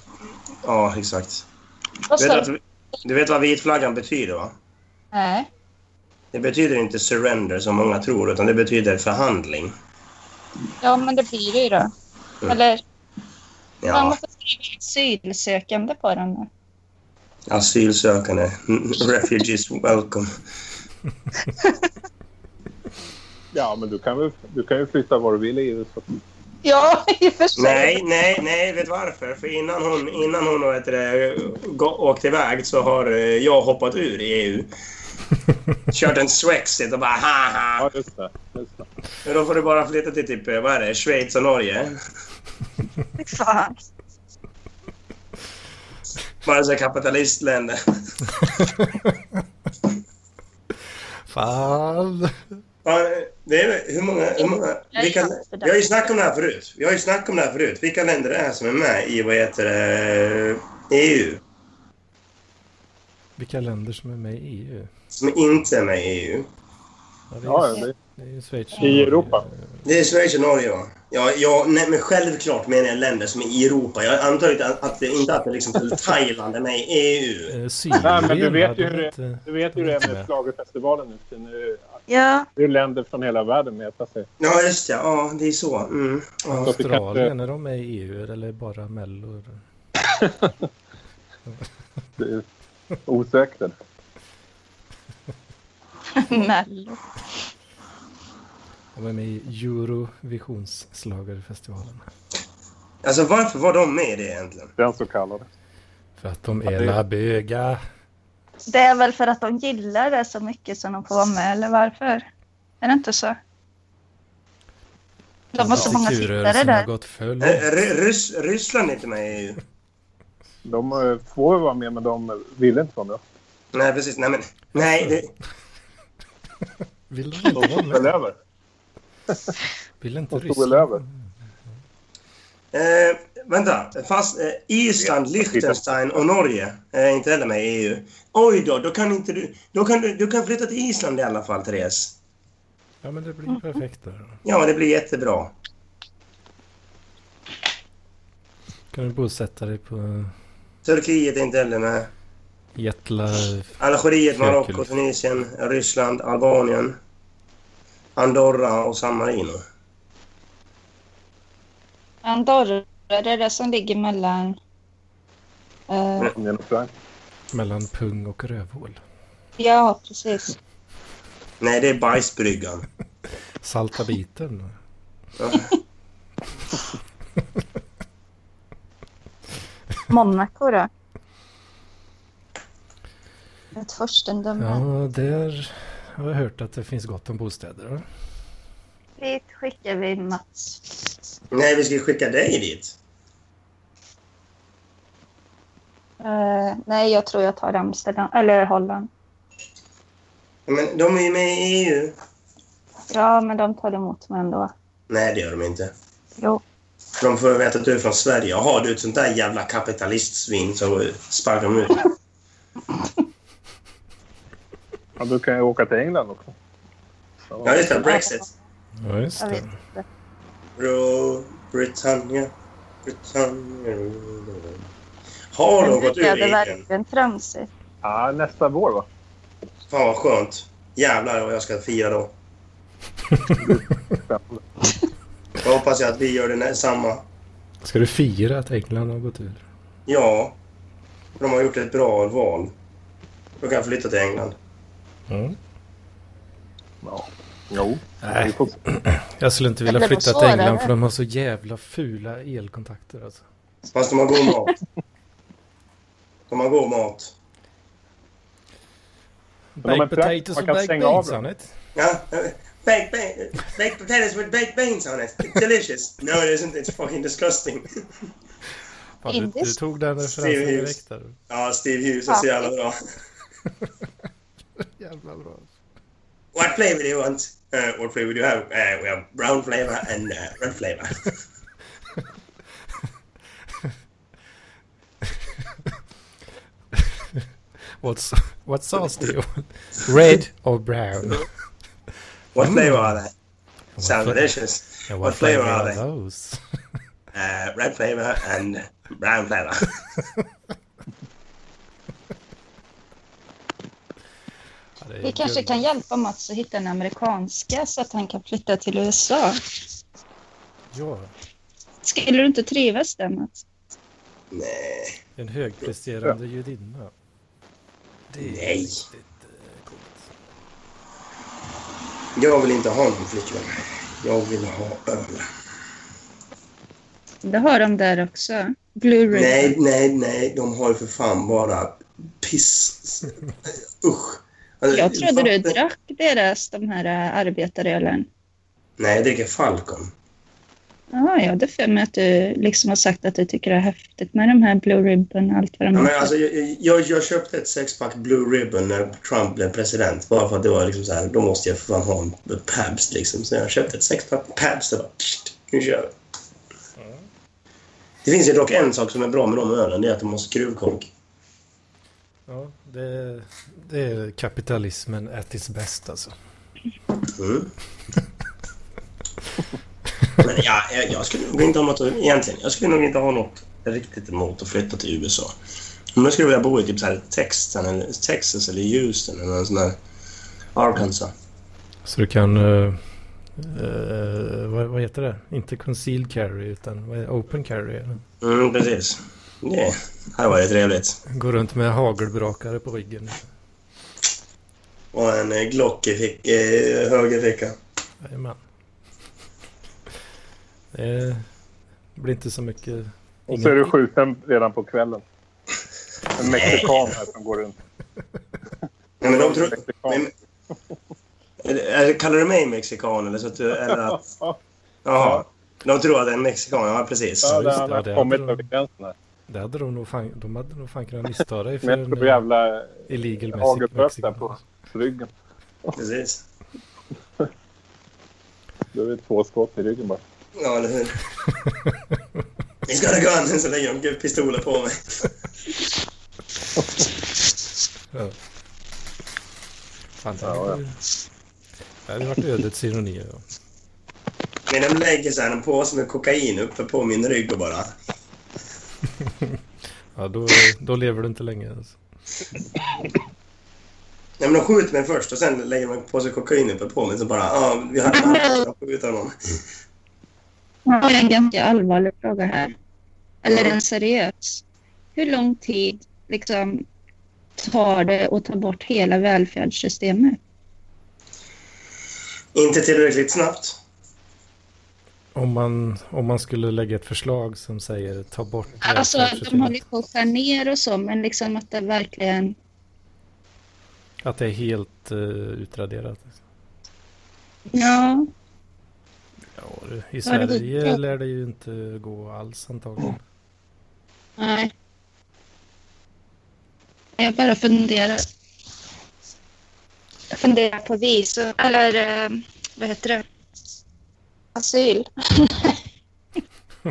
[SPEAKER 4] Ja, exakt.
[SPEAKER 3] Vad
[SPEAKER 4] Du
[SPEAKER 3] sa
[SPEAKER 4] vet,
[SPEAKER 3] du?
[SPEAKER 4] att, du vet vad vitflaggan betyder, va?
[SPEAKER 3] Nej.
[SPEAKER 4] Det betyder inte surrender som många tror, utan det betyder förhandling.
[SPEAKER 3] Ja, men det blir det ju då. Eller man
[SPEAKER 4] Ja,
[SPEAKER 3] måste skriva asylsökande på den. Där.
[SPEAKER 4] asylsökande. Refugees welcome.
[SPEAKER 5] Ja, men du kan, väl, du kan ju flytta var du vill i EU. Så.
[SPEAKER 3] Ja, i och för sig.
[SPEAKER 4] Nej, nej, nej, vet varför? För innan hon, innan hon vad heter det, gå- åkte iväg så har eh, jag hoppat ur i EU. Kört en swexit och bara haha.
[SPEAKER 5] Ja, just det. Just det.
[SPEAKER 4] Men Då får du bara flytta till typ, eh, vad är det, Schweiz och Norge.
[SPEAKER 3] Fy fan.
[SPEAKER 4] Bara så här kapitalistländer.
[SPEAKER 1] Fan!
[SPEAKER 4] Ja, det är, hur många, hur många,
[SPEAKER 3] Jag
[SPEAKER 4] vilka,
[SPEAKER 3] gillar inte det.
[SPEAKER 4] vi har ju snackat om det här förut. Vi har ju snackat om det här förut. Vilka länder det är som är med i vad heter det, E EU?
[SPEAKER 1] Vilka länder som är med i E EU?
[SPEAKER 4] Som inte är med i E EU.
[SPEAKER 1] Ja, det är,
[SPEAKER 5] Ja, ja, det,
[SPEAKER 1] det är ju Schweiz. och
[SPEAKER 5] I
[SPEAKER 1] Norge.
[SPEAKER 5] Europa.
[SPEAKER 4] Det är Schweiz och Norge va? Ja, ja nej, men självklart menar jag länder som är i Europa. Jag antar inte att, att det inte att det liksom Thailand är med i E EU.
[SPEAKER 1] Eh, Syrien
[SPEAKER 5] Nej, men du vet ju
[SPEAKER 1] hade
[SPEAKER 5] hur
[SPEAKER 1] inte-
[SPEAKER 5] du vet ju hur det är med schlagerfestivalen nu. för tiden. Det är ju-
[SPEAKER 8] Ja,
[SPEAKER 5] Det är ju länder från hela världen med. Alltså.
[SPEAKER 4] Ja, just det. Ja, det är så. Mm. Ja.
[SPEAKER 5] vi kanske-
[SPEAKER 1] Australien, är de med i EU eller bara Mello?
[SPEAKER 5] Det är osäkert.
[SPEAKER 3] Mello.
[SPEAKER 1] De är med i Eurovisionsschlagerfestivalen.
[SPEAKER 4] Alltså varför var de med i det egentligen?
[SPEAKER 5] Den så kallade.
[SPEAKER 1] För att de
[SPEAKER 5] Ja,
[SPEAKER 1] är
[SPEAKER 5] det-
[SPEAKER 1] la böga.
[SPEAKER 3] Det är väl för att de gillar det så mycket som de får vara med, eller varför? Är det inte så? De har så många tittare
[SPEAKER 1] Hbtq-rörelsen har
[SPEAKER 3] där.
[SPEAKER 1] gått full.
[SPEAKER 4] Eh, Ry- Ryss, Ryssland är inte med i E EU.
[SPEAKER 5] De eh, får ju vara med, men de vill inte vara med.
[SPEAKER 4] Nej, precis. Nej, men, nej det,
[SPEAKER 1] Vill de inte vara
[SPEAKER 5] Väl
[SPEAKER 1] med?
[SPEAKER 5] över.
[SPEAKER 1] Vill inte
[SPEAKER 5] De stod väl över.
[SPEAKER 1] Ryssland?
[SPEAKER 4] Eh, vänta, fast eh, Island, Liechtenstein och Norge är inte heller med i EU. Oj då, då kan inte du... Då kan du, du kan flytta till Island i alla fall, Therese.
[SPEAKER 1] Ja, men det blir perfekt där. då.
[SPEAKER 4] Ja, det blir jättebra.
[SPEAKER 1] Kan du bosätta dig på
[SPEAKER 4] Turkiet är inte heller med.
[SPEAKER 1] Jetla...
[SPEAKER 4] Algeriet, Marocko,
[SPEAKER 1] Kyrkul.
[SPEAKER 4] Tunisien, Ryssland, Albanien, Andorra och San Marino.
[SPEAKER 3] Andorra, det är det som ligger mellan... eh,
[SPEAKER 5] Indien och Frankrike.
[SPEAKER 1] mellan pung och rövhål?
[SPEAKER 3] ja, precis.
[SPEAKER 4] Nej, det är bajsbryggan.
[SPEAKER 1] Salta biten.
[SPEAKER 4] Ja.
[SPEAKER 3] Monaco då? Ett furstendöme.
[SPEAKER 1] Ja, där har jag hört att det finns gott om bostäder. va?
[SPEAKER 3] Dit skickar vi Mats.
[SPEAKER 4] Nej, vi ska skicka dig dit.
[SPEAKER 3] Eh, nej, jag tror jag tar Amsterdam, eller Holland.
[SPEAKER 4] Men de är ju med i E EU.
[SPEAKER 3] Ja, men de tar emot mig ändå.
[SPEAKER 4] Nej, det gör de inte.
[SPEAKER 3] Jo.
[SPEAKER 4] De får veta att du är från Sverige. Jaha, du är ett sånt där jävla kapitalistsvin så sparkar de ut.
[SPEAKER 5] Ja, du kan ju åka till England också.
[SPEAKER 4] Ja, just det. Brexit.
[SPEAKER 1] Ja, just
[SPEAKER 3] Jag vet
[SPEAKER 1] det.
[SPEAKER 3] inte.
[SPEAKER 4] Bro, Britannia, Britannia. Har de gått ur
[SPEAKER 3] Det är
[SPEAKER 4] Indien? E
[SPEAKER 3] verkligen tramsigt.
[SPEAKER 5] Ja, nästa vår va?
[SPEAKER 4] Fan vad skönt. Jävlar vad jag ska fira då. Jag hoppas jag att vi gör det nä- samma.
[SPEAKER 1] Ska du fira att England har gått ur?
[SPEAKER 4] Ja. De har gjort ett bra val. Då kan jag flytta till England.
[SPEAKER 1] Mm.
[SPEAKER 5] Jo.
[SPEAKER 1] Nej, jag skulle inte vilja
[SPEAKER 8] Det blir
[SPEAKER 1] flytta till
[SPEAKER 8] svårare.
[SPEAKER 1] England för de har så jävla fula elkontakter alltså.
[SPEAKER 4] Fast de har god mat. De har god mat.
[SPEAKER 5] de har
[SPEAKER 1] Baked
[SPEAKER 5] en trakt
[SPEAKER 1] potatoes
[SPEAKER 5] man
[SPEAKER 1] och
[SPEAKER 5] kan
[SPEAKER 1] baked
[SPEAKER 5] stänga av
[SPEAKER 1] beans
[SPEAKER 5] dem.
[SPEAKER 1] on it.
[SPEAKER 4] Ja. eh, Baked, ba- baked potatoes with baked beans on it. It's delicious. No, it isn't. It's fucking disgusting.
[SPEAKER 1] Fan, du, du
[SPEAKER 8] Indiskt.
[SPEAKER 1] tog den referensen
[SPEAKER 4] Steve Hughes.
[SPEAKER 1] direkt där.
[SPEAKER 4] Ja, Steve Hughes är så jävla bra.
[SPEAKER 1] Jävla bra.
[SPEAKER 4] What flavor do you want? Uh, what flavor do you have? Uh, we have brown flavor and uh, red flavor.
[SPEAKER 1] What's, what sauce do you want? Red or brown?
[SPEAKER 4] What flavor are they?
[SPEAKER 1] Mm. What
[SPEAKER 4] Sounds
[SPEAKER 1] fla-
[SPEAKER 4] delicious.
[SPEAKER 1] Yeah,
[SPEAKER 4] What flavor
[SPEAKER 1] flavor
[SPEAKER 4] are
[SPEAKER 1] are
[SPEAKER 4] they?
[SPEAKER 1] those?
[SPEAKER 4] Uh, red flavor and brown flavor.
[SPEAKER 1] Ja, det är
[SPEAKER 3] Vi kanske
[SPEAKER 1] guld.
[SPEAKER 3] kan hjälpa Mats att hitta en amerikanska så att han kan flytta till USA.
[SPEAKER 1] Ja,
[SPEAKER 3] Skulle du inte trivas där Mats?
[SPEAKER 4] Nej.
[SPEAKER 1] en högpresterande judinna. Det är
[SPEAKER 4] Nej.
[SPEAKER 1] riktigt eh, coolt.
[SPEAKER 4] Jag vill inte ha någon flickvän. Jag vill ha öl.
[SPEAKER 3] Det har de där också. Blue Ribbon.
[SPEAKER 4] Nej, nej, nej. De har ju för fan bara piss. Usch. Alltså,
[SPEAKER 3] Jag trodde du
[SPEAKER 4] vatten-
[SPEAKER 3] drack deras, de här äh, arbetarölen.
[SPEAKER 4] Nej, jag dricker Falcon.
[SPEAKER 3] Ja, jag hade för mig att du liksom har sagt att du tycker det är häftigt med de här Blue Ribbon och allt vad de
[SPEAKER 4] Ja, men
[SPEAKER 3] heter.
[SPEAKER 4] alltså, jag, jag, jag köpte ett sexpack Blue Ribbon när Trump blev president. Bara för att det var liksom så här, då måste jag för fan ha en Pabst liksom. Så jag köpte ett sexpack Pabst och bara, pst, nu kör vi. Det finns ju dock en sak som är bra med de ölen, det är att de har skruvkork.
[SPEAKER 1] Ja, det, det är kapitalismen at its best alltså.
[SPEAKER 4] Mm. Men ja, jag, jag skulle nog inte ha något, egentligen, jag skulle nog inte ha något riktigt emot att flytta till USA. Men jag skulle vilja bo i typ så här Texas, eller, Texas eller Houston eller en sån där Arkansas.
[SPEAKER 1] Så du kan... eh, eh, vad, vad heter det? Inte concealed carry utan vad är det? open carry. eller?
[SPEAKER 4] Mm, precis. Det hade varit trevligt.
[SPEAKER 1] Gå runt med hagelbrakare på ryggen.
[SPEAKER 4] Och en eh, Glock i fick, eh, högerficka.
[SPEAKER 1] Jajamän. Eh, Det blir inte så mycket...
[SPEAKER 5] Och så är du skjuten redan på kvällen. En mexikan här som går runt.
[SPEAKER 4] Nej, men de tror...
[SPEAKER 5] Mexikan.
[SPEAKER 4] Men- Eller- eller Kallar du mig mexikan eller så att du... Eller att, jaha. De tror att jag är en mexikan, ja precis.
[SPEAKER 5] Ja,
[SPEAKER 1] just
[SPEAKER 5] där
[SPEAKER 1] det,
[SPEAKER 5] han
[SPEAKER 1] ja, det
[SPEAKER 5] har
[SPEAKER 1] är
[SPEAKER 5] kommit
[SPEAKER 1] bra.
[SPEAKER 5] över gränsen här.
[SPEAKER 1] Det hade de nog fan, de hade nog fan kunnat missta dig för
[SPEAKER 5] Med
[SPEAKER 1] en
[SPEAKER 5] ett
[SPEAKER 1] eh,
[SPEAKER 5] jävla
[SPEAKER 1] illegal
[SPEAKER 5] hagelböss
[SPEAKER 1] mexikan.
[SPEAKER 5] där på ryggen.
[SPEAKER 4] Precis.
[SPEAKER 5] Då är det två skott i ryggen bara.
[SPEAKER 4] Ja, eller hur? He's got a gun! Så lägger de pistoler på mig.
[SPEAKER 1] Fan, det
[SPEAKER 5] Ja,
[SPEAKER 1] hade, det hade varit ödets ironi. Ja.
[SPEAKER 4] Men de lägger så här en påse med kokain uppe på min rygg och bara...
[SPEAKER 1] Ja, då, då lever du inte länge. Alltså.
[SPEAKER 4] Nej, men de skjuter mig först och sen lägger de en påse kokain uppe på mig. Så bara... Ja, vi hade kunnat skjuta honom.
[SPEAKER 3] Jag har en ganska allvarlig fråga här. Eller en seriös. Hur lång tid liksom, tar det att ta bort hela välfärdssystemet?
[SPEAKER 4] Inte tillräckligt snabbt.
[SPEAKER 1] Om, man, om man skulle lägga ett förslag som säger ta bort
[SPEAKER 3] Alltså, de
[SPEAKER 1] välfärdssystemet.
[SPEAKER 3] håller på att skära ner och så, men liksom att det verkligen...
[SPEAKER 1] Att det är helt eh, utraderat.
[SPEAKER 3] Ja,
[SPEAKER 1] Ja, det- I
[SPEAKER 3] Ja, det-
[SPEAKER 1] Sverige lär det ju inte gå alls antagligen.
[SPEAKER 3] nej. Jag bara funderar. Jag funderar på visum, eller eh, vad heter det? Asyl.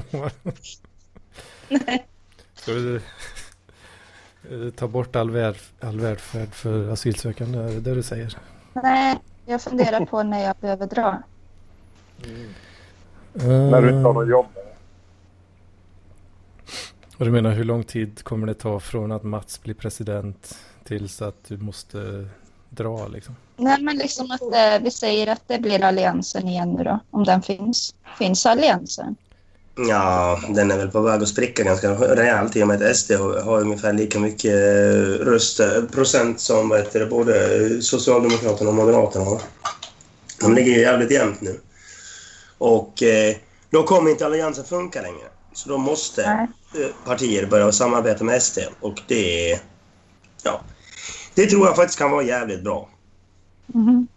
[SPEAKER 1] Ska du eh, ta bort all, välf- all välfärd för asylsökande? Är det det du säger?
[SPEAKER 3] Nej, jag funderar på när jag behöver dra.
[SPEAKER 5] När du
[SPEAKER 1] Eh,
[SPEAKER 5] inte har något jobb.
[SPEAKER 1] Och du menar hur lång tid kommer det ta från att Mats blir president tills att du måste dra liksom?
[SPEAKER 3] Nej, men liksom att eh, vi säger att det blir alliansen igen nu då, om den finns. Finns alliansen?
[SPEAKER 4] Ja, den är väl på väg att spricka ganska rejält i och med att SD har, har ungefär lika mycket eh, röster, procent som vad heter det, både eh, Socialdemokraterna och Moderaterna har. De ligger ju jävligt jämnt nu. Och eh, då kommer inte alliansen funka längre. Så då måste eh, partier börja samarbeta med SD och det... Ja. Det tror jag faktiskt kan vara jävligt bra.
[SPEAKER 3] Mhm.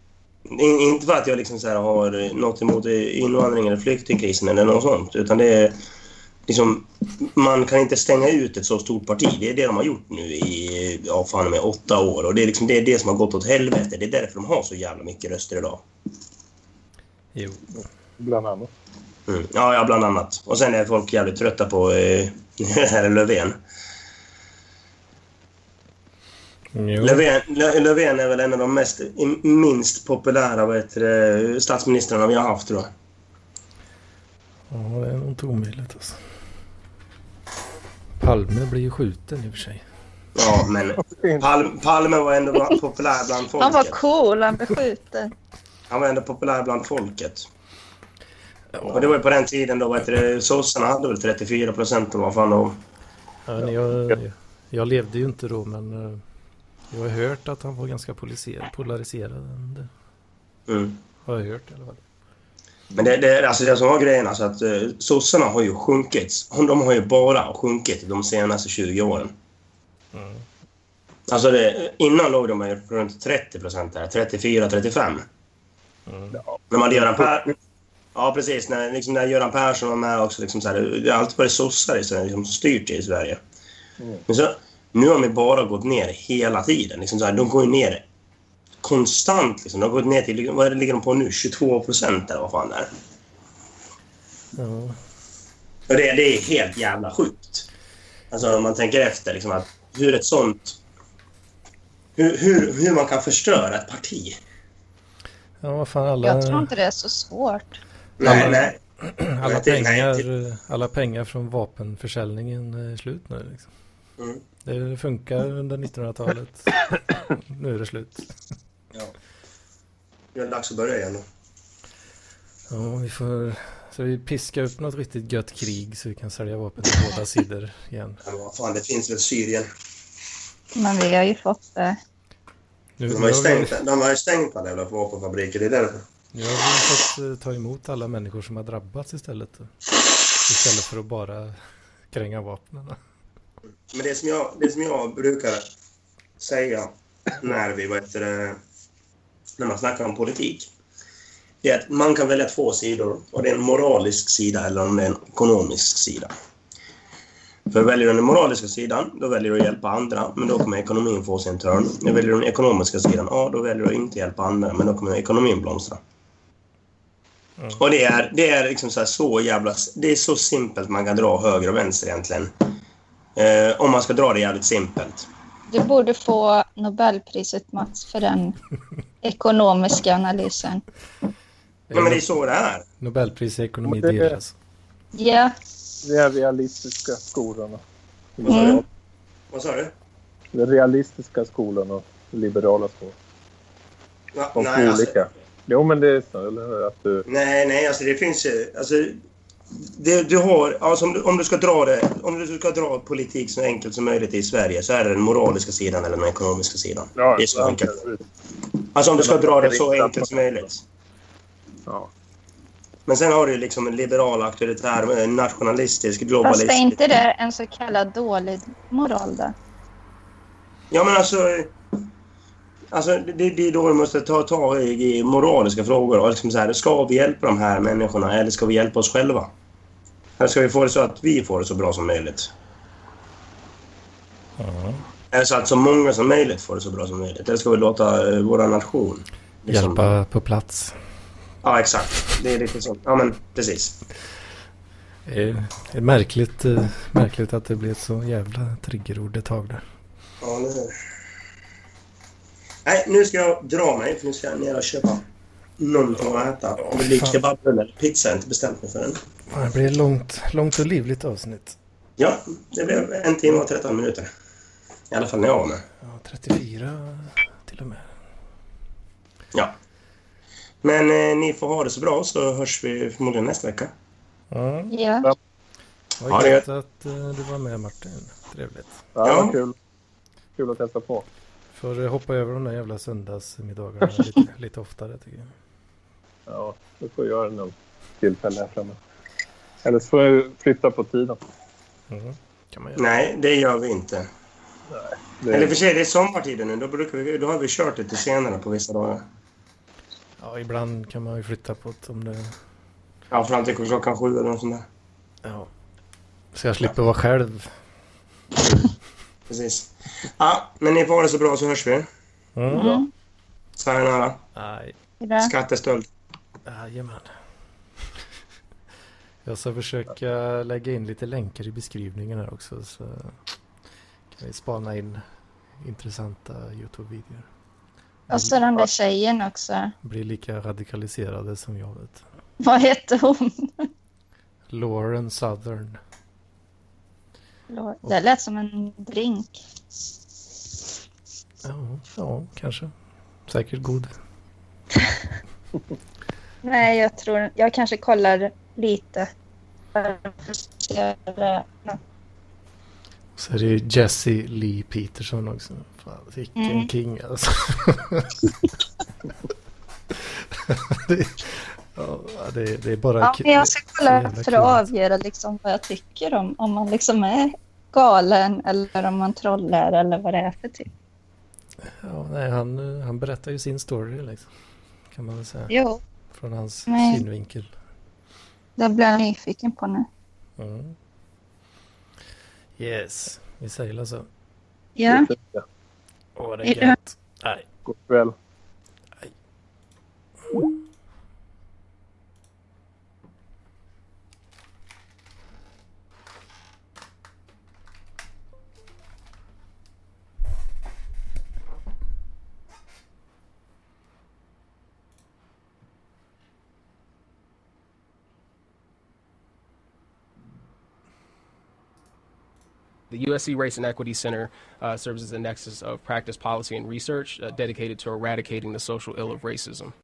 [SPEAKER 4] In, inte för att jag liksom så här har något emot invandring eller flyktingkrisen eller något sånt. Utan det är liksom, man kan inte stänga ut ett så stort parti. Det är det de har gjort nu i ja, fan med åtta år. Och det är, liksom, det är det som har gått åt helvete. Det är därför de har så jävla mycket röster idag.
[SPEAKER 1] Jo.
[SPEAKER 5] bland annat.
[SPEAKER 4] Mm. Ja, ja, bland annat. Och sen är folk jävligt trötta på eh, herr Löfven.
[SPEAKER 1] jo.
[SPEAKER 4] Löfven, Lö- Löfven är väl en av de mest, i- minst populära vad heter det, statsministrarna vi har haft, tror jag.
[SPEAKER 1] Ja, det är nog inte omöjligt alltså. Palme blir ju skjuten i och för sig.
[SPEAKER 4] Ja, men Palm, Palme var ändå bland, populär bland folket.
[SPEAKER 3] Han var cool, han blev skjuten.
[SPEAKER 4] Han var ändå populär bland folket. Och det var ju på den tiden då, vad heter det, sossarna hade väl 34 procent och vad fan de...
[SPEAKER 1] Ja, men jag, jag levde ju inte då men eh, jag har hört att han var ganska poliser- polariserad. Det
[SPEAKER 4] Mm.
[SPEAKER 1] har jag hört i alla fall.
[SPEAKER 4] Men det, det, alltså det som var grejen, alltså att eh, sossarna har ju sjunkit. De har ju bara sjunkit de senaste 20 åren. Alltså det, innan låg de ju runt 30 procent där, 34, 35. När man hade Göran Persson... Ja, precis. När, liksom, när Göran Persson var med också. Liksom, så här, det har alltid varit sossar i Sverige som styrt i Sverige. Men så, nu har de ju bara gått ner hela tiden. Liksom, så här, de går ju ner konstant. Liksom. De har gått ner till... Vad är det, ligger de på nu? 22 procent eller vad fan det är.
[SPEAKER 1] Ja.
[SPEAKER 4] Och det, det är helt jävla sjukt. Alltså om man tänker efter liksom att hur ett sånt... Hur, hur, hur man kan förstöra ett parti.
[SPEAKER 1] Ja, vad fan alla...
[SPEAKER 3] Jag tror inte det är så svårt.
[SPEAKER 4] Nej, nej.
[SPEAKER 1] Alla
[SPEAKER 4] Nej, till- nej,
[SPEAKER 1] pengar, alla pengar från vapenförsäljningen är slut nu. Liksom.
[SPEAKER 4] Mm.
[SPEAKER 1] Det funkar under 1900-talet. nu är det slut.
[SPEAKER 4] Ja. Det är dags att börja igen. då.
[SPEAKER 1] Ja, vi får... Så vi piskar upp något riktigt gött krig så vi kan sälja vapen till båda sidor igen.
[SPEAKER 4] Men vad fan, det finns väl Syrien.
[SPEAKER 3] Men vi har ju fått det.
[SPEAKER 1] Nu, nu,
[SPEAKER 4] De
[SPEAKER 1] har
[SPEAKER 4] har ju
[SPEAKER 1] vi,
[SPEAKER 4] stängt, de har ju stängt alla jävla vapenfabriker. Det är därför.
[SPEAKER 1] nu har vi fått eh, ta emot alla människor som har drabbats istället. eh, Istället för att bara kränga vapnen.
[SPEAKER 4] Men det som jag, det som jag brukar säga när vi vad heter det, när man snackar om politik det är att man kan välja två sidor. Och det är en moralisk sida eller om det är en ekonomisk sida. För väljer du den moraliska sidan, då väljer du att hjälpa andra, men då kommer ekonomin få sin törn. När väljer du den ekonomiska sidan, ja, då väljer du att inte hjälpa andra, men då kommer ekonomin blomstra. Och det är, det är liksom så, här, så jävla... Det är så simpelt man kan dra höger och vänster egentligen. Eh, om man ska dra det jävligt simpelt.
[SPEAKER 3] Du borde få Nobelpriset Mats för den ekonomiska analysen.
[SPEAKER 4] Nej, men det är så det är.
[SPEAKER 1] Nobelpris i ekonomi alltså
[SPEAKER 5] Det-
[SPEAKER 1] delas.
[SPEAKER 3] Ja,
[SPEAKER 5] Det är realistiska skolorna.
[SPEAKER 3] Mm.
[SPEAKER 4] Vad sa du?
[SPEAKER 5] Den realistiska skolan och liberala skolan.
[SPEAKER 4] Ja,
[SPEAKER 5] De
[SPEAKER 4] nej,
[SPEAKER 5] två
[SPEAKER 4] alltså,
[SPEAKER 5] olika. Jo, men det är så, eller hur? Att du...
[SPEAKER 4] nej, nej, alltså det finns ju... Alltså, det, du har, alltså, om, du, om, du ska dra det, om du ska dra politik så enkelt som möjligt i Sverige så är det den moraliska sidan eller den ekonomiska sidan. det är så enkelt. Alltså om du ska dra det så enkelt som möjligt.
[SPEAKER 5] Ja.
[SPEAKER 4] Men sen har du ju liksom en liberal, auktoritär, eh, nationalistisk,
[SPEAKER 3] fast
[SPEAKER 4] globalist.
[SPEAKER 3] är inte det en så kallad dålig moral då?
[SPEAKER 4] Ja, men alltså... Alltså, det, det är då vi måste ta tag i, i moraliska frågor. Och liksom så här, ska vi hjälpa de här människorna eller ska vi hjälpa oss själva? Eller ska vi få det så att vi får det så bra som möjligt? Eller så att så många som möjligt får det så bra som möjligt? Eller ska vi låta eh, vår nation... liksom-
[SPEAKER 1] Hjälpa på plats.
[SPEAKER 4] Ja, exakt. Det är lite så. Ja, men precis.
[SPEAKER 1] Det är- det är märkligt, eh, märkligt att det blev ett så jävla triggerord ett tag där.
[SPEAKER 4] Ja, nu... Nej, nu ska jag dra mig för nu ska jag ner och köpa någonting att äta. Om det blir
[SPEAKER 1] fan.
[SPEAKER 4] kebabrulle eller pizza, jag har inte bestämt mig för än.
[SPEAKER 1] Ja, Det blir ett långt, långt och livligt avsnitt.
[SPEAKER 4] Ja, det blev en timme och 13 minuter. I alla fall när jag var med.
[SPEAKER 1] Ja, 34 till och med.
[SPEAKER 4] Ja. Men eh, ni får ha det så bra så hörs vi förmodligen nästa vecka.
[SPEAKER 1] Ja,
[SPEAKER 3] Ja.
[SPEAKER 1] vad
[SPEAKER 4] Ha det
[SPEAKER 1] gött att eh, du var med Martin. Trevligt.
[SPEAKER 5] Ja,
[SPEAKER 4] Ja.
[SPEAKER 5] vad Kul. kul att testa på.
[SPEAKER 1] Får eh, hoppa över de där jävla söndagsmiddagarna lite, lite oftare tycker jag.
[SPEAKER 5] Ja, vi får göra det någon tillfälle här framme. Eller så får vi flytta på tiden.
[SPEAKER 1] Mm. Kan man göra.
[SPEAKER 4] Nej, det gör vi inte.
[SPEAKER 5] Det,
[SPEAKER 4] Eller i och för sig, det är sommartider nu. Då, brukar vi, då har vi kört lite senare på vissa dagar.
[SPEAKER 1] Ja, ibland kan man ju flytta på det om det...
[SPEAKER 4] Ja, fram till klockan sju eller något sånt där.
[SPEAKER 1] Ja. Så jag slipper vara själv.
[SPEAKER 4] Precis. Ja, men ni får ha det så bra så hörs vi.
[SPEAKER 1] Mm.
[SPEAKER 3] Mm.
[SPEAKER 4] Sayonara.
[SPEAKER 1] Nej,
[SPEAKER 3] Bra.
[SPEAKER 4] Skattestöld.
[SPEAKER 1] jajamän. Jag ska försöka lägga in lite länkar i beskrivningen här också så kan vi spana in intressanta YouTube-videor.
[SPEAKER 3] Och så den där tjejen också.
[SPEAKER 1] Blir lika radikaliserade som jag vet.
[SPEAKER 3] Vad hette hon?
[SPEAKER 1] Lauren Southern.
[SPEAKER 3] Det lät som en drink.
[SPEAKER 1] Ja, ja kanske. Säkert god.
[SPEAKER 3] Nej, jag tror... Jag kanske kollar lite.
[SPEAKER 1] Så är det Jesse Lee Peterson också. Fan, vilken
[SPEAKER 3] Mm.
[SPEAKER 1] king alltså. det, ja, det, det är bara...
[SPEAKER 3] Ja,
[SPEAKER 1] ki-
[SPEAKER 3] men jag ska
[SPEAKER 1] så
[SPEAKER 3] kolla
[SPEAKER 1] jävla
[SPEAKER 3] för
[SPEAKER 1] kul.
[SPEAKER 3] att avgöra liksom vad jag tycker om. Om man liksom är galen eller om man trollar eller vad det är för typ.
[SPEAKER 1] Ja, nej, han, eh, han berättar ju sin story liksom. Kan man väl säga.
[SPEAKER 3] Jo,
[SPEAKER 1] Från hans
[SPEAKER 3] Nej.
[SPEAKER 1] synvinkel.
[SPEAKER 3] det blir jag nyfiken på nu.
[SPEAKER 1] Mm. Yes, vi säger väl så.
[SPEAKER 3] Ja,
[SPEAKER 1] Åh, det
[SPEAKER 3] Hej
[SPEAKER 1] är
[SPEAKER 3] då.
[SPEAKER 1] gött. Nej.
[SPEAKER 5] God kväll.
[SPEAKER 10] The USC Race and Equity Center uh, serves as a nexus of practice, policy, and research uh, dedicated to eradicating the social ill of racism.